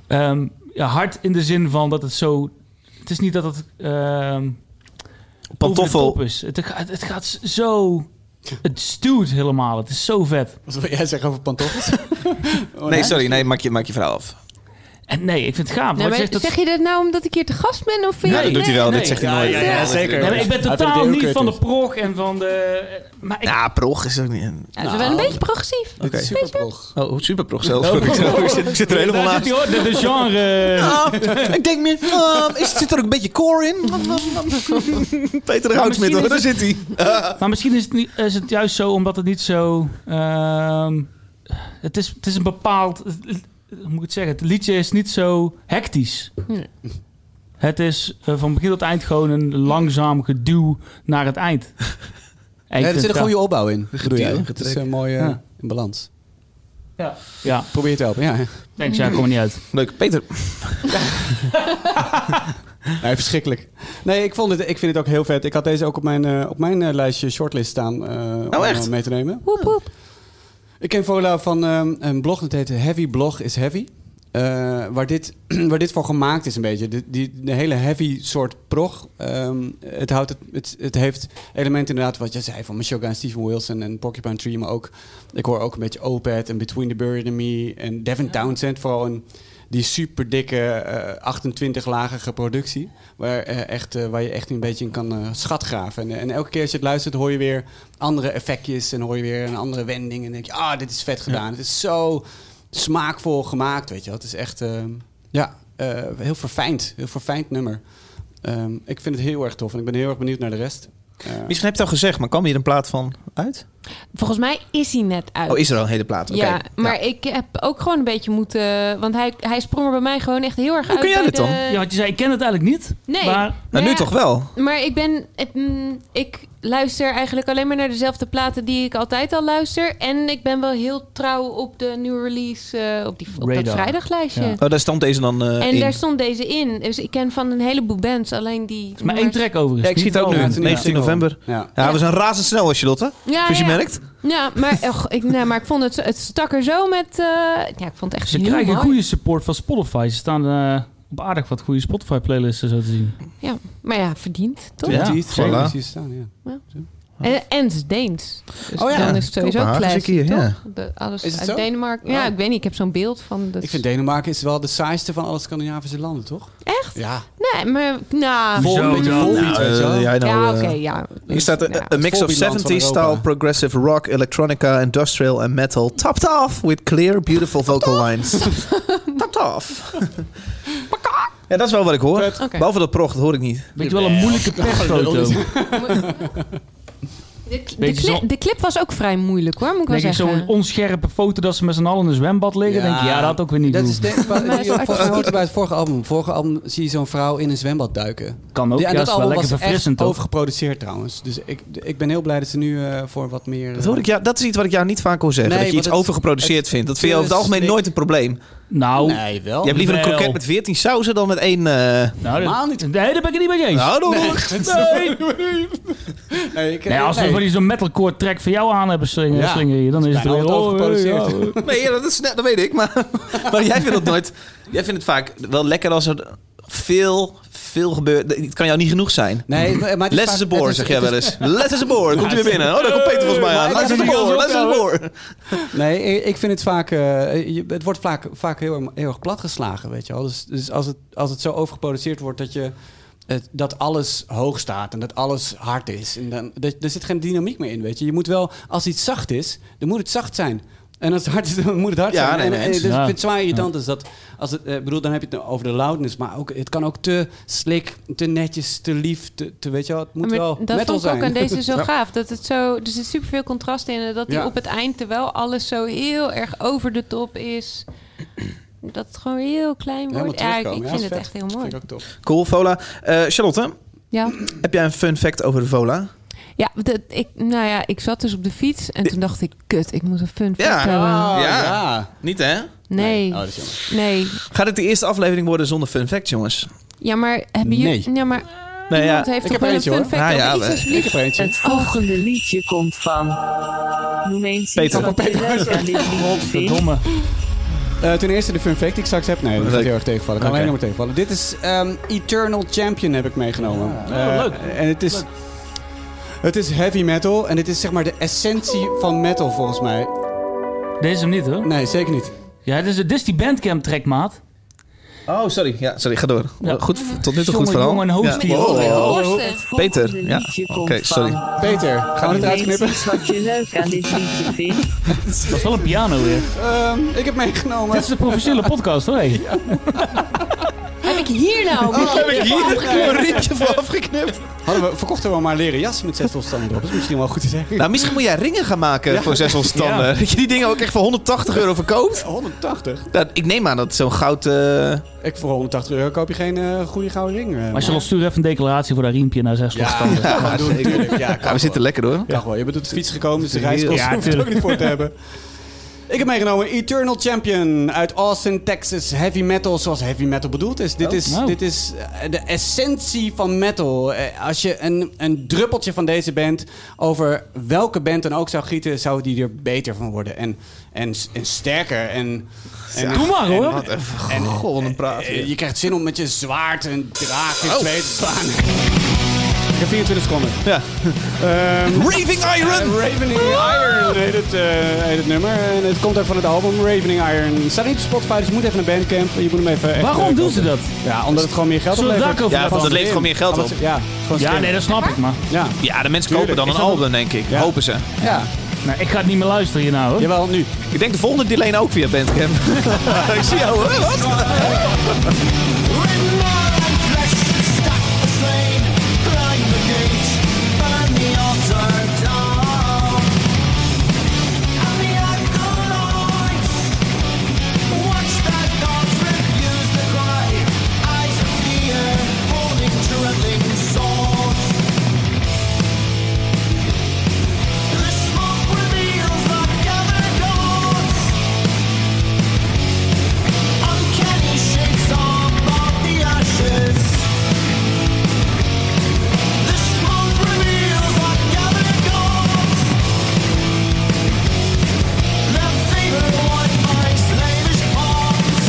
S1: Ehm, ja, hard in de zin van dat het zo... Het is niet dat het... ehm, over de
S3: Pantoffel.
S1: top is. Het, gaat- het gaat zo... Het stuurt helemaal. Het is zo vet.
S2: Wat wil jij zeggen over pantoffels? Oh,
S3: Nee, sorry, nee, maak je, maak je verhaal af.
S1: En nee, ik vind het gaaf.
S4: Nee,
S1: want
S4: maar
S1: je
S4: zeg,
S1: zegt dat-
S4: je dat nou omdat ik hier te gast ben? Of vind
S3: Ja,
S4: je-
S3: dat doet hij wel,
S1: nee.
S3: dit zegt hij
S2: Ja,
S3: nooit.
S2: ja, ja, zeker.
S1: Nee, maar ik ben
S2: Hij vindt het
S1: totaal
S2: heel
S1: niet
S2: kut,
S1: van de
S2: dus.
S1: prog en van de... eh, Maar ik,
S3: Ja, prog is ook niet... een-
S4: Ja, het is wel een
S2: Nou.
S4: beetje progressief.
S2: Dit is superprog.
S3: Oh, superprog zelfs. Ik zit- ik, zit, ik zit er helemaal
S1: daar zit
S3: naast.
S1: hij hoor, de, de genre...
S3: Ah, ik denk meer, ah, is, zit er ook een beetje core in? Peter de Houtsmid, hoor, daar zit hij.
S1: Maar misschien is het, niet, is het juist zo omdat het niet zo... ehm, het, is, het is een bepaald... het- het- Hoe moet ik het zeggen? Het liedje is niet zo hectisch.
S4: Nee.
S1: Het is eh, van begin tot eind gewoon een langzaam geduw naar het eind. En ik
S2: Ja,
S1: vind
S2: er
S1: het
S2: zit een
S1: gaaf.
S2: goede opbouw in. Bedoel jij?
S3: Geduwen,
S2: Het is een mooie
S1: Ja.
S2: in balans.
S1: Ja,
S2: Probeer het te helpen, ja. ja.
S1: thanks. Ja, ik kom er niet uit.
S3: Leuk, Peter.
S2: Nee, verschrikkelijk. Nee, ik, vond het, ik vind het ook heel vet. Ik had deze ook op mijn, eh, op mijn eh, lijstje shortlist staan eh, om eh,
S3: echt?
S2: mee te nemen.
S4: Woep, woep.
S2: Ik ken Vola van ehm, een blog dat heet Heavy Blog is Heavy. Eh, waar, dit, waar dit voor gemaakt is een beetje. De, die, de hele heavy soort prog. ehm, het, houdt het, het, het heeft elementen inderdaad wat je zei van Meshuggah en Steven Wilson en Porcupine Tree. Maar ook, ik hoor ook een beetje Opeth en Between the Bird and Me en Devin Townsend. Vooral een die super dikke 28-lagige productie. Waar, eh, echt, eh, waar je echt een beetje in kan eh, schatgraven. En, eh, en elke keer als je het luistert, hoor je weer andere effectjes. En hoor je weer een andere wending. En denk je, ah, dit is vet gedaan. Het is zo smaakvol gemaakt, weet je wel. Het is echt, eh, ja, eh, heel verfijnd. Heel verfijnd nummer. Ehm, ik vind het heel erg tof. En ik ben heel erg benieuwd naar de rest. Eh,
S3: Misschien heb je het al gezegd, maar kwam hier een plaat van uit?
S4: Volgens mij is hij net uit.
S3: Oh, is er al een hele plaat? Oké. Nou,
S4: Ja, maar ik heb ook gewoon een beetje moeten... Want hij, hij sprong er bij mij gewoon echt heel erg uit.
S3: Kun jij
S4: bij
S3: dit dan?
S4: de-
S1: Ja, want je zei, ik ken het eigenlijk niet.
S4: Nee.
S1: Maar
S3: Nou, nu toch wel?
S4: Maar ik ben... het, mm, ik luister eigenlijk alleen maar naar dezelfde platen die ik altijd al luister. En ik ben wel heel trouw op de new release, eh, op, die, op dat
S3: Radar.
S4: vrijdaglijstje.
S3: Ja. Oh, daar stond deze dan eh,
S4: en
S3: in.
S4: daar stond deze in. Dus ik ken van een heleboel bands alleen die...
S1: maar één track overigens.
S3: Ja, ik zie het ook nu.
S1: Ja, het is
S3: 19
S1: niet
S3: november. Ja, we zijn razendsnel als je Lotte.
S4: Ja,
S3: Zoals Dus je
S4: ja.
S3: merkt.
S4: Ja, maar, och, ik, nou, maar ik vond het, zo- het stak er zo met... eh, ja, ik vond het echt
S1: Ze
S4: heel
S1: krijgen
S4: mooi.
S1: goede support van Spotify. Ze staan eh, op aardig wat goede Spotify-playlisten zo te zien.
S4: Ja, maar ja, verdiend, toch?
S1: Ja,
S2: die is
S1: voilà.
S2: zeker precies staan, ja.
S4: En, en het is Deens. Dus
S2: Oh ja.
S4: dan is het sowieso
S2: Kopenhagen
S4: classic,
S2: zie ik hier,
S4: toch?
S2: ja.
S4: De- alles
S2: Is het
S4: uit
S2: zo?
S4: Denemarken. Ja,
S2: Oh.
S4: ik weet niet. Ik heb zo'n beeld van... Dat...
S2: Ik vind Denemarken is wel de saaiste van alle Scandinavische landen, toch? Echt?
S1: Oh,
S2: Ja.
S4: Nee, maar... Nou...
S2: Vol, een beetje vol
S3: Nou, eh, jij nou,
S4: ja,
S3: eh,
S4: oké, Nou, ja.
S3: Hier staat eh, een, een mix of
S2: voorbeeld van
S3: 70s style
S2: Europa.
S3: progressive rock, electronica, industrial en metal. Topped off with clear, beautiful vocal lines. Topped off. Ja, dat is wel wat ik hoor.
S4: Oké.
S3: Behalve dat prog, dat hoor ik niet.
S1: Weet je wel, een moeilijke persfoto.
S4: De, de
S1: Beetje
S4: cli-
S1: zo-
S4: de clip was ook vrij moeilijk, hoor. Moet ik wel
S1: Denk ik
S4: zeggen.
S1: zo'n onscherpe foto dat ze met z'n allen in een zwembad liggen. Denk ik, ja, dat had ook weer niet
S2: Dat is
S1: hoeven.
S2: denk ik wel-
S4: Maar is
S2: volgens mij
S4: echt-
S2: hoort het bij het vorige album. Vorige album zie je zo'n vrouw in een zwembad duiken.
S1: Kan ook,
S2: Die-
S1: ja,
S2: en
S1: dat is wel
S2: album
S1: lekker
S2: was echt
S1: verfrissend toch?
S2: overgeproduceerd trouwens. Dus ik, ik ben heel blij dat ze nu eh, voor wat meer...
S3: Dat, hoor ik jou, dat is iets wat ik jou niet vaak hoor zeggen.
S2: Nee,
S3: dat je
S2: want
S3: iets
S2: het-
S3: overgeproduceerd
S2: het-
S3: vindt. Dat vind je over het algemeen
S2: het is
S3: nooit een probleem.
S1: Nou,
S2: Nee, wel.
S3: je hebt liever een
S1: wel.
S3: kroket met 14 sauzen dan met één... eh
S1: nou, dat-
S2: Helemaal niet.
S1: Nee, daar ben ik het niet mee eens.
S3: Nou, doe
S2: Nee,
S3: maar.
S2: dat is-
S1: Nee.
S2: Nee, ik-
S1: Nee, als we
S2: nee.
S1: voor die zo'n metalcore track van jou aan hebben slingeren,
S2: Ja.
S1: slingeren hier, dan is het
S2: bijna
S1: weer...
S2: altijd
S1: oh,
S2: overgeproduceerd.
S1: ja, oh.
S3: Nee, ja, dat, is, dat weet ik. Maar, maar jij vindt dat nooit. Jij vindt het vaak wel lekker als er veel, veel gebeurt. Het kan jou niet genoeg zijn.
S2: Nee, maar het is
S3: Less is a
S2: vaak-
S3: boor,
S2: het is-
S3: zeg jij
S2: het
S3: wel
S2: is-
S3: eens. Less is a boor. Komt hij weer binnen. Oh, daar komt Peter volgens mij aan.
S2: Maar
S3: Less is a
S2: ik-
S3: boor. Less is a boor.
S2: Nee, ik- ik vind het vaak. eh, je- het wordt vaak, vaak heel, erg- heel erg platgeslagen, weet je wel. Dus, dus als, het, als het zo overgeproduceerd wordt dat je. Het, dat alles hoog staat en dat alles hard is. En dan, dat, er zit geen dynamiek meer in, weet je. Je moet wel, als iets zacht is, dan moet het zacht zijn. En als het hard is, dan moet het hard
S3: Ja,
S2: zijn.
S3: nee,
S2: en,
S3: nee,
S2: en,
S3: eens.
S2: dus ik
S1: Ja.
S2: vind het zwaar irritant. Is dat als het, eh, ik bedoel, dan heb je het over de loudness. Maar ook, het kan ook te slik, te netjes, te lief, te, te- weet je wel. Het moet
S4: Maar
S2: wel metal
S4: dat vond ik ook
S2: zijn.
S4: aan deze zo
S2: Ja.
S4: gaaf. Dat het zo, er zit superveel contrast in. En dat die
S2: Ja.
S4: op het eind, terwijl alles zo heel erg over de top is... Dat het gewoon heel klein
S2: Helemaal
S4: wordt. Ja, ik,
S2: terugkomen,
S4: ik
S2: ja,
S4: vind
S2: dat
S4: het
S2: is
S4: echt heel mooi.
S2: Vind ik ook tof.
S3: Cool, Vola. Eh, Charlotte,
S4: Ja.
S3: heb jij een fun fact over Vola?
S4: Ja, dat, ik, nou ja, ik zat dus op de fiets en toen dacht ik, kut, ik moet een fun fact
S3: Ja.
S4: hebben.
S2: Oh,
S3: Ja.
S2: ja.
S3: Niet, hè?
S4: Nee,
S2: Oh, dat is jammer.
S4: nee.
S3: Gaat het de eerste aflevering worden zonder fun fact, jongens?
S4: Ja, maar hebben jullie...
S2: Nee.
S4: Ja, maar
S3: Nee, ja.
S4: iemand heeft
S2: Ik
S4: toch
S2: heb
S4: wel
S2: er
S4: een
S2: eentje,
S4: fun
S2: hoor.
S4: fact
S3: Ah,
S4: over
S3: ja,
S4: iets
S3: we-
S2: Ik
S4: alsjeblieft? Eh,
S2: heb er
S3: Ah.
S2: eentje.
S6: Het volgende liedje komt van. Noem eens iets
S3: Peter.
S6: wat je leuk aan dit liedje vindt.
S1: Verdomme.
S2: Eh, ten eerste de fun fact die ik straks heb. Nee, dat
S3: Leuk.
S2: gaat heel erg tegenvallen. Kan
S3: Oké.
S2: alleen nog maar tegenvallen. Dit is ehm, Eternal Champion heb ik meegenomen. Eh,
S1: leuk.
S2: En het is... Het is heavy metal en dit is zeg maar de essentie van metal volgens mij.
S1: Deze is hem niet, hoor.
S2: Nee, zeker niet.
S1: Ja, dit is, dit is die Bandcamp track, maat.
S3: Oh, sorry. Ja, sorry. Ga door.
S1: Ja.
S3: Goed, tot nu toe
S1: Jongen,
S3: goed verhaal.
S1: jongen, host
S3: Ja.
S1: hier.
S3: Wow.
S2: Oh.
S4: Borsten.
S3: Peter, ja.
S6: liedje
S3: Oké,
S6: komt
S3: sorry.
S6: van.
S2: Peter, gaan we het
S6: Noem eens
S2: uitknippen?
S6: iets wat je leuk aan dit liedje vindt.
S1: Dat is wel een piano weer.
S2: Ehm, ik heb meegenomen...
S1: Dit is een professionele podcast, hoor. hey.
S4: Heb ik hier nou?
S2: Oh.
S3: heb ik hier een rietje voor afgeknipt?
S2: Hadden we, verkochten we maar leren jas met zes standen erop. Dat is misschien wel goed te zeggen.
S3: Nou, misschien moet jij ringen gaan maken voor zes standen. Dat je die dingen ook echt voor 180 euro verkoopt.
S2: 180?
S3: Nou, ik neem aan dat zo'n goud... eh,
S2: Ik, voor 180 euro koop je geen eh, goede gouden ring. eh,
S1: Maar Charles, stuur even een declaratie voor dat riempje naar zes
S2: Ja,
S1: losstanden.
S2: dat kan doen, natuurlijk. Ja,
S3: Ja,
S2: kan
S3: we zitten lekker hoor.
S2: Ja. wel, je bent op de fiets gekomen, dus de reiskosten
S1: Ja,
S2: hoef je het
S1: tuurlijk.
S2: ook niet voor te hebben. Ik heb meegenomen Eternal Champion uit Austin, Texas. Heavy metal zoals heavy metal bedoeld is. Dit is,
S1: nou.
S2: dit is eh, de essentie van metal. Eh, Als je een, een druppeltje van deze band over welke band dan ook zou gieten, zou die er beter van worden. En, en, en sterker. En, en,
S1: Doe maar, hoor.
S2: en-
S3: Goh, wat een praat.
S2: eh, je krijgt zin om met je zwaard een draak in twee te slaan. Ik heb 24 seconden.
S3: Ja.
S2: Ehm,
S3: Raving Iron!
S2: Raven in the Iron. heet het, eh, heet het nummer. En het komt ook van het album Ravening Iron. Het staat niet op Spotify, dus je moet even naar Bandcamp. Je moet hem even... echt,
S1: Waarom
S2: eh,
S1: doen ze dat?
S2: Ja, omdat het gewoon meer geld
S1: Zullen we
S2: oplevert.
S1: daar ook over Ja,
S3: want het levert gewoon meer geld
S2: Omdat
S3: op.
S2: ze- Ja, gewoon
S1: Ja,
S2: streamen.
S1: nee, dat snap ik, maar...
S2: Ja.
S3: Ja, de
S1: Tuurlijk.
S3: mensen kopen dan
S1: Is
S3: een
S1: dat
S3: album, denk ik. Hopen ze.
S2: Ja.
S1: Nou, ik ga het niet meer luisteren hier nou, hoor.
S2: Jawel, nu.
S3: Ik denk de volgende die lenen ook via Bandcamp. ik zie jou, hè? Wat?
S9: Uncanny shapes all of the ashes. The smoke reveals our gathered gods. Their favorite one by slavish palms.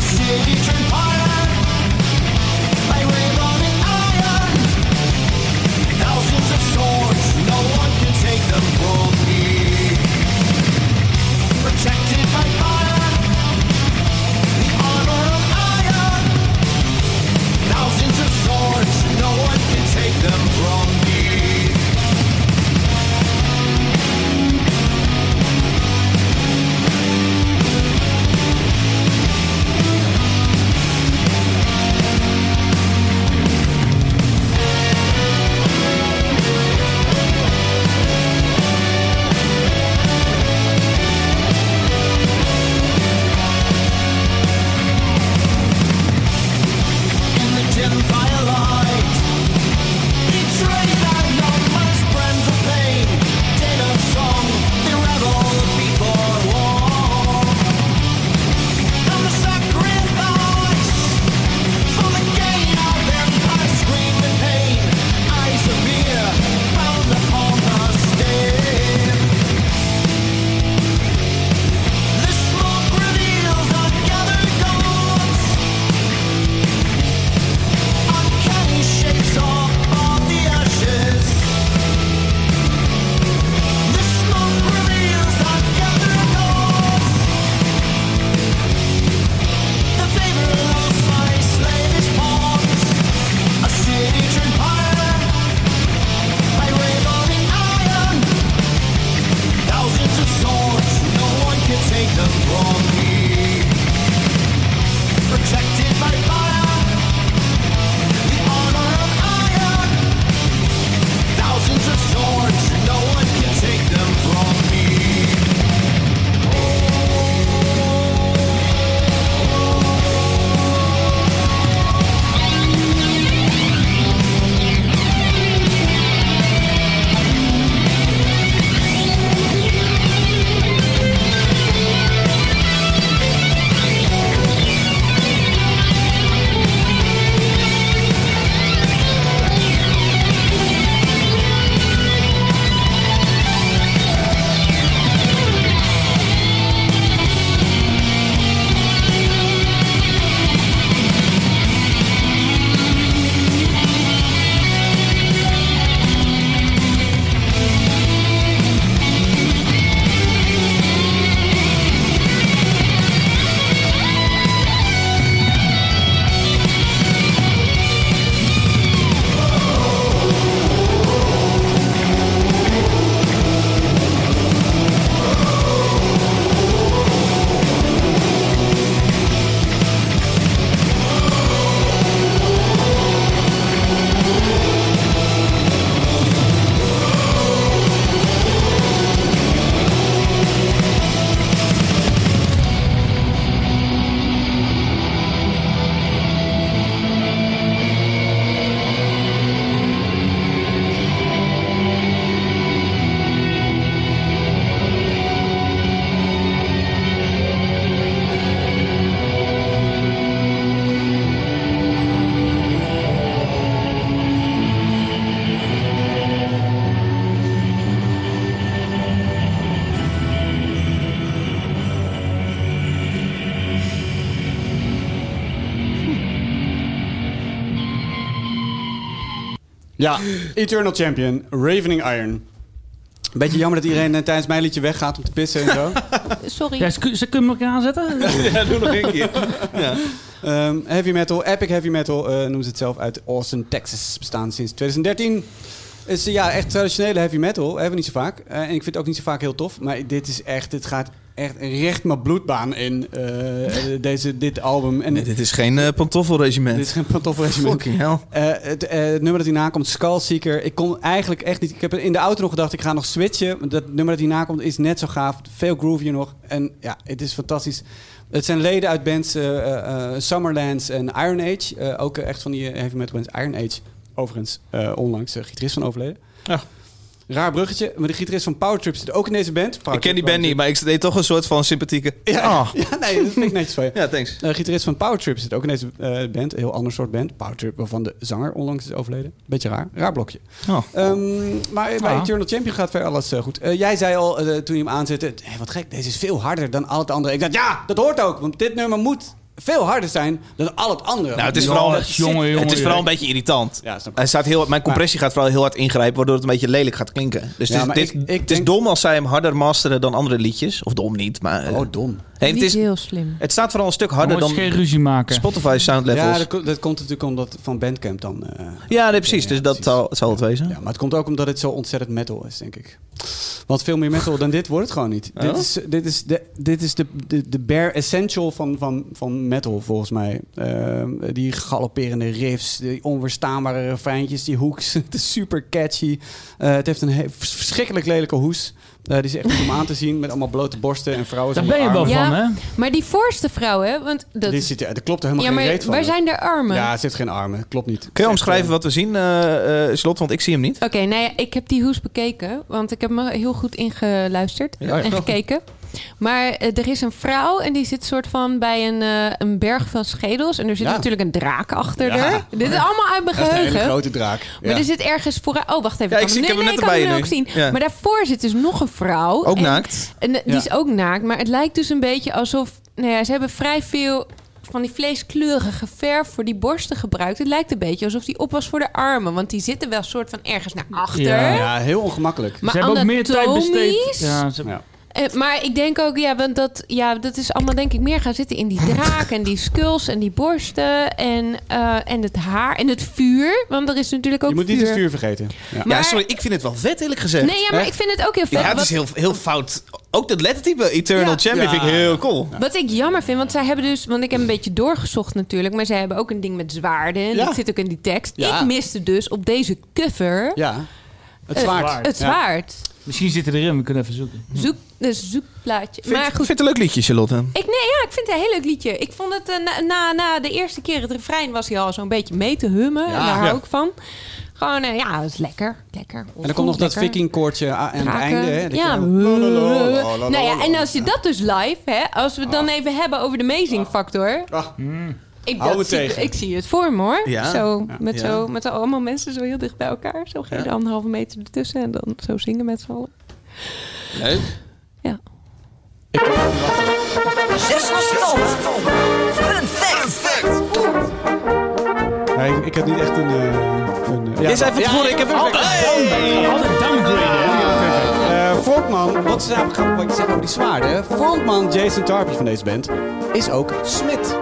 S9: A city turned pirate. They wave on in iron. Thousands of swords, no one can take them from me. Protected by fire. Thousands of swords, no one can take them from me. In the dim firelight, betrayed that numberless friends of pain, dead of song, they revel before war. And the sacrifice for the gain of empire scream in pain, eyes of fear bound upon the stain. The smoke reveals our gathered gods. Uncanny shapes all of the ashes. The smoke reveals our gathered gods. The favor of my slavish palms. A city turned pirate by revolving iron. Thousands of swords, no one can take them from me. Protected by fire. Thousands of swords, no one can take them from me.
S2: Ja, Eternal Champion, Ravening Iron. Beetje jammer dat iedereen eh, tijdens mijn liedje weggaat om te pissen en zo.
S12: Sorry.
S1: Ja, ze, kun- ze kunnen hem nog een keer aanzetten?
S2: ja, doe nog één keer. Ehm, heavy metal, epic heavy metal eh, noemen ze het zelf uit Austin, Texas. Bestaan sinds 2013. Is eh, ja, echt traditionele heavy metal. Hebben we niet zo vaak. Eh, en ik vind het ook niet zo vaak heel tof. Maar dit is echt, dit gaat echt recht mijn bloedbaan in. eh, deze, dit album. En
S3: Nee, dit is geen eh, pantoffelregiment.
S2: dit is geen pantoffelregiment.
S3: Fucking hell.
S2: Eh, het, eh, het nummer dat hierna komt, Skullseeker. Ik kon eigenlijk echt niet... Ik heb in de auto nog gedacht, ik ga nog switchen. Want Dat nummer dat hierna komt is net zo gaaf. Veel groovier nog. En ja, het is fantastisch. Het zijn leden uit bands eh, eh, eh, Summerlands en Iron Age. Eh, ook eh, echt van die eh, heavy metal bands. Iron Age, overigens, eh, onlangs eh, gitarist van overleden. Raar bruggetje, maar de gitarist van Power Trip zit ook in deze band. Power
S3: Ik ken die
S2: Trip,
S3: band niet, maar ik deed toch een soort van sympathieke...
S2: ja,
S3: Ah.
S2: ja, nee, dat vind ik netjes van je.
S3: Ja, thanks.
S2: Eh, gitarist van Power Trip zit ook in deze eh, band. Een heel ander soort band. Power Trip, waarvan de zanger onlangs is overleden. Beetje raar. Raar blokje.
S3: Oh.
S2: Ehm, maar bij
S3: Ah.
S2: Eternal Champion gaat verder alles eh, goed. Eh, jij zei al eh, toen je hem aanzette... "Hé, wat gek, deze is veel harder dan al het andere. Ik dacht, ja, dat hoort ook. Want dit nummer moet veel harder zijn dan al het andere.
S3: Nou, het is vooral,
S2: Dat zit-
S3: het is vooral een beetje irritant.
S2: snap ik.
S3: Hij staat heel, mijn compressie gaat vooral heel hard ingrijpen, waardoor het een beetje lelijk gaat klinken. Dus
S2: Ja,
S3: het, is,
S2: maar
S3: dit,
S2: ik- ik
S3: het is dom als zij hem harder masteren dan andere liedjes. Of dom niet, maar... eh,
S2: oh, dom.
S3: het, is,
S4: heel slim.
S3: het staat vooral een stuk harder dan
S1: Moet je geen ruzie maken.
S3: Spotify sound levels.
S2: Ja, dat, ko- dat komt natuurlijk omdat van Bandcamp dan... eh,
S3: Ja, nee, precies. dus dat zal, zal het wezen.
S2: Ja, maar het komt ook omdat het zo ontzettend metal is, denk ik. Want veel meer metal dan dit wordt het gewoon niet.
S3: Oh?
S2: Dit is, dit is, de, dit is de, de, de bare essential van, van, van metal, volgens mij. Ehm, die galopperende riffs, die onweerstaanbare refreintjes, die hooks. Het is super catchy. Eh, het heeft een he- verschrikkelijk lelijke hoes. Eh, die is echt goed om aan te zien, met allemaal blote borsten en vrouwen.
S1: Daar
S2: zonder
S1: ben je wel
S2: armen.
S1: van, hè?
S4: Maar die voorste vrouw, hè? Want dat...
S2: Die ziet, er- er klopt er helemaal
S4: ja,
S2: geen
S4: maar
S2: reet van.
S4: waar zijn de armen?
S2: Ja, ze heeft geen armen. Klopt niet.
S3: Kun je omschrijven wat we zien, eh, eh, Slot? Want ik zie hem niet.
S4: Oké, nou ja, ik heb die hoes bekeken, want ik heb me heel goed ingeluisterd
S3: Ja, ja.
S4: en gekeken. Maar eh, er is een vrouw en die zit soort van bij een, eh, een berg van schedels. En er zit
S2: Ja.
S4: natuurlijk een draak achter
S2: Ja.
S4: haar. Dit is allemaal uit mijn
S2: Dat is een hele
S4: geheugen.
S2: grote draak.
S4: Maar dus-
S2: Ja.
S4: er zit ergens vooruit... Oh, wacht even.
S3: Ja, ik
S4: kan
S3: zie- ik
S4: nee,
S3: heb hem
S4: nee,
S3: net
S4: ik kan
S3: erbij
S4: hem
S3: nu.
S4: ook zien.
S3: Ja.
S4: Maar daarvoor zit dus nog een vrouw.
S3: Ook
S4: en,
S3: naakt?
S4: En eh, die
S3: Ja.
S4: is ook naakt. Maar het lijkt dus een beetje alsof... Nou ja, ze hebben vrij veel van die vleeskleurige verf voor die borsten gebruikt. Het lijkt een beetje alsof die op was voor de armen. Want die zitten wel soort van ergens naar achter.
S2: Ja. ja, heel ongemakkelijk.
S4: Maar Ze hebben ook meer tijd besteed. anatomisch? Ja,
S2: Ja.
S4: Eh, maar ik denk ook, ja, want dat, ja, dat is allemaal denk ik meer gaan zitten in die draak en die skulls en die borsten en, eh, en het haar en het vuur. Want er is natuurlijk ook
S2: Je moet
S4: vuur.
S2: niet het vuur vergeten.
S4: Maar-
S3: Ja, sorry, ik vind het wel vet, eerlijk gezegd.
S4: Nee, ja, maar ik vind het ook heel vet.
S3: Ja, het
S4: Wat-
S3: is heel, heel fout. Ook dat lettertype Eternal
S4: Ja.
S3: Champion
S4: Ja.
S3: vind ik heel cool.
S4: Wat ik jammer vind, want zij hebben dus... Want ik heb een beetje doorgezocht natuurlijk. Maar zij hebben ook een ding met zwaarden. en
S2: Ja.
S4: Dat zit ook in die tekst.
S2: Ja.
S4: Ik miste dus op deze cover...
S2: Ja. Het
S4: eh,
S2: zwaard.
S4: Het
S2: Ja. Hm.
S4: zwaard.
S1: Misschien zit hij erin, we kunnen even zoeken.
S4: Zoek, dus zoekplaatje.
S3: Vind,
S4: maar
S3: vind
S4: goed.
S3: het een leuk liedje, Charlotte?
S4: Ik, nee, ja, ik vind het een heel leuk liedje. Ik vond het eh, na, na, na de eerste keer het refrein was hij al zo'n beetje mee te hummen.
S2: Ja.
S4: En daar hou
S2: Ja.
S4: ik van. Gewoon, eh, ja, dat is lekker. Lekker.
S2: En dan komt nog dat
S4: Lekker.
S2: vikingkoortje a- aan het
S4: Draken.
S2: einde. Hè? Dat
S4: Ja.
S2: je dan- Lalalala.
S4: Nou ja, en als je dat dus live, hè, als we het dan even hebben over de amazing factor. Ik,
S2: Ah. Hou
S4: dat
S2: het
S4: zie,
S2: tegen.
S4: ik zie het voor me hoor.
S2: Ja.
S4: Zo,
S2: Ja.
S4: met,
S2: Ja.
S4: Zo, met allemaal mensen zo heel dicht bij elkaar. Zo geen
S2: Ja.
S4: anderhalve meter ertussen en dan zo zingen met z'n allen.
S3: Leuk.
S4: Ja.
S13: Zes was stom. Fun fact.
S2: Nee, ik, ik heb niet echt een... eh, een eh,
S13: Jij zei van tevoren, ik heb een- Hey!
S2: Altijd downgraden. hè? Eh, Frontman, wat is nou grappig wat je zegt over die zwaarden? hè? Frontman Jason Tarpey van deze band is ook Smit.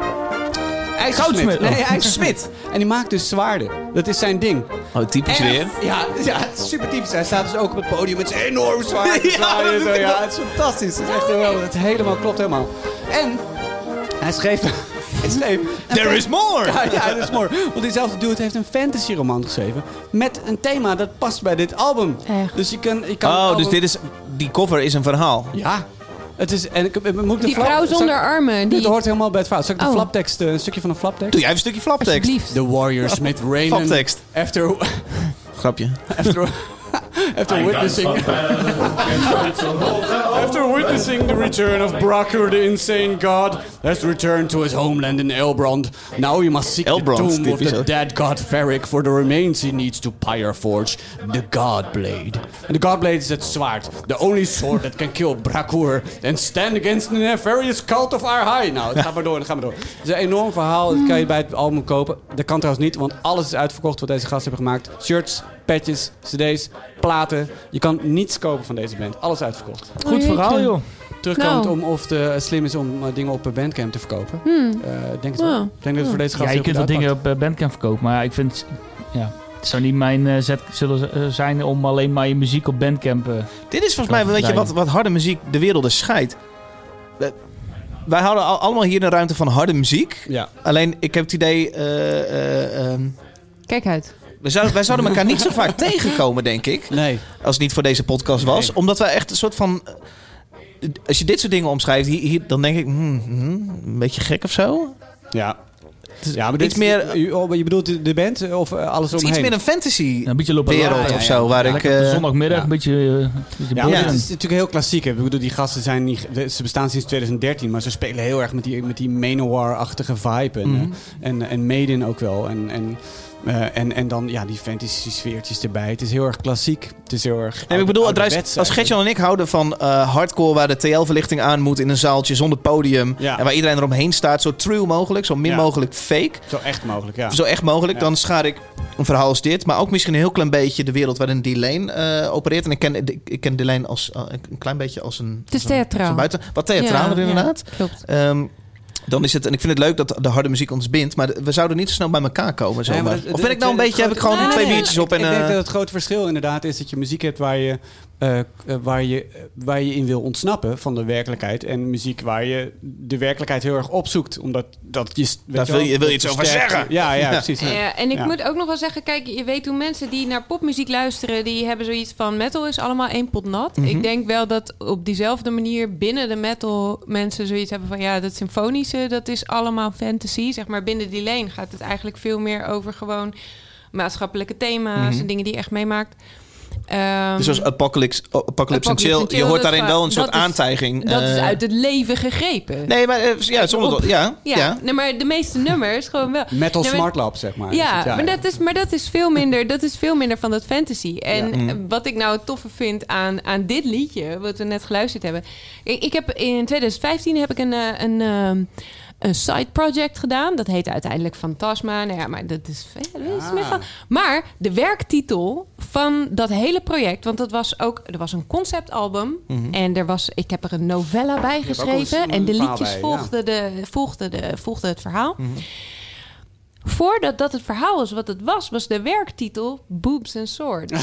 S2: IJzersmid.
S3: Goudsmid.
S2: Nee,
S3: Oh.
S2: hij is Smit. En die maakt dus zwaarden. Dat is zijn ding.
S3: Oh, typisch
S2: En-
S3: weer.
S2: Ja, ja, het is super typisch. Hij staat dus ook op het podium met zijn enorm zwaarden.
S13: Ja,
S2: zwaarden en
S13: dat
S2: zo,
S13: vind ik
S2: ja,
S13: ook-
S2: het is fantastisch. Het is echt geweldig. Het helemaal klopt helemaal. En hij schreef... Hij schreef
S3: There is more!
S2: Ja, ja, there is more. Want diezelfde dude heeft een fantasyroman geschreven... met een thema dat past bij dit album. Dus je kan... Je kan het
S3: Oh,
S2: album-
S3: dus dit is, die cover is een verhaal.
S2: Ja. Het is... En ik, ik- moet ik de
S4: Die
S2: flap-
S4: vrouw
S2: zal ik-
S4: zonder armen. Die...
S2: Dit hoort helemaal bij het verhaal. Zal ik de
S4: Oh.
S2: flaptekst... eh, Een stukje van de flaptekst?
S3: Doe jij even een stukje flaptekst.
S4: Alsjeblieft.
S2: The Warriors met Rain.
S3: Flaptekst.
S2: After...
S3: Grapje.
S2: After... After witnessing... After witnessing the return of Brakur, the insane god, has returned to his homeland in Elbrond. Now he must seek
S3: Elbrond,
S2: the tomb of
S3: typisch,
S2: the
S3: hè?
S2: dead god Ferric for the remains he needs to pyreforge the Godblade. And the Godblade is that sword, the only sword that can kill Brakur and stand against the nefarious cult of Arhai. Nou, het gaat maar door, het gaat maar door. Het is een enorm verhaal, dat kan je bij het album kopen. Dat kan trouwens niet, want alles is uitverkocht wat deze gasten hebben gemaakt. Shirts, patches, cd's, platen. Je kan niets kopen van deze band. Alles uitverkocht.
S1: Goed Oh, jeetje. verhaal, joh.
S2: Terugkomend
S1: Nou.
S2: om of het eh, slim is om eh, dingen op eh, Bandcamp te verkopen.
S1: Hmm.
S2: Eh, denk het wel.
S1: Ja.
S2: Ik denk dat het voor deze gast
S1: Ja, je
S2: heel
S1: kunt
S2: goed
S1: wel dingen
S2: uitpakt.
S1: op eh, Bandcamp verkopen, maar ik vind... Ja, het zou niet mijn eh, zet zullen z- eh, zijn om alleen maar je muziek op Bandcamp... eh,
S3: Dit is volgens mij,
S1: te
S3: weet je,
S1: draaien.
S3: wat, wat harde muziek de wereld is scheidt. We- Wij houden al- allemaal hier een ruimte van harde muziek.
S2: Ja.
S3: Alleen, ik heb het idee... eh, eh, ehm,
S10: Kijk uit.
S3: we zouden, wij zouden elkaar niet zo vaak tegenkomen, denk ik.
S2: Nee.
S3: Als het niet voor deze podcast was. Omdat wij echt een soort van... eh, Als je dit soort dingen omschrijft, hier, hier, dan denk ik... hmm, hmm, een beetje gek of zo.
S2: Ja. Ja, maar
S3: iets
S2: dit,
S3: meer-
S2: meer, je bedoelt de- de band eh, of eh, alles
S3: Het is
S2: omheen?
S3: iets meer een fantasy
S1: een beetje lopen
S3: wereld
S1: laaien.
S3: of zo. Waar ik,
S1: Lekker op de
S3: eh,
S1: zondagmiddag een beetje... eh, een beetje
S2: Ja, maar
S1: bozen.
S2: het is natuurlijk heel klassiek. Hè. Ik bedoel, die gasten zijn niet, ze bestaan sinds 2013, maar ze spelen heel erg met die, met die Manowar-achtige vibe. En,
S1: Mhm.
S2: eh, en, en Maiden ook wel. En, en, eh, en, en dan ja, die fantasy sfeertjes erbij. Het is heel erg klassiek. Het is heel erg.
S3: Nee, maar ik bedoel,
S2: oude-
S3: Andrijs,
S2: ouderwets
S3: als Gertjan en ik houden van eh, hardcore waar de TL-verlichting aan moet in een zaaltje zonder podium.
S2: Ja.
S3: En waar iedereen eromheen staat, zo true mogelijk, zo min
S2: Ja.
S3: mogelijk fake.
S2: Zo echt mogelijk, ja.
S3: Zo echt mogelijk.
S2: Ja.
S3: Dan schaar ik een verhaal als dit, maar ook misschien een heel klein beetje de wereld waarin D-Lane eh, opereert. En ik ken, ik, ik ken D-Lane als eh, een klein beetje als een.
S10: Het is
S3: als een-
S10: theatraal.
S3: als een buiten, wat theatraler
S10: Ja,
S3: inderdaad.
S10: ja, klopt.
S3: Ehm, dan is het, en ik vind het leuk dat de harde muziek ons bindt, maar we zouden niet zo snel bij elkaar komen.
S2: Nee,
S3: zomaar.
S2: maar het-
S3: of ben ik nou een
S2: het-
S3: beetje, heb ik gewoon
S2: Nee,
S3: twee
S2: nee,
S3: biertjes op
S2: ik-
S3: en.
S2: Ik denk
S3: eh,
S2: dat het grote verschil inderdaad is dat je muziek hebt waar je, eh, eh, waar, je, eh, waar je in wil ontsnappen van de werkelijkheid. En muziek waar je de werkelijkheid heel erg opzoekt. Omdat dat je... weet
S3: Daar
S2: wel,
S3: wil je- wil je
S2: dat
S3: iets over
S2: versterkt-
S3: zeggen.
S2: Ja, ja,
S3: Ja.
S2: precies.
S4: Ja, Eh, en ik
S2: Ja.
S4: moet ook nog wel zeggen, kijk, je weet hoe mensen die naar popmuziek luisteren, die hebben zoiets van metal is allemaal één pot nat.
S10: Mhm.
S4: Ik denk wel dat op diezelfde manier binnen de metal mensen zoiets hebben van ja, dat symfonische, dat is allemaal fantasy. Zeg maar binnen die lane gaat het eigenlijk veel meer over gewoon maatschappelijke thema's
S3: Mhm.
S4: en dingen die je echt meemaakt. Ehm,
S3: Dus zoals Apocalypse, Apocalypse en
S4: Apocalypse
S3: Chill,
S4: and Chill,
S3: je hoort
S4: dat
S3: daarin
S4: is
S3: wel
S4: waar-
S3: een soort
S4: dat is-
S3: aantijging.
S4: dat is
S3: eh,
S4: uit het leven gegrepen.
S3: Nee, maar eh, ja, sommige...
S4: Op.
S3: Ja, ja.
S4: Ja, Nee, maar de meeste nummers gewoon wel.
S2: Metal
S4: Nee, maar-
S2: Smart Lab, zeg maar.
S4: Ja,
S2: Is Dus het,
S4: maar dat is, maar dat is, veel, minder, dat is veel minder van dat fantasy. En
S2: Ja. Mm.
S4: eh, wat ik nou het toffe vind aan, aan dit liedje, wat we net geluisterd hebben. Ik, ik heb in 2015 heb ik een, eh, een, ehm, een side project gedaan. Dat heet uiteindelijk Fantasma. Nou ja, maar dat is, eh, dat is meer van- Maar de werktitel van dat hele project, want dat was ook, er was een conceptalbum.
S10: Mhm.
S4: En er was, ik heb er een novella bij
S10: Je hebt ook
S4: geschreven.
S10: een-
S4: En de
S10: een verhaal
S4: liedjes
S10: bij, ja. Mhm.
S4: volgden, de, volgden, de, volgden het verhaal. Voordat dat het verhaal was wat het was, was de werktitel Boobs and Swords.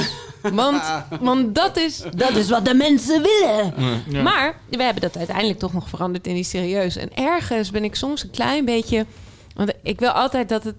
S4: want want dat, is, dat is wat de mensen willen.
S10: Ja.
S4: Maar we hebben dat uiteindelijk toch nog veranderd in die serieus. En ergens ben ik soms een klein beetje... Want ik wil altijd dat het...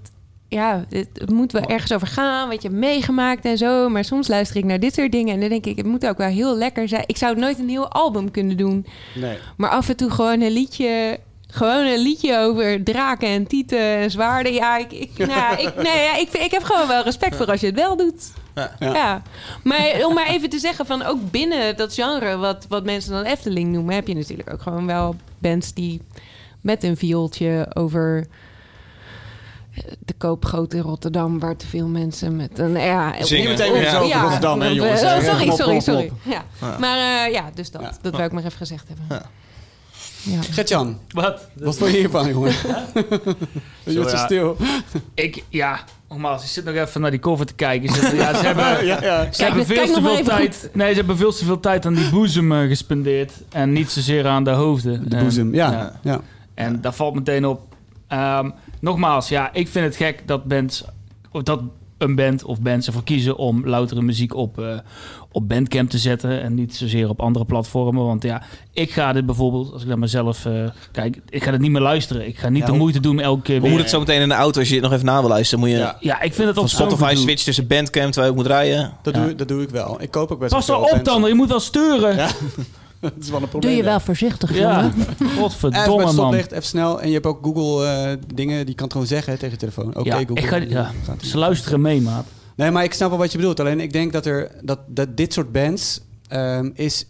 S4: Ja, het, het moet wel ergens over gaan, wat je hebt meegemaakt en zo. Maar soms luister ik naar dit soort dingen en dan denk ik... het moet ook wel heel lekker zijn. Ik zou nooit een heel album kunnen doen.
S2: Nee.
S4: Maar af en toe gewoon een liedje. Gewoon een liedje over draken en tieten en zwaarden. Ja, ik, ik, nou, ja, ik, nee, ja, ik, ik heb gewoon wel respect voor als je het wel doet.
S3: Ja.
S4: Ja. Maar om maar even te zeggen van ook binnen dat genre... wat, wat mensen dan Efteling noemen... heb je natuurlijk ook gewoon wel bands die met een viooltje over... eh, De koopgoot in Rotterdam, waar te veel mensen met een. Ja,
S2: Zingen. Niet meteen weer eens over Rotterdam, hè,
S4: of, eh,
S2: jongens,
S4: oh,
S2: hè. Kom op,
S4: sorry,
S2: kom op,
S4: sorry,
S2: kom
S4: sorry.
S2: op.
S4: Ja.
S2: Ja.
S4: Maar eh, ja, dus dat. Dat wil ik maar even gezegd hebben. Ja.
S2: Gertjan,
S1: Wat?
S2: wat vond je hiervan, jongen? je wordt zo
S1: ja.
S2: stil.
S1: Ik, ja, nogmaals, ik zit nog even naar die cover te kijken. Ze, ja, ze hebben,
S2: Ja, ja.
S1: Ze
S2: Kijk,
S1: hebben veel
S2: kijk nog
S1: te
S2: maar
S1: veel
S2: even
S1: tijd. Nee, ze hebben veel te veel tijd aan die boezem eh, gespendeerd. En niet zozeer aan de hoofden.
S2: De
S1: En-
S2: boezem, ja. ja.
S1: En daar valt meteen op. Ehm, nogmaals, ja, ik vind het gek dat bands, of dat een band of bands ervoor kiezen om loutere muziek op, eh, op Bandcamp te zetten en niet zozeer op andere platformen. Want ja, ik ga dit bijvoorbeeld, als ik naar mezelf eh, kijk, ik ga dit niet meer luisteren. Ik ga niet
S3: Ja,
S1: de
S3: hoe-
S1: moeite doen elke keer
S3: We
S1: weer.
S3: moeten het zo meteen in de auto, als je het nog even na wil luisteren. Moet je
S1: Ja. Ja, ik vind het
S3: van
S1: op
S3: Spotify
S1: zo'n gedoe.
S3: switch tussen Bandcamp, terwijl ik moet rijden.
S2: Dat, doe, dat doe ik wel. Ik koop ook best
S1: Pas
S2: wel
S1: wel
S2: veel
S1: op
S2: bands.
S1: dan, je moet wel sturen.
S2: Ja, dat is wel een probleem. hè.
S10: voorzichtig,
S1: Ja,
S2: Even met
S1: godverdomme man.
S2: stoplicht, even snel. En je hebt ook Google eh, dingen, die kan het gewoon zeggen hè, tegen je telefoon. Oké,
S1: Ja,
S2: Google.
S1: ik ga- ja. Ze luisteren mee, maat.
S2: Nee, maar ik snap wel wat je bedoelt. Alleen ik denk dat, er, dat, dat dit soort bands ehm, is...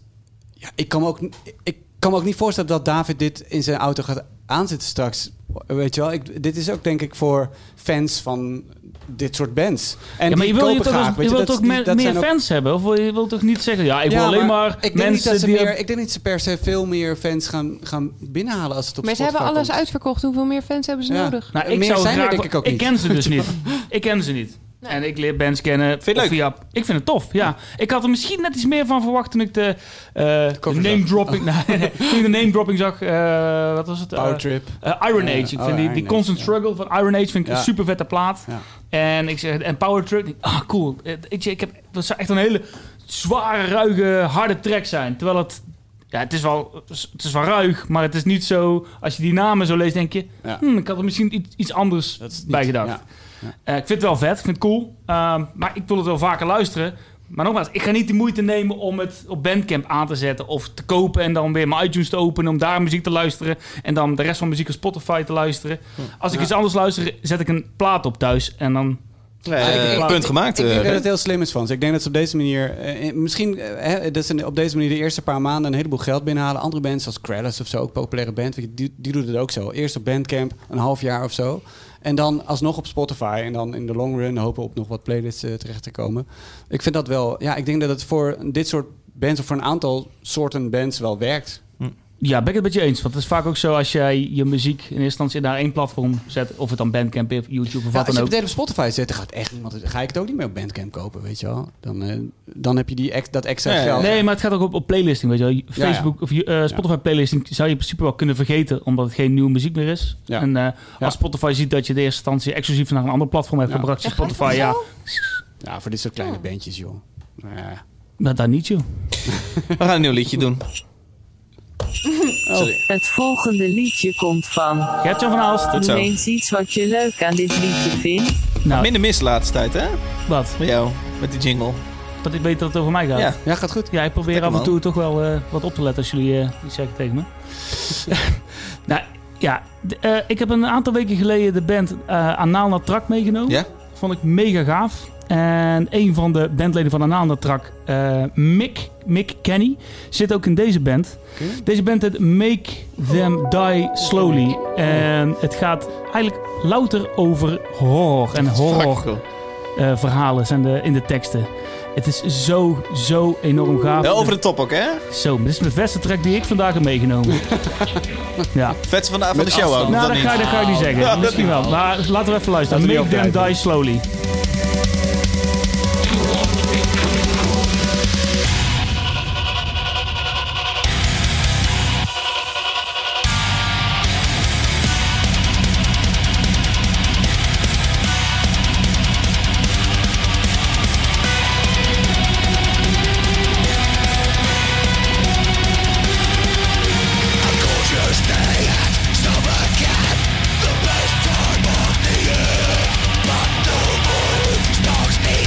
S2: Ja, ik, kan me ook, n- ik kan me ook niet voorstellen dat David dit in zijn auto gaat aanzetten straks. Weet je wel, ik, dit is ook denk ik voor fans van dit soort bands. En
S1: ja, maar je
S2: die
S1: wil je
S2: kopen
S1: toch,
S2: graag,
S1: als-
S2: weet
S1: je
S2: je,
S1: wilt
S2: dat
S1: toch
S2: is
S1: meer,
S2: niet- dat
S1: meer
S2: zijn ook-
S1: fans hebben? Of wil je wilt toch niet zeggen, ja, ik wil
S2: Ja,
S1: alleen maar,
S2: ik denk niet
S1: mensen
S2: dat ze
S1: die...
S2: meer, Ik denk niet ze per se veel meer fans gaan, gaan binnenhalen als het op
S4: Maar ze hebben
S2: Spotify
S4: alles
S2: komt.
S4: uitverkocht. Hoeveel meer fans hebben ze
S2: Ja.
S4: nodig?
S1: Nou, ik
S2: Meer
S1: zou
S2: zijn er
S1: graag...
S2: denk ik ook
S1: ik
S2: niet.
S1: ken ze dus niet. Ik ken ze niet. En ik leer bands kennen.
S3: je het
S1: of
S3: leuk?
S1: Via, ik vind het tof, ja. Ik had er misschien net iets meer van verwacht toen ik de, eh, de name dropping... Nee, nee, toen ik de name dropping zag, eh, wat was het?
S2: Power
S1: Eh,
S2: Trip.
S1: eh, Iron
S2: Eh,
S1: Age. Ik
S2: oh,
S1: vind die,
S2: Iron
S1: die
S2: Age,
S1: Constant Struggle van Iron Age vind ik
S2: Ja.
S1: een super vette plaat.
S2: Ja.
S1: En, ik zeg, en Power Trip, ik, ah cool. Eh, Ik, zeg, ik heb, dat zou echt een hele zware, ruige, harde track zijn. Terwijl het, ja, het is wel, het is wel ruig, maar het is niet zo, als je die namen zo leest, denk je,
S2: Ja.
S1: hmm, ik had er misschien iets, iets anders bij gedacht.
S2: ja.
S1: Eh, ik vind het wel vet, ik vind het cool, Ehm, maar ik wil het wel vaker luisteren. Maar nogmaals, ik ga niet de moeite nemen om het op Bandcamp aan te zetten of te kopen en dan weer mijn iTunes te openen om daar muziek te luisteren en dan de rest van muziek op Spotify te luisteren. Als ik
S2: Hm. Ja.
S1: iets anders luister, zet ik een plaat op thuis en dan...
S2: Eh,
S1: Plaat.
S2: Ik denk dat het heel slim is van ze. Ik denk dat ze op deze manier... eh, eh, misschien eh, hè, dat ze op deze manier de eerste paar maanden een heleboel geld binnenhalen. Andere bands zoals Krellis of zo, ook een populaire band. weet je, Die, die doen het ook zo. Eerst op Bandcamp, een half jaar of zo. En dan alsnog op Spotify. En dan in de long run hopen op nog wat playlists eh, terecht te komen. Ik vind dat wel... Ja, ik denk dat het voor dit soort bands of voor een aantal soorten bands wel werkt.
S1: Ja, ben ik het met je eens. Want het is vaak ook zo als jij je muziek in eerste instantie naar één platform zet. Of het dan Bandcamp, is, YouTube of wat
S2: Ja, als je
S1: dan
S2: het
S1: ook.
S2: meteen op Spotify zet, dan gaat echt niemand... Ga ik het ook niet meer op Bandcamp kopen, weet je wel. Dan, eh, dan heb je die, ex- dat extra geld.
S1: Nee, maar het gaat ook op, op playlisting, weet je wel.
S2: Ja, ja.
S1: Facebook of eh, Spotify playlisting zou je in principe wel kunnen vergeten, omdat het geen nieuwe muziek meer is. En eh, als Spotify ziet dat je de eerste instantie exclusief naar een ander platform hebt gebracht, zegt Spotify, ja,
S2: Ja, Nou, voor dit soort kleine
S3: Oh.
S2: bandjes, joh. Nou Ja.
S1: maar daar Nou, niet, joh.
S3: We gaan een nieuw liedje doen.
S6: Het volgende liedje komt van.
S1: Gertjan van Aalst.
S3: Goed zo.
S6: Noem eens iets wat je leuk aan dit liedje vindt.
S3: Minder mis de laatste tijd, hè?
S1: Nou, Wat?
S3: Met jou, met die jingle.
S1: Dat ik weet dat het over mij gaat.
S3: Ja.
S2: gaat goed.
S1: Ja, ik probeer
S3: Lekker,
S1: af en
S3: man.
S1: toe toch wel eh, wat op te letten als jullie eh, iets zeggen tegen me. nou, ja. d- eh, ik heb een aantal weken geleden de band eh Anaal naar Trak meegenomen.
S3: Ja.
S1: Vond ik mega gaaf. En een van de bandleden van Anaal naar Trak, eh, Mick, Mick Kenny, zit ook in deze band. Deze band heet Make Them Die Slowly. En het gaat eigenlijk louter over horror en horror eh, verhalen zijn de, in de teksten. Het is zo, zo enorm gaaf.
S3: Wel over de top ook, hè?
S1: Zo, dit is mijn beste track die ik vandaag heb meegenomen. ja.
S3: Vet van de, van de show ook.
S1: Nou, dat
S3: niet?
S1: ga, dat ga ik niet zeggen.
S3: Ja, dat
S1: Misschien
S3: niet.
S1: wel. Maar laten we even luisteren.
S3: Laten we
S1: Make
S3: die
S1: them die slowly.
S9: But no more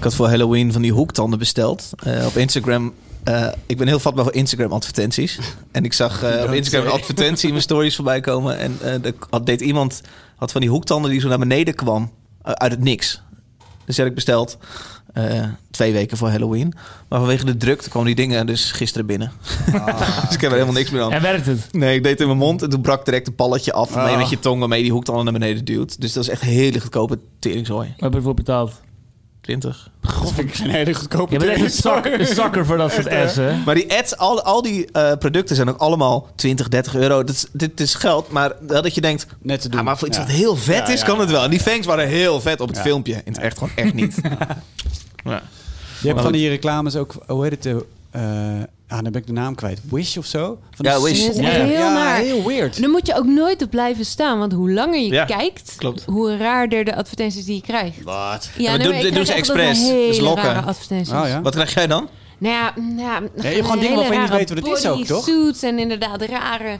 S3: had voor Halloween van die hoektanden besteld eh, op Instagram. Eh, ik ben heel vatbaar voor Instagram-advertenties. En ik zag eh, op
S7: Don't
S3: Instagram een
S7: say.
S3: advertentie in mijn stories voorbij komen. En eh, er had, deed iemand had van die hoektanden die zo naar beneden kwam. eh, uit het niks. Dus heb ik besteld. eh, twee weken voor Halloween. Maar vanwege de drukte kwamen die dingen dus gisteren binnen. dus ik heb er helemaal niks meer aan.
S1: En werkt het?
S3: Nee, ik deed het in mijn mond en toen brak direct een palletje af. waarmee je
S1: Ah.
S3: Met je tong waarmee die hoektanden naar beneden duwt. Dus dat is echt een hele goedkope teringzooi.
S1: Wat heb je voor betaald?
S3: 20.
S2: God, vind ik geen hele goedkope
S1: Je bent echt een zak- een zakker voor dat soort
S3: Echt,
S1: ads,
S3: hè?
S1: hè?
S3: Maar die ads, al, al die eh, producten zijn ook allemaal 20, 30 euro. Dit is, dit is geld, maar wel dat je denkt... Net te doen. maar voor iets
S7: Ja.
S3: wat heel vet
S7: Ja,
S3: is,
S7: ja,
S3: kan
S7: ja.
S3: het wel. En die fangs waren heel vet op het
S7: Ja.
S3: filmpje. In het echt gewoon echt niet. ja.
S2: Je hebt
S3: Maar
S2: van
S3: goed.
S2: die reclames ook, hoe heet het? eh, eh, ah, dan ben ik de naam kwijt. Wish of zo? Van
S3: Ja,
S2: die
S3: Wish.
S2: smerige-
S3: Dat is echt
S10: Heel
S2: ja,
S10: naar.
S2: heel weird.
S10: Dan moet je ook nooit op blijven staan. Want hoe langer je
S3: Ja,
S10: kijkt,
S3: klopt.
S10: hoe raarder de advertenties die je krijgt.
S3: Wat?
S10: Ja, nee,
S3: doen,
S10: maar ik
S3: dit doen
S10: krijg
S3: ze
S10: echt altijd
S3: expres.
S10: hele
S3: Dus lokken.
S10: rare advertenties.
S2: Oh,
S3: Wat krijg jij dan?
S10: Nou ja, nou ja,
S3: je hebt gewoon dingen waarvan je niet weet wat het is ook, toch?
S10: Suits en inderdaad rare...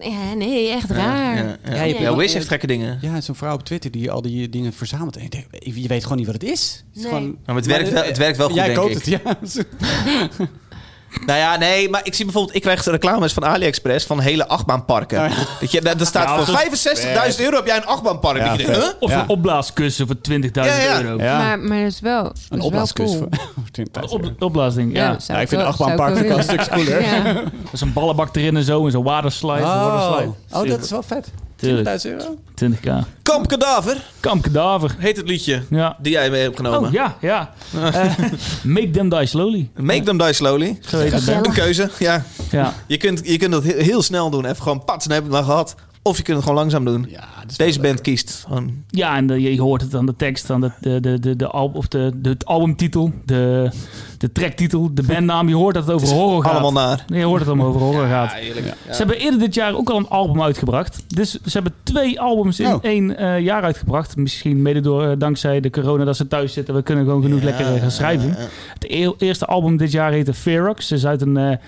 S10: Ja, nee, echt raar.
S3: ja, ja. Ja, Wish heeft gekke dingen.
S2: Ja, zo'n vrouw op Twitter die al die dingen verzamelt. En je, denkt, je weet gewoon niet wat het is. Het, is
S3: Nee.
S2: gewoon-
S3: Ja, maar het werkt wel- het werkt wel goed,
S2: Jij
S3: denk
S2: koopt
S3: ik.
S2: het, ja.
S3: Nou ja, nee, maar ik zie bijvoorbeeld, ik krijg reclames van AliExpress van hele achtbaanparken. Dat je, dat, dat staat
S1: Ja,
S3: voor
S1: dat is
S3: 65.000 euro heb jij een achtbaanpark. Dat je denkt, huh?
S1: Of een opblaaskussen voor 20.000
S3: Ja, ja.
S1: euro.
S3: Ja.
S10: Maar, maar dat is wel dat is wel
S1: opblaaskus
S10: cool.
S1: Op, opblaasding, ja.
S10: Ja, zou Ja, ik ik vind wel- achtbaanpark zou ik ook wel een stuk willen. cooler. Ja.
S1: Dat is een ballenbak erin en zo, en zo'n waterslide. zo'n waterslide.
S2: oh, dat is wel vet. 20.000 euro?
S1: 20k.
S3: Kamp Kadaver.
S1: Kamp Kadaver.
S3: Heet het liedje
S1: Ja.
S3: die jij mee hebt genomen.
S1: Oh, ja, ja. Eh, make them die slowly.
S3: Make them die slowly.
S1: Zo heet het, hè?
S3: Een keuze, ja.
S1: Ja.
S3: Je, kunt, je kunt dat he- heel snel doen. Even gewoon pats, dan heb je het maar gehad. Of je kunt het gewoon langzaam doen. Deze band kiest. Gewoon.
S1: Ja, en de- je hoort het aan de tekst, aan de, de, de, de, de, al- of de, de het albumtitel, de, de tracktitel, de bandnaam. Je hoort dat het over
S3: Het is
S1: horror gaat.
S3: allemaal naar.
S1: Nee, Je hoort dat het om over horror gaat. Ze hebben eerder dit jaar ook al een album uitgebracht. Dus ze hebben twee albums in
S3: Oh.
S1: één eh, jaar uitgebracht. Misschien mede door, eh, dankzij de corona dat ze thuis zitten. We kunnen gewoon genoeg
S3: Ja,
S1: lekker eh, gaan schrijven.
S3: ja, ja.
S1: Het e- eerste album dit jaar heette Ferox. Is uit een,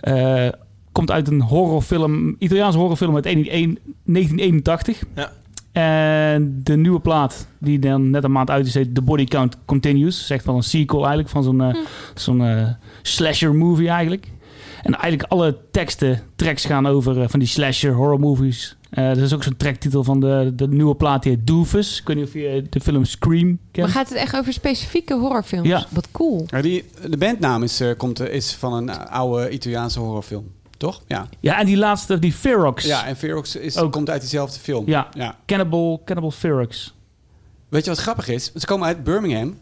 S1: eh, eh, komt uit een horrorfilm, Italiaanse horrorfilm uit 1981. 1981.
S3: Ja.
S1: En de nieuwe plaat, die dan net een maand uit is, heet The Body Count Continues. Zegt wel een sequel eigenlijk van zo'n eh, zo'n eh, slasher movie eigenlijk. En eigenlijk alle teksten, tracks gaan over eh, van die slasher horror movies. Eh er is ook zo'n tracktitel van de, de nieuwe plaat, die heet Doofus. Ik weet niet of je de film Scream kent.
S10: Maar gaat het echt over specifieke horrorfilms?
S1: Ja.
S10: Wat cool.
S2: Maar Nou, die, de bandnaam is, eh, komt, eh, is van een oude Italiaanse horrorfilm. Toch? Ja.
S1: Ja, en die laatste, die Ferox.
S2: Ja, en Ferox is,
S1: Ook.
S2: komt uit diezelfde film.
S1: Ja. Cannibal, Cannibal Ferox.
S2: Weet je wat grappig is? Ze komen uit Birmingham.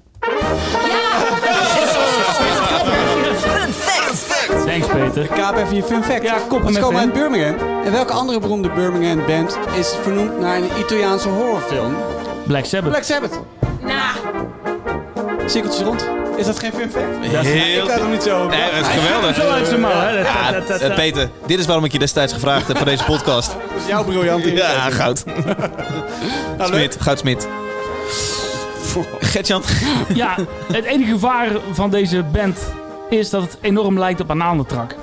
S1: Thanks, Peter.
S2: Kaap even je fun fact. Ja,
S1: hem
S2: Ze
S1: even
S2: komen
S1: in.
S2: uit Birmingham. En welke andere beroemde Birmingham band is vernoemd naar een Italiaanse horrorfilm?
S1: Black Sabbath.
S2: Black Sabbath. Nou. Cirkeltjes rond. Is dat geen fun fact?
S3: Dat is-
S2: Ik had hem niet zo...
S3: Nee, dat is
S2: Hij
S3: geweldig.
S2: komt zo uit zijn mouw, hè? Dat-
S3: Ja,
S2: dat- dat- dat-
S3: eh, Peter, dit is waarom ik je destijds gevraagd heb voor deze podcast.
S2: Dat is jouw briljante
S3: Ja,
S2: ingeving.
S3: goud. Smit, goud Smit. Gertjan.
S1: Ja, het enige gevaar van deze band is dat het enorm lijkt op bananentrak.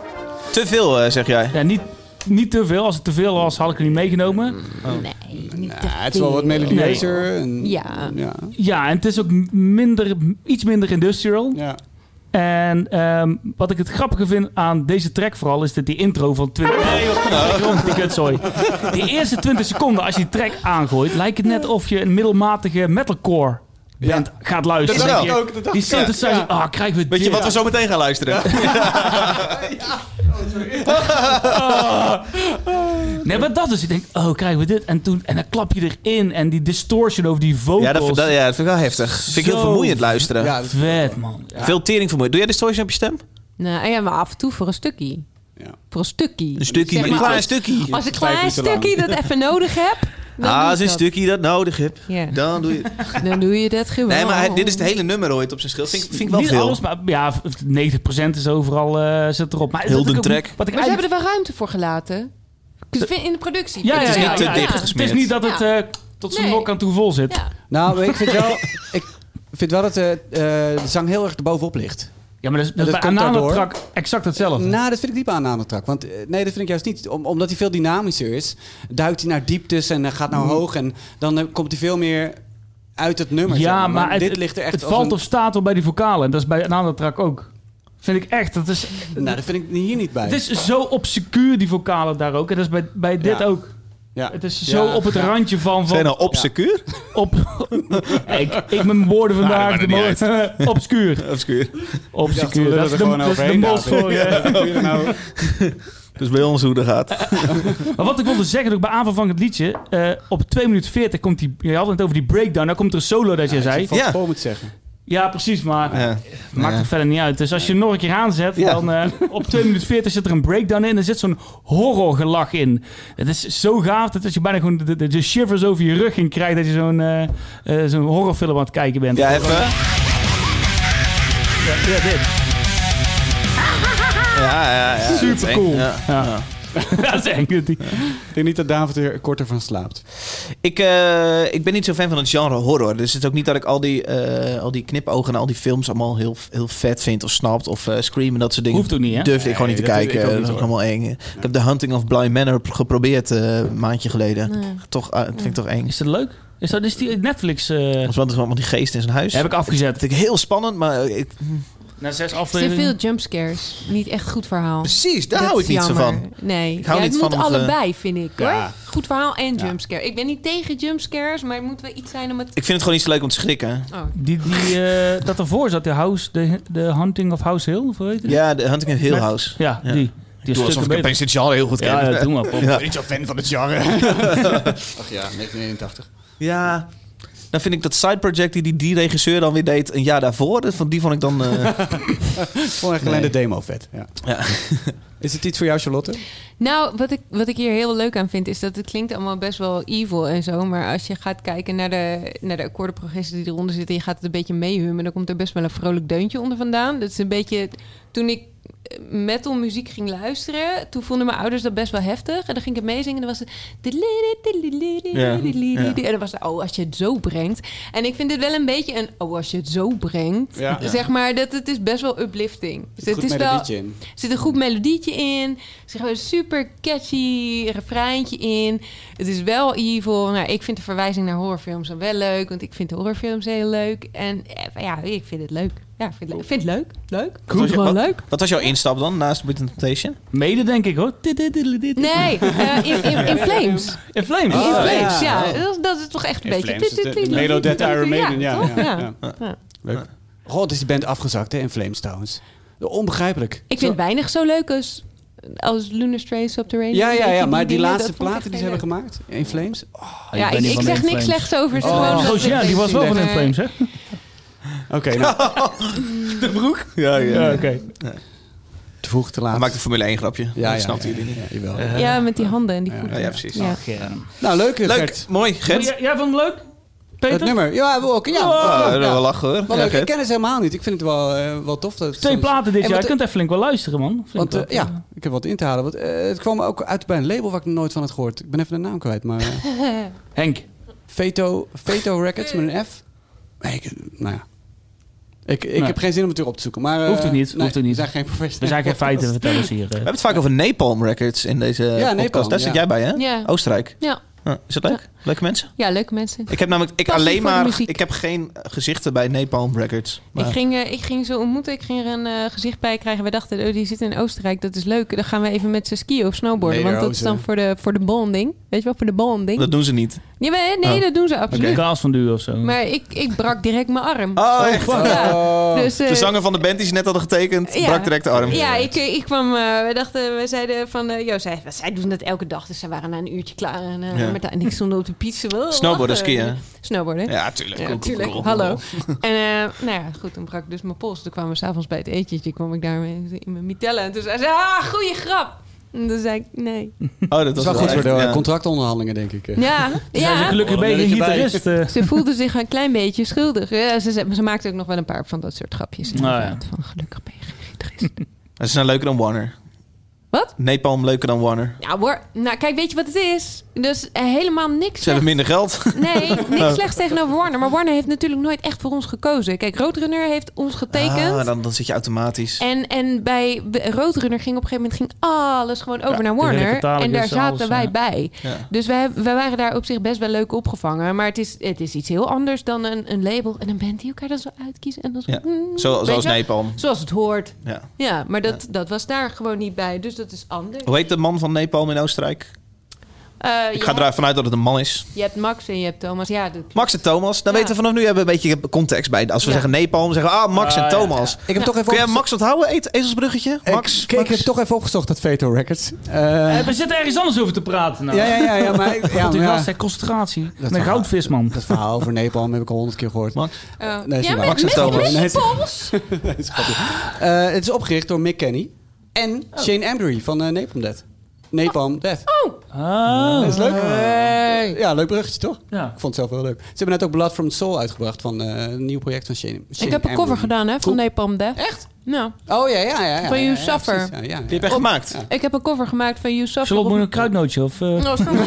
S3: Te veel, eh, zeg jij.
S1: Ja, niet, niet te veel. Als het te veel was, had ik het niet meegenomen.
S10: nou,
S2: het is wel wat melodieuzer. en-
S10: Ja.
S2: ja.
S1: Ja, en het is ook minder, iets minder industrial.
S2: Ja.
S1: En ehm, wat ik het grappige vind aan deze track vooral... is dat die intro van 20... Nee,
S3: nou?
S1: joh, die kutzooi. Die eerste 20 seconden, als je die track aangooit... lijkt het net of je een middelmatige metalcore band gaat luisteren.
S3: Dat dacht
S1: Dan denk
S3: ik
S1: je,
S3: ook, dat dacht
S1: die
S3: ik, ja.
S1: synthesizer,
S3: Ja.
S1: ah, krijgen we
S3: Weet je
S1: dit?
S3: wat we zo meteen gaan luisteren?
S1: Nee, maar dat dus. Ik denk, oh, krijgen we dit? En, toen, en dan klap je erin en die distortion over die vocals.
S3: Ja, dat, dat- ja, dat vind ik wel heftig. vind ik heel
S1: Zo
S3: vermoeiend luisteren.
S1: Ja, vet, man. Ja.
S3: Veel tering vermoeiend. Doe jij distortion op je stem?
S10: Nou, ja, maar af en toe voor een stukje. Voor een stukje.
S3: Een stukje,
S10: Zeg
S3: een
S10: maar,
S3: klein
S10: als-
S3: stukje.
S10: Als ik een
S3: Vijf
S10: klein
S3: minuten lang.
S10: stukje dat even nodig heb, dan doe
S3: ah,
S10: ik
S3: als je een
S10: dat.
S3: stukje dat nodig hebt,
S10: Ja.
S3: dan doe je...
S10: Dan doe je dat gewoon.
S3: Nee, maar hij- dit is het hele nummer ooit op zijn schild. Vind, ik- vind ik wel
S1: Niet
S3: veel.
S1: alles, maar ja, 90% is overal eh zit erop. Maar
S3: Heel
S1: dat
S3: de
S1: ik ook-
S3: track.
S1: Wat ik
S10: Maar ze hebben
S1: eigenlijk-
S10: er wel ruimte voor gelaten. Ik vind- In de productie.
S1: ja, ja,
S10: vind ik
S1: ja,
S10: wel.
S1: ja, ja. Het is niet dat het
S10: Ja.
S1: eh, tot zijn
S10: Nee.
S1: nok aan toe vol zit. Ja,
S2: Nou, ik vind wel, ik vind wel dat eh, eh, de zang heel erg erbovenop ligt.
S1: maar dat is,
S2: En
S1: dat is
S2: dat
S1: bij
S2: komt daardoor.
S1: Ananatrak exact hetzelfde.
S2: Nou, dat vind ik niet aan de trak. Want eh, nee, dat vind ik juist niet. Om- omdat hij veel
S1: Mm.
S2: dynamischer is, duikt hij naar dieptes en eh, gaat naar hoog. En dan eh, komt hij veel meer uit het nummer. zeg
S1: Ja, maar het,
S2: dit ligt er echt
S1: het
S2: als
S1: valt
S2: een-
S1: of staat wel bij die vocalen. En dat is bij een andere track ook. Vind ik echt. Dat is,
S2: Nou, dat vind ik hier niet bij.
S1: Het is zo obscuur, die vocalen daar ook. En dat is bij, bij dit ook.
S2: Ja.
S1: Het is zo op het randje van... van
S3: Zijn nou obscuur?
S1: Op, Hey, ik, ik met mijn woorden
S3: Nou,
S1: vandaag. de
S3: dat maakt niet
S1: mo-
S3: uit.
S1: obscuur.
S3: Obscuur.
S1: Obscuur. Dat, is de, dat is de mos voor je.
S3: Dus bij ons hoe dat gaat.
S1: Maar wat ik wilde zeggen, ook bij aanvang van het liedje, eh, op 2 minuten 40 komt die, je had het over die breakdown, dan komt er een solo dat jij zei.
S2: Van ja. voor moet zeggen.
S1: Ja, precies, maar eh, maakt
S2: Ja.
S1: het verder niet uit. Dus als je hem nog een keer aanzet,
S2: Ja.
S1: dan eh, op 2 minuten 40 zit er een breakdown in. Er zit zo'n horrorgelach in. Het is zo gaaf dat als je bijna gewoon de, de, de shivers over je rug in krijgt dat je zo'n eh, eh, zo'n horrorfilm aan het kijken bent.
S3: Ja, even.
S1: Ja, ja, dit.
S3: Ja, ja, ja.
S1: Super cool.
S3: Ja.
S1: Ja. dat is eng. dat die-
S2: Ik denk niet dat David er korter van slaapt.
S3: Ik, eh, ik ben niet zo fan van het genre horror. Dus het is ook niet dat ik al die, eh, al die knipogen en al die films allemaal heel, heel vet vind of snapt. Of eh Scream en dat soort dingen.
S1: Hoeft ook niet, hè?
S3: Durfde ik gewoon niet
S2: Nee,
S3: te
S2: dat doe
S3: kijken.
S2: ik ook
S3: dat
S2: niet,
S3: is ook allemaal eng. Ik heb The Hunting of Blind Manor geprobeerd eh, een maandje geleden.
S1: Nee.
S3: Toch, ah, dat vind ik toch eng.
S1: Is dat leuk? Is dat is die Netflix... eh,
S3: Want er is allemaal die geest in zijn huis.
S1: Heb ik afgezet.
S3: Dat vind ik heel spannend, maar eh, ik,
S1: Na zes
S4: Er zijn
S1: afleveringen...
S4: veel jumpscares. Niet echt goed verhaal.
S3: Precies, daar
S4: Dat
S3: hou
S4: is
S3: ik niet zo
S4: jammer.
S3: van.
S4: Nee,
S3: Ik hou
S4: Ja,
S3: niet
S4: het
S3: van
S4: moet
S3: om, eh,
S4: allebei, vind ik hoor.
S3: Ja.
S4: Goed verhaal en
S3: Ja.
S4: jumpscare. Ik ben niet tegen jumpscares, maar het moet wel iets zijn om het...
S3: ik vind het gewoon niet zo leuk om te schrikken.
S4: Oh.
S1: Die, die, eh, dat ervoor zat, de, house, de, de Hunting of House Hill, of hoe heet het?
S3: Ja, de Hunting of Hill
S1: Met-
S3: House.
S1: Ja, die. die
S3: Ik doe alsof ik opeens dit genre heel goed ken.
S1: Ja, ja, doe maar, Pop.
S3: Ja.
S2: niet zo fan van het genre. Ach ja, 1981.
S3: Ja. Dan vind ik dat side project die die, die regisseur dan weer deed een jaar daarvoor. dat- Van die vond ik dan. eh,
S2: Vond echt alleen de demo vet. Ja. Is het iets voor jou, Charlotte?
S4: Nou, wat ik, wat ik hier heel leuk aan vind, is dat het klinkt allemaal best wel evil en zo. Maar als je gaat kijken naar de, naar de akkoordenprogressie die eronder zit... en je gaat het een beetje meehummen, dan komt er best wel een vrolijk deuntje onder vandaan. Dat is een beetje... Toen ik eh, metal muziek ging luisteren, toen vonden mijn ouders dat best wel heftig. En dan ging ik het meezingen en dan was het...
S14: Ja, ja.
S4: En dan was het, oh, als je het zo brengt. En ik vind dit wel een beetje een, oh, als je het zo brengt.
S14: Ja.
S4: Zeg maar, dat het is best wel uplifting. Dus
S2: Goed
S4: het is wel...
S2: melodietje in.
S4: Er zit een goed melodietje in. Er zit gewoon een super catchy refreintje in. Het is wel evil. Nou, ik vind de verwijzing naar horrorfilms dan wel leuk. Want ik vind horrorfilms heel leuk. En eh, ja, ik vind het leuk. Ja, ik vind het leuk. Ik vind het leuk. Leuk. Ik
S3: wat, was
S4: vind het
S3: jou-
S4: gewoon
S3: wat-
S4: leuk.
S3: wat was jouw instap dan naast Beat Temptation?
S1: Mede, denk ik hoor.
S4: Nee, eh, in, in, in Flames.
S1: In Flames.
S4: in
S1: Oh,
S4: Flames,
S1: ja.
S4: ja. Dat, dat is toch echt een
S2: In
S4: beetje...
S2: Flames is de- de Melo Dead Iron Maiden, ja,
S4: toch?
S2: ja,
S4: ja.
S2: ja.
S4: Ja.
S2: Leuk. God, is die band afgezakt hè, in Flames trouwens. Onbegrijpelijk.
S4: Ik vind weinig zo leuk als, als Lunar Strays op de Radio.
S2: Ja, ja, ja,
S4: Weet je,
S2: maar die
S4: dingen,
S2: laatste
S4: dat vond ik echt
S2: platen die ze
S4: heel
S2: hebben
S4: leuk.
S2: gemaakt in Flames. Oh,
S4: Ja, ik- ik zeg niks slechts over ze,
S2: Oh.
S4: gewoon dat
S1: Oh, ja,
S4: ik
S1: die was wel van In
S4: weet-
S1: Flames, hè?
S2: Oké, nou,
S3: De broek? Ja, ja.
S1: Ja,
S3: ja
S1: oké.
S2: te vroeg, te laat.
S3: Maakt een Formule 1 grapje.
S2: Ja, ja,
S3: dat snapten
S2: ja,
S3: jullie niet.
S2: jawel.
S4: Ja, met die handen en die voeten.
S3: Ja, Oh ja, precies.
S4: Ja.
S2: Nou, leuk,
S3: Leuk,
S2: Gert.
S3: mooi. Gent.
S1: Jij, jij vond hem leuk? Peter?
S2: Het nummer. Ja, wel- oké, ja.
S3: Ah, dat
S2: ja.
S3: is wel lachen hoor.
S2: Oh, Wel
S3: Ja,
S2: leuk. Ik
S3: Gert.
S2: ken het helemaal niet. Ik vind het wel, eh, wel tof. Dat het
S1: Twee
S2: soms-
S1: platen dit
S2: En
S1: jaar. Je
S2: wat-
S1: kunt even flink wel luisteren, man. Vind
S2: Want
S1: ik
S2: eh,
S1: wel.
S2: ja, ik heb wat in te halen. Want, eh, het kwam ook uit bij een label waar ik nog nooit van had gehoord. Ik ben even de naam kwijt, maar... eh,
S1: Henk.
S2: Veto, Veto Records met een F. Nee, ik, nou ja. Ik, ik
S1: Nee.
S2: heb geen zin om het weer op te zoeken. Maar, eh,
S1: Hoeft ook niet,
S2: nee,
S1: hoeft ook niet.
S2: We zijn geen professionals.
S1: We zijn geen feiten vertellen ze hier.
S3: We
S1: eh.
S3: hebben het vaak over Napalm Records in deze podcast.
S2: Napalm,
S3: Daar
S2: ja.
S3: zit jij bij, hè?
S4: Ja.
S3: Oostenrijk.
S4: Ja.
S3: Ah, is dat leuk? Leuke mensen?
S4: ja, leuke mensen.
S3: Ik heb namelijk ik
S4: Passie
S3: alleen
S4: voor de
S3: maar.
S4: muziek.
S3: Ik heb geen eh, gezichten bij Napalm Records. Maar,
S4: Ik ging, eh, ik ging ze ontmoeten, ik ging er een eh, gezicht bij krijgen. We dachten, oh, die zit in Oostenrijk, dat is leuk. Dan gaan we even met ze skiën of snowboarden. want dat is dan
S2: Lederhozen.
S4: voor de, voor de bonding. Weet je wel, voor de bonding.
S3: oh, Dat doen ze niet.
S4: Ja, maar, eh, nee,
S3: Oh.
S4: dat doen ze absoluut.
S1: Kaas van Duur of zo.
S4: Maar ik, ik brak direct mijn arm.
S3: Oh, echt?
S4: Ja, dus, eh,
S3: de zanger van de band die ze net hadden getekend,
S4: Ja.
S3: brak direct de arm.
S4: Ja, ik, ik kwam. eh, we dachten, we zeiden van. eh joh, zij, zij doen dat elke dag. Dus ze waren na een uurtje klaar. En, eh,
S3: Ja.
S4: met, en ik stond op de pizza. Wel,
S3: Snowboarden,
S4: lachen.
S3: skiën.
S4: Snowboarden.
S3: Ja, tuurlijk. Cool, cool,
S4: tuurlijk.
S3: cool, cool.
S4: Hallo. En eh, nou ja, goed, toen brak ik dus mijn pols. Toen kwamen we s'avonds bij het etentje. kwam ik daar met- in mijn mitellen. En toen zei ze, ah, goede grap. En toen zei ik, nee.
S3: Oh, dat
S2: Dat
S3: was
S2: is wel goed voor de eh,
S3: echt, ja.
S2: contractonderhandelingen, denk ik. eh.
S4: Ja,
S1: Zij is een
S4: ja.
S1: gelukkig
S3: Oh,
S2: Wat een
S1: beetje
S2: beetje bij.
S1: gitarist. eh.
S4: Ze voelde zich een klein beetje schuldig. Ja, ze, ze, ze maakte ook nog wel een paar van dat soort grapjes.
S1: Nou ja.
S4: inderdaad, Van gelukkig ben je geen gitarist.
S3: Ze zijn leuker dan Warner.
S4: Wat?
S3: Napalm leuker dan Warner.
S4: Ja, hoor. Nou, kijk, weet je wat het is? Dus eh, helemaal niks.
S3: Ze hebben minder geld.
S4: Nee,
S3: Oh.
S4: niks slechts tegenover Warner. Maar Warner heeft natuurlijk nooit echt voor ons gekozen. Kijk, Roadrunner heeft ons getekend.
S3: Ah, dan, dan zit je automatisch.
S4: En, en bij Roadrunner ging op een gegeven moment ging alles gewoon over
S3: Ja,
S4: naar
S3: de hele
S4: Warner.
S3: catalogus,
S4: En daar zaten
S3: alles,
S4: wij
S3: ja.
S4: bij.
S3: Ja.
S4: Dus wij, heb- wij waren daar op zich best wel leuk opgevangen. Maar het is, het is iets heel anders dan een, een label en een band die elkaar dan zo uitkiezen. En dan zo,
S3: Ja.
S4: mm,
S3: Zo-
S4: weet
S3: zoals
S4: je wel?
S3: Napalm.
S4: Zoals het hoort.
S3: Ja.
S4: Ja, maar dat, dat was daar gewoon niet bij. Dus dat is anders.
S3: Hoe heet de man van Napalm in Oostenrijk?
S4: Eh,
S3: Ik
S4: je
S3: ga er
S4: hebt-
S3: vanuit dat het een man is.
S4: Je hebt Max en je hebt Thomas. Ja, dat
S3: Max en Thomas. Dan weten we vanaf nu hebben we een beetje context bij. Als we
S4: Ja.
S3: zeggen Nepal, zeggen we ah, Max
S2: Ah,
S3: en
S2: ja.
S3: Thomas.
S2: Ik heb toch even
S3: Kun jij
S2: opgezo-
S3: Max onthouden, Eet- ezelsbruggetje? Max?
S2: Ik, ik heb toch even opgezocht dat Veto Records. Eh,
S1: Eh, we zitten ergens anders over te praten. Nou.
S2: Ja, ja, ja, ja, maar ik- ja,
S1: God, die
S2: maar ja.
S1: gast, hè, concentratie.
S2: dat
S1: Met
S2: verhaal-
S1: goudvisman.
S2: Dat verhaal over Nepal heb ik al honderd keer gehoord.
S3: Max?
S4: Oh.
S2: Nee, is
S4: ja,
S2: niet waar.
S4: met,
S2: Max en
S4: met
S2: Thomas.
S4: met
S2: Nee, het-
S4: Pols?
S2: Nee, is grapje. Eh, het is opgericht door Mick Kenny en Shane Embry van eh Napalm Death. Napalm Death.
S4: Oh.
S1: oh.
S2: Dat is leuk. Ja, leuk bruggetje toch?
S1: Ja.
S2: Ik vond het zelf wel leuk. Ze hebben net ook Blood from the Soul uitgebracht van eh, een nieuw project van Shane.
S4: Ik heb een cover gedaan hè, van Napalm Death.
S2: Echt?
S4: Nou.
S2: Oh ja, ja, ja. ja,
S4: Van
S2: ja, ja,
S4: You
S2: ja,
S4: Suffer.
S2: precies. Ja, ja, ja.
S3: Die heb jij gemaakt.
S4: Ik heb een cover gemaakt van You Suffer.
S1: Charlotte,
S4: op-
S1: moet je een kruidnootje? Of, eh?
S4: Oh, sorry.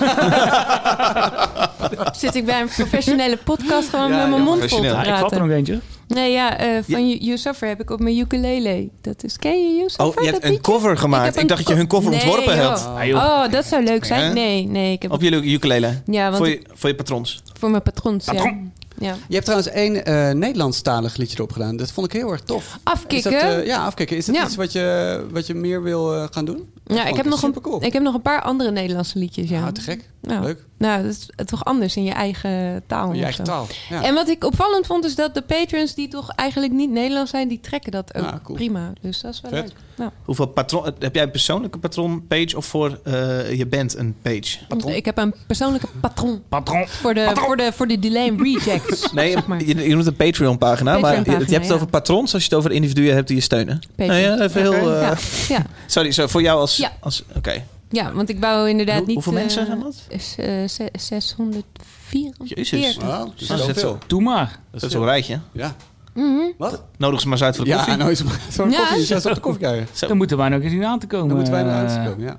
S4: Zit ik bij een professionele podcast gewoon
S1: Ja,
S4: met mijn
S1: ja,
S4: mond vol te
S1: professioneel. Ja, ik vat er nog
S4: praten?
S1: eentje.
S4: Nee, ja, eh, van You- You Suffer heb ik op mijn ukulele. Dat is, ken je You Suffer?
S3: Oh, je
S4: dat
S3: hebt een
S4: liedje?
S3: cover gemaakt. Ik,
S4: heb een
S3: dacht dat je hun cover
S4: Nee,
S3: ontworpen
S4: joh.
S3: hebt.
S1: Ah,
S4: Oh, dat zou leuk zijn.
S3: Ja.
S4: Nee, nee, ik heb
S3: Op jullie ukulele.
S4: Ja, want
S3: voor,
S4: ik-
S3: je, voor je patrons.
S4: voor mijn patrons. Ja.
S3: Patron.
S4: Ja.
S2: Je hebt trouwens één eh Nederlandstalig liedje erop gedaan. Dat vond ik heel erg tof. Is dat,
S4: Afkikken.
S2: eh, ja, afkikken. Is dat
S4: Ja.
S2: iets wat je, wat je meer wil eh, gaan doen?
S4: Ja, ik heb, nog een, ik heb nog een paar andere Nederlandse liedjes. Ja.
S3: Ah,
S2: Ah, te gek.
S4: Nou,
S2: Leuk.
S4: Nou, dat is toch anders in je eigen taal.
S3: Oh,
S2: Je
S4: of
S2: eigen
S4: Oh, zo.
S2: taal. Ja.
S4: En wat ik opvallend vond, is dat de patrons die toch eigenlijk niet Nederlands zijn, die trekken dat ook
S3: Ja, Ah, cool.
S4: prima. Dus dat is wel
S3: Vet.
S4: leuk. Nou,
S3: Hoeveel patron, eh, heb jij een persoonlijke patron page of voor eh, je band een page?
S4: Ik heb een persoonlijke patron.
S1: Patron.
S4: Voor de, Voor de, voor de delay and rejects.
S3: Nee,
S4: zeg maar.
S3: je, je noemt een Patreon pagina, maar je, je hebt
S4: Patreon-pagina,
S3: het over patrons als je het over individuen hebt die je steunen.
S4: Patreon.
S3: Nou ja, even
S4: Ja.
S3: heel, eh,
S4: Ja, ja.
S3: Sorry, zo voor jou als...
S4: Ja.
S3: als Oké. Dus
S4: ja, want ik wou inderdaad
S3: Hoe-
S4: niet... eh,
S3: hoeveel mensen zijn
S4: dat? 644.
S3: Jezus. Wauw, dat is
S1: Dat is
S3: zoveel.
S1: zo. Doe maar.
S3: Dat is wel een rijtje.
S2: Ja.
S4: Mhm.
S2: Wat?
S3: Nodig ze maar eens uit voor de
S2: Ja,
S3: koffie.
S2: nou is het maar uit voor de Ja. koffie. Dus jij staat op de koffiekeier.
S1: Dan moeten wij nog eens in aan te komen.
S2: Dan moeten wij naar
S1: eh,
S2: huis komen, ja.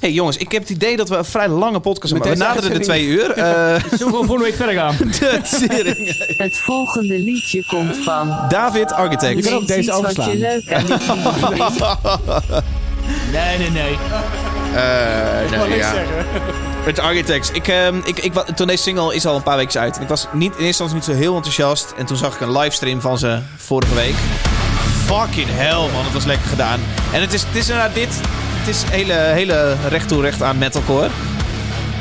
S3: hey, jongens, ik heb het idee dat we een vrij lange podcast hebben. We
S1: deze
S3: naderen de twee
S1: uitzending-
S3: uur. Eh
S1: Zullen we gewoon volgende week verder gaan?
S3: de tering.
S6: Het volgende liedje komt van.
S3: David Architect.
S6: Je kan ook deze Iets wat overslaan. je leuk aan dit
S1: nee, nee, nee.
S3: Eh
S1: wou
S3: nee,
S1: niks
S3: ja.
S1: zeggen.
S3: Het Architects. Ik, ehm, ik, ik, wa- toen deze single is al een paar weken uit. En ik was niet, in eerste instantie niet zo heel enthousiast. En toen zag ik een livestream van ze vorige week. Fucking hell, man. Het was lekker gedaan. En het is, het is inderdaad dit. Het is hele, hele recht toe recht aan metalcore.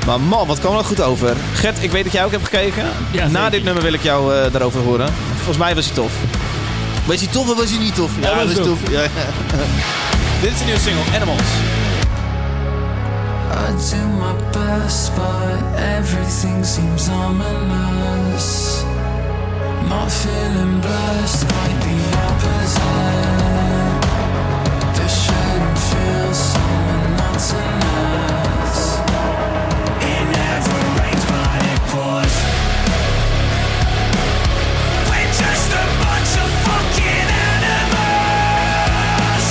S3: Maar man, wat kwam er nou goed over. Gert, ik weet dat jij ook hebt gekeken. Na dit nummer wil ik jou eh, daarover horen. Volgens mij was hij tof. Was hij tof of was hij niet tof? Ja, was, tof. Ja. dit is een nieuwe single, Animals.
S9: I do my best, but everything seems ominous. Not feeling blessed, quite the opposite. This shouldn't feel so monotonous. It never rains, but it pours. We're just a bunch of fucking animals,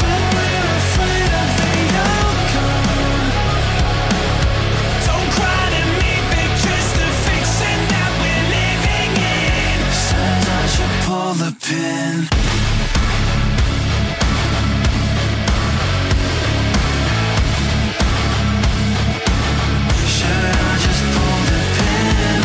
S9: but we're afraid of the outcome. Don't cry to me, pictures the fiction that we're living in. Says I should pull the pin. Should I just pull the pin?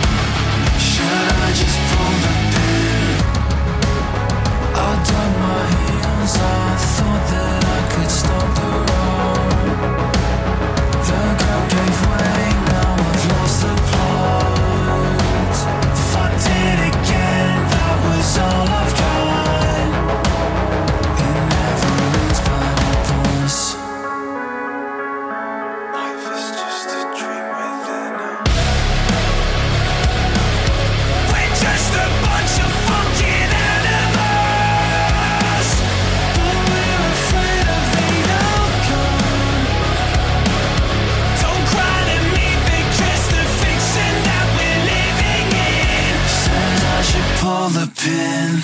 S9: Should I just pull the pin? I dug my heels, I thought that I could stop the roar. The ground gave way, now I been.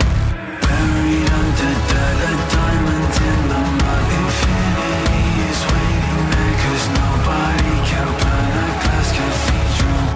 S9: Buried under the light diamonds in the mud. Infinity is waiting there 'cause nobody can burn a glass cathedral.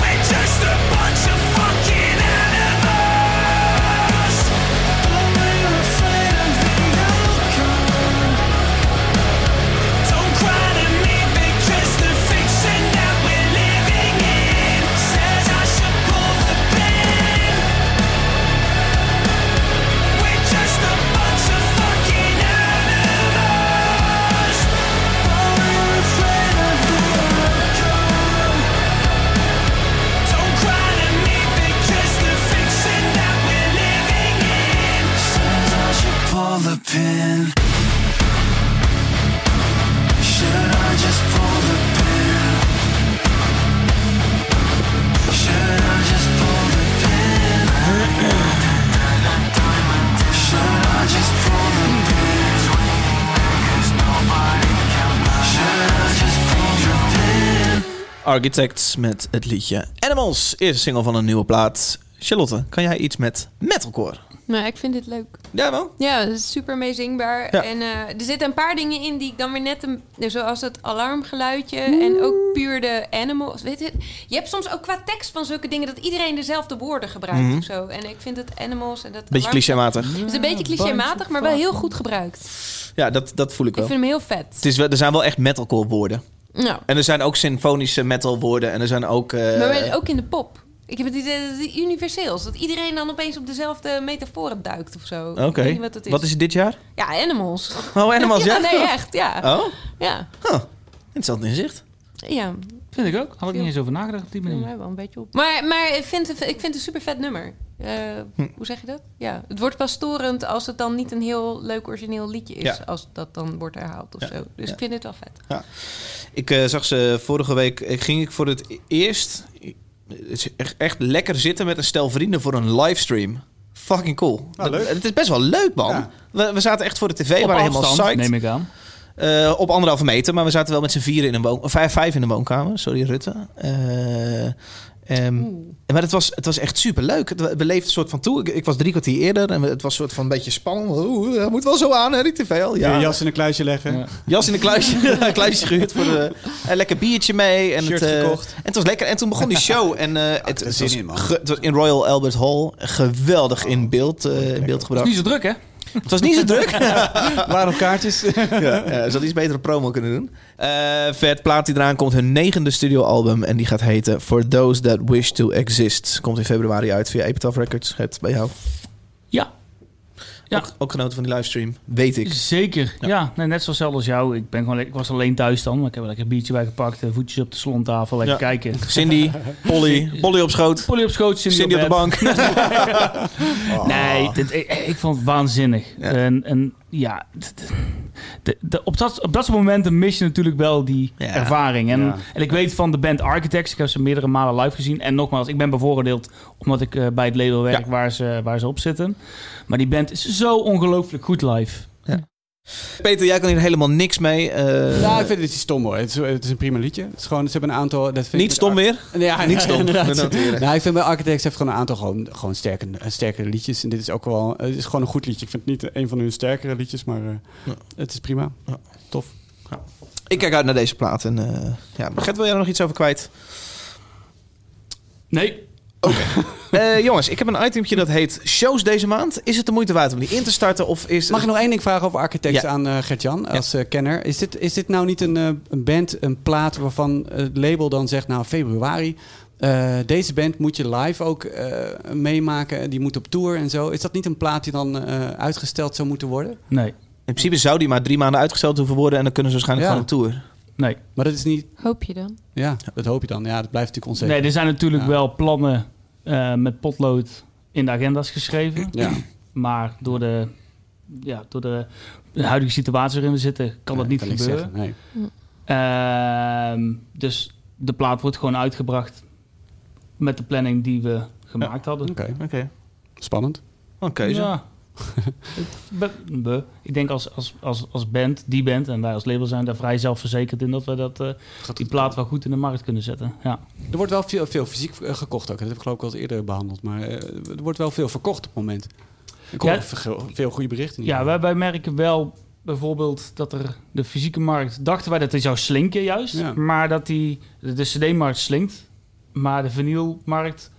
S9: We're just a bunch of fucking animals. But we're afraid of the outcome. Don't cry to me because the fiction that we're living in says I should pull the pin. We're just a bunch of fucking animals. But we're afraid of the outcome. Don't cry to me because the fiction that we're living in says I should pull the pin. Should I just pull the pin? Should I just pull the pin? Should I just pull the pin? Should I just pull the pin?
S3: Architects met het liedje Animals. Eerste single van een nieuwe plaat. Charlotte, kan jij iets met metalcore?
S4: Nou, ik vind dit leuk.
S3: Ja, wel?
S4: Ja, het is super meezingbaar.
S3: Ja.
S4: En eh, er zitten een paar dingen in die ik dan weer net... Een, eh, zoals het alarmgeluidje en ook puur de animals. Weet je, je hebt soms ook qua tekst van zulke dingen... dat iedereen dezelfde woorden gebruikt
S3: Mhm.
S4: of zo. En ik vind het animals en dat...
S3: Beetje
S4: alarm-
S3: clichématig. Mm,
S4: Het is een beetje clichématig, maar wel heel goed gebruikt.
S3: Ja, dat, dat voel ik
S4: Ik
S3: wel.
S4: vind hem heel vet.
S3: Het is wel. Er zijn wel echt metalcore woorden.
S4: Nou,
S3: En er zijn ook symfonische metal woorden. En er zijn ook... eh,
S4: maar wel ook in de pop. Ik heb het idee dat het universeel is. Dat iedereen dan opeens op dezelfde metaforen duikt of zo.
S3: Oké.
S4: Ik weet niet wat het is.
S3: Wat is het dit jaar?
S4: Ja, animals.
S3: Oh, Animals, ja?
S4: nee, echt, ja.
S3: Oh,
S4: Ja.
S3: interessant inzicht.
S4: Ja,
S1: Vind ik ook. Had ik niet eens over nagedacht op die
S4: viel
S1: manier.
S4: mij wel een beetje op. Maar, maar ik, vind het, ik vind het een super vet nummer. Eh,
S3: Hm.
S4: Hoe zeg je dat? Ja, het wordt pas storend als het dan niet een heel leuk origineel liedje is.
S3: Ja.
S4: Als dat dan wordt herhaald of
S3: Ja.
S4: zo. Dus
S3: Ja.
S4: ik vind het wel vet.
S3: Ja. Ik eh, zag ze vorige week. eh, ging ik voor het eerst eh, het is echt, echt lekker zitten met een stel vrienden voor een livestream. Fucking cool.
S2: Nou,
S3: Dat-
S2: leuk.
S3: Het is best wel leuk, man.
S2: Ja.
S3: We, we zaten echt voor de tv. we
S1: Op
S3: waren
S1: afstand,
S3: helemaal psyched.
S1: neem ik aan.
S3: Eh, op anderhalve meter, maar we zaten wel met z'n vieren in een woon... of Vijf, vijf in de woonkamer, sorry Rutte. Eh, ehm, maar het was, het was echt superleuk. Het- We leefden een soort van toe. Ik, ik was drie kwartier eerder en we- het was een soort van een beetje spannend. Oeh, dat moet wel zo aan, hè, die tv al.
S2: Je
S3: Ja.
S2: jas in een kluisje leggen.
S3: Jas in een kluisje, een kluisje gehuurd voor de, een lekker biertje mee. En
S2: Shirt
S3: het, eh,
S2: gekocht.
S3: En het was lekker. En toen begon die show. En eh, het, het
S2: zin
S3: was
S2: in, man.
S3: ge- het was in Royal Albert Hall. Geweldig in beeld, eh, in beeld
S1: Het
S3: gebracht.
S1: is niet zo druk, hè?
S3: Het was niet zo druk.
S2: Waarom kaartjes?
S3: ja, ja, ze had iets betere promo kunnen doen. Eh, vet plaat die eraan komt. Hun negende studioalbum. En die gaat heten For Those That Wish To Exist. Komt in februari uit via Epitaph Records. Het bij jou.
S1: Ja. Ja.
S3: Ook, ook genoten van die livestream. Weet ik.
S1: Zeker, ja. nee, net zoals zelf als jou. Ik, ben gewoon, le- ik was alleen thuis dan, maar ik heb er lekker een biertje bij gepakt. eh, Voetjes op de salontafel, lekker
S3: Ja.
S1: kijken.
S3: Cindy, Polly, Polly op schoot.
S1: Polly op schoot, Cindy,
S3: Cindy op de
S1: bed.
S3: bank.
S2: Oh.
S1: Nee, dit, ik, ik vond het waanzinnig. En, en ja, d- d- de, de, op, dat, op dat soort momenten mis je natuurlijk wel die ervaring. En,
S2: Ja.
S1: en ik weet van de band Architects, ik heb ze meerdere malen live gezien. En nogmaals, ik ben bevooroordeeld omdat ik eh, bij het label werk waar, ze, waar ze op zitten. Maar die band is zo ongelooflijk goed live.
S3: Peter, jij kan hier helemaal niks mee. eh,
S2: Ja, ik vind het iets stom hoor. Het is, het is een prima liedje. Het is gewoon, ze hebben een aantal... Dat vind ik
S3: niet
S2: met
S3: stom weer.
S2: Ja,
S3: Niet stom. We
S2: inderdaad.
S3: noteren.
S2: Nou, ik vind bij Architects heeft gewoon een aantal gewoon, gewoon sterke, eh, sterkere liedjes. En dit is ook wel... eh, Het is gewoon een goed liedje. Ik vind het niet een van hun sterkere liedjes, maar eh,
S3: Ja.
S2: het is prima.
S3: Ja.
S2: Tof.
S3: Ik kijk uit naar deze plaat. En, eh ja, Gert, wil jij er nog iets over kwijt?
S1: Nee,
S3: Eh, jongens, ik heb een itempje dat heet Shows deze maand. Is het de moeite waard om die in te starten? Of is
S2: Mag ik nog één ding vragen over Architects
S3: Ja.
S2: aan eh, Gert-Jan als eh, kenner? Is dit, is dit nou niet een, eh, een band, een plaat waarvan het label dan zegt... nou, februari, eh, deze band moet je live ook eh, meemaken. Die moet op tour en zo. Is dat niet een plaat die dan eh, uitgesteld zou moeten worden?
S1: nee,
S3: In principe zou die maar drie maanden uitgesteld hoeven worden. En dan kunnen ze waarschijnlijk
S2: Ja.
S3: gewoon op tour.
S1: Nee.
S2: Maar dat is niet...
S4: Hoop je dan?
S2: Ja, dat hoop je dan. Ja, dat blijft natuurlijk onzeker.
S1: Nee, er zijn natuurlijk
S2: Ja.
S1: wel plannen eh, met potlood in de agenda's geschreven.
S2: Ja.
S1: Maar door de, ja, door de huidige situatie waarin we zitten, kan dat niet
S2: kan niks
S1: gebeuren.
S2: zeggen, nee.
S1: Ehm, dus de plaat wordt gewoon uitgebracht met de planning die we gemaakt hadden.
S2: Oké.
S3: Oké.
S2: Spannend.
S3: Oké. keuze.
S1: Ja. Be- be- Ik denk als, als, als, als band, die band en wij als label zijn daar vrij zelfverzekerd in dat we dat, eh, die plaat wel goed in de markt kunnen zetten. Ja.
S2: Er wordt wel veel, veel fysiek eh, gekocht ook. Dat heb ik geloof ik wel eens eerder behandeld. Maar eh, er wordt wel veel verkocht op het moment. Ik hoor
S1: Ja.
S2: veel, veel goede berichten.
S1: Ja, wij, wij merken wel bijvoorbeeld dat er de fysieke markt... dachten wij dat die zou slinken juist.
S2: Ja.
S1: Maar dat die, de, de cd-markt slinkt. Maar de vinylmarkt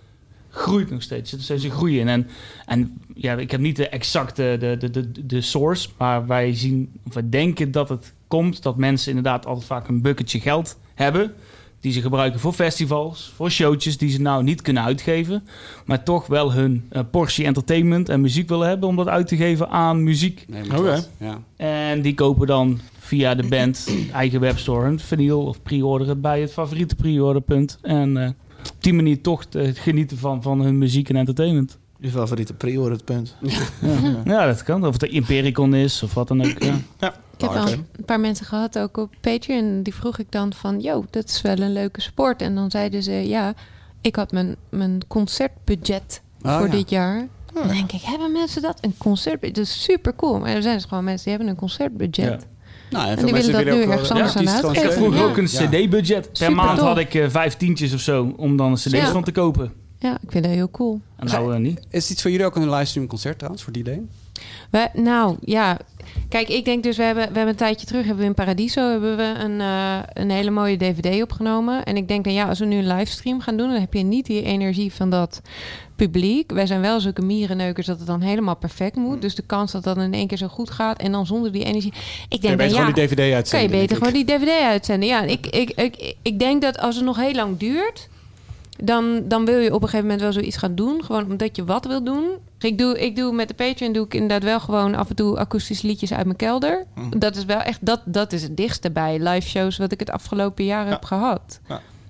S1: groeit nog steeds. Er zit nog steeds een groei in. En, en ja, ik heb niet de exacte de, de, de, de source. Maar wij zien, of wij denken dat het komt... dat mensen inderdaad altijd vaak een bucketje geld hebben... Die ze gebruiken voor festivals, voor showtjes die ze nou niet kunnen uitgeven. Maar toch wel hun eh, portie entertainment en muziek willen hebben om dat uit te geven aan muziek.
S2: Nee, maar klopt. Ja.
S1: En die kopen dan via de band eigen webstore een vinyl of pre-orderen bij het favoriete pre-orderpunt. En eh, op die manier toch te genieten van, van hun muziek en entertainment.
S3: Je favoriete pre het punt.
S1: Ja. ja, dat kan. Of het de Impericon is of wat dan ook. Ja.
S4: Ik heb al een paar mensen gehad, ook op Patreon, die vroeg ik dan van, yo, dat is wel een leuke sport. En dan zeiden ze, ja, ik had mijn, mijn concertbudget
S3: Ah,
S15: Oh,
S4: voor
S15: ja.
S4: dit jaar. Dan denk ik, hebben mensen dat? Een concertbudget, dat is super cool. Maar er zijn dus gewoon mensen die hebben een concertbudget.
S2: Nou,
S4: en die willen dat nu ergens anders aan
S1: Ik had
S4: uitgeven.
S1: vroeger
S4: Ja.
S1: ook een cd-budget. Per
S4: Super
S1: maand
S4: tof.
S1: had ik eh, vijf tientjes of zo om dan een cd
S4: Ja.
S1: van te kopen.
S4: Ja, ik vind dat heel cool.
S1: En nou eh, niet.
S2: Is dit voor jullie ook een livestream concert trouwens? Voor die day?
S4: We, nou ja, kijk, ik denk dus, we hebben, we hebben een tijdje terug hebben we in Paradiso hebben we een, eh, een hele mooie DVD opgenomen. En ik denk dan ja, als we nu een livestream gaan doen, dan heb je niet die energie van dat publiek. Wij zijn wel zulke mierenneukers dat het dan helemaal perfect
S2: Mm.
S4: moet. Dus de kans dat dat in één keer zo goed gaat en dan zonder die energie. Ik denk
S2: beter
S4: dan, ja,
S2: gewoon die DVD uitzenden,
S4: Kan je beter
S2: denk
S4: gewoon die DVD uitzenden. Ja, en ik, ik, ik, ik denk dat als het nog heel lang duurt dan, dan wil je op een gegeven moment wel zoiets gaan doen. Gewoon omdat je wat wil doen. Ik doe, ik doe met de Patreon doe ik inderdaad wel gewoon af en toe akoestische liedjes uit mijn kelder.
S15: Mhm.
S4: Dat is wel echt, dat, dat is het dichtste bij live shows wat ik het afgelopen jaar heb gehad.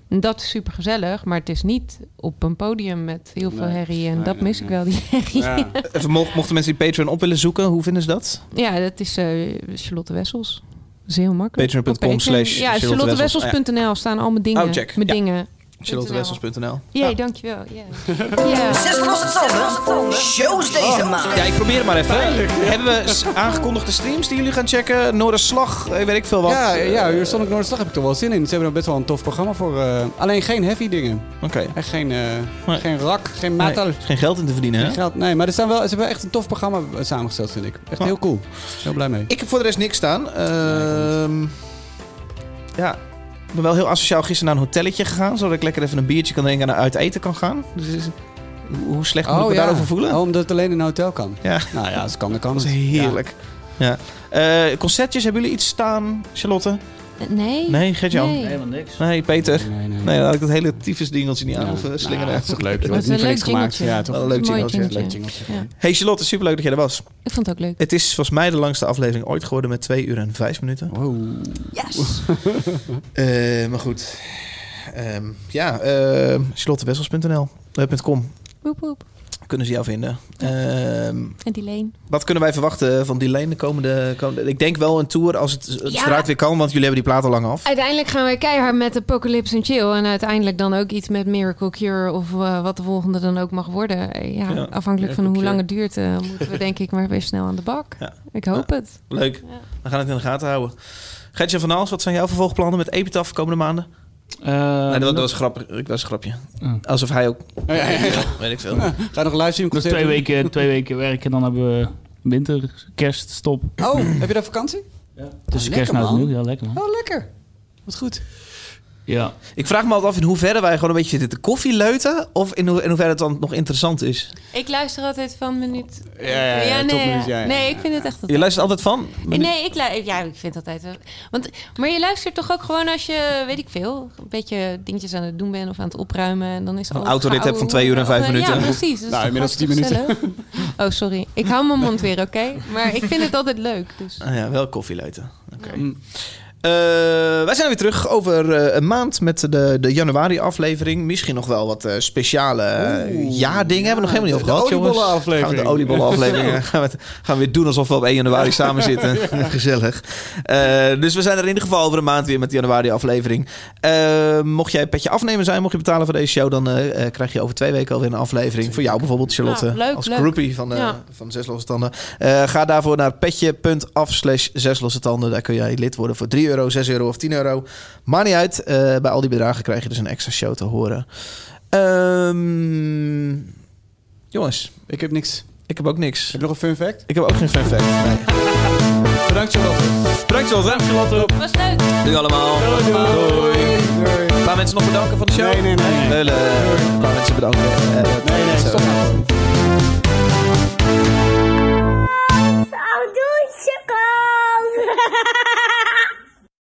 S4: En Dat is super gezellig, maar het is niet op een podium met heel veel
S3: Nee.
S4: herrie. En
S3: Nee,
S4: dat
S3: nee,
S4: mis ik wel, die herrie. Ja,
S3: Even, mo- mochten mensen die Patreon op willen zoeken, hoe vinden ze dat?
S4: dat is eh, Charlotte Wessels. Dat is heel makkelijk. Op
S3: Patreon.com
S4: Patreon.
S3: slash
S4: Ja,
S3: charlottewessels.
S4: charlottewessels.nl staan al mijn dingen.
S3: Oh, check.
S4: Mijn
S3: Ja. Ah.
S4: dingen.
S3: charlottewessels.nl.
S4: Jee, dankjewel. Ja.
S5: Zes losse tanden. Shows deze maand.
S3: Ja, ik probeer het maar even. Hebben we s- aangekondigde streams die jullie gaan checken? Noorder Slag, eh, weet ik veel wat.
S2: Ja,
S3: Eh,
S2: ja, hier stond ik Noorderslag heb ik toch wel zin in. Ze hebben er best wel een tof programma voor. eh, alleen geen heavy dingen.
S3: Oké.
S2: Echt geen, eh, geen rock, geen
S3: Nee,
S2: metal.
S3: er is geen geld in te verdienen, hè?
S2: Geen geld. Nee, maar er staan wel, ze hebben echt een tof programma eh, samengesteld, vind ik. Echt
S3: Ja.
S2: heel cool. Heel blij mee.
S3: Ik heb voor de rest niks staan. Ehm, ja, ik ben wel heel asociaal gisteren naar een hotelletje gegaan. Zodat ik lekker even een biertje kan drinken en uit eten kan gaan. Dus is- hoe- hoe slecht moet ik me
S2: ja.
S3: daarover voelen?
S2: Oh, omdat het alleen in een hotel kan.
S3: Ja.
S2: Nou ja, als het kan, dan kan het.
S3: Dat is heerlijk. Ja. Eh, concertjes, hebben jullie iets staan, Charlotte?
S4: Nee.
S3: Nee, Gert-Jan?
S4: Nee.
S3: Helemaal
S1: niks.
S3: Nee, Peter. Nee, dan had ik dat hele tyfusdingeltje niet aan hoeven eh, slingeren.
S2: nou, dat is toch leuk, joh.
S4: Dat is een leuk jingeltje.
S3: Ja, toch? Wel Een leuk
S4: Mooi
S3: jingeltje.
S4: jingeltje.
S3: Leuk jingeltje.
S4: Ja.
S3: Hey Charlotte, superleuk dat jij er was.
S4: Ik vond het ook leuk.
S3: Het is volgens mij de langste aflevering ooit geworden met 2 uur en 5 minuten.
S2: Wow.
S3: Yes. Eh, maar goed. Ehm, ja, eh charlottewessels.nl eh, .com
S4: Woep, woep.
S3: kunnen ze jou vinden. Ehm,
S4: En die leen.
S3: wat kunnen wij verwachten van die lane de komende, komende... Ik denk wel een tour als het, het
S4: Ja.
S3: straat weer kan, want jullie hebben die plaat al lang af.
S4: Uiteindelijk gaan wij keihard met Apocalypse en Chill. En uiteindelijk dan ook iets met Miracle Cure. Of eh, wat de volgende dan ook mag worden. Eh, Ja,
S3: Ja,
S4: afhankelijk
S3: Miracle
S4: van hoe
S3: Cure.
S4: lang het duurt, eh, moeten we denk ik maar weer snel aan de bak. Ik hoop
S3: Ja.
S4: het.
S3: Leuk. We gaan het in de gaten houden. Gertje van Aals, wat zijn jouw vervolgplannen met Epitaph komende maanden?
S1: Eh,
S3: nee, dat, was- dat was grappig. Ik was een grapje. Alsof hij ook...
S2: ja, ja.
S3: Weet ik veel.
S2: Ga nog luisteren.
S1: Nog twee weken, twee weken werken, dan hebben we winter, kerststop.
S2: Oh, heb je daar vakantie? Ja.
S1: Dus kerst nou nieuw, ja lekker man.
S2: Oh, lekker. Wat goed.
S1: Ja.
S3: Ik vraag me altijd af in hoeverre wij gewoon een beetje zitten te koffieleuten... of in, hoe, in hoeverre het dan nog interessant is.
S4: Ik luister altijd van minuut...
S3: Ja, ja, ja, tot
S4: nee,
S3: minuut, ja, ja.
S4: nee, ik vind het echt...
S3: Je luistert altijd van?
S4: Nee, ik, lu- ja, ik vind het altijd wel. Want, maar je luistert toch ook gewoon als je, weet ik veel, een beetje dingetjes aan het doen bent of aan het opruimen. En dan is
S3: Een autorit hebt van twee uur en vijf minuten.
S4: Ja, precies.
S3: Nou,
S4: Dat is toch
S3: inmiddels
S4: hartstikke
S3: tien minuten.
S4: gezellig? Oh, sorry. Ik hou mijn mond weer, oké? Maar ik vind het altijd leuk. Dus.
S3: Ah ja, wel koffieleuten. Oké. Eh, wij zijn weer terug over eh, een maand met de, de januari-aflevering. Misschien nog wel wat eh, speciale eh, jaardingen. Hebben we nog helemaal niet over
S7: de
S3: gehad, jongens.
S7: oliebollenaflevering.
S3: Gaan we de oliebollenaflevering eh, gaan, we het- gaan we weer doen alsof we op 1 januari samen zitten. Gezellig. Eh, dus we zijn er in ieder geval over een maand weer met de januari-aflevering. Eh, mocht jij een petje afnemen zijn, mocht je betalen voor deze show... dan eh, eh, krijg je over twee weken alweer een aflevering. Voor jou bijvoorbeeld, Charlotte.
S7: Nou, leuk,
S3: als
S7: leuk.
S3: groupie van, de,
S7: Ja.
S3: van Zes Losse Tanden. Eh, ga daarvoor naar petje.af slash Zes Losse Tanden. Daar kun jij lid worden voor 3 euro, 6 euro of 10 euro. Maakt niet uit. Eh, bij al die bedragen krijg je dus een extra show te horen. Ehm, jongens.
S2: Ik heb niks.
S3: Ik heb ook niks. Heb
S2: je nog een fun fact?
S3: Ik heb ook geen fun fact. Nee.
S2: Bedankt Charlotte.
S3: Bedankt Charlotte.
S10: Was leuk.
S3: Doei allemaal. Doei. Een paar mensen nog bedanken van de show? Nee, nee, nee. Een paar mensen bedanken. Eh,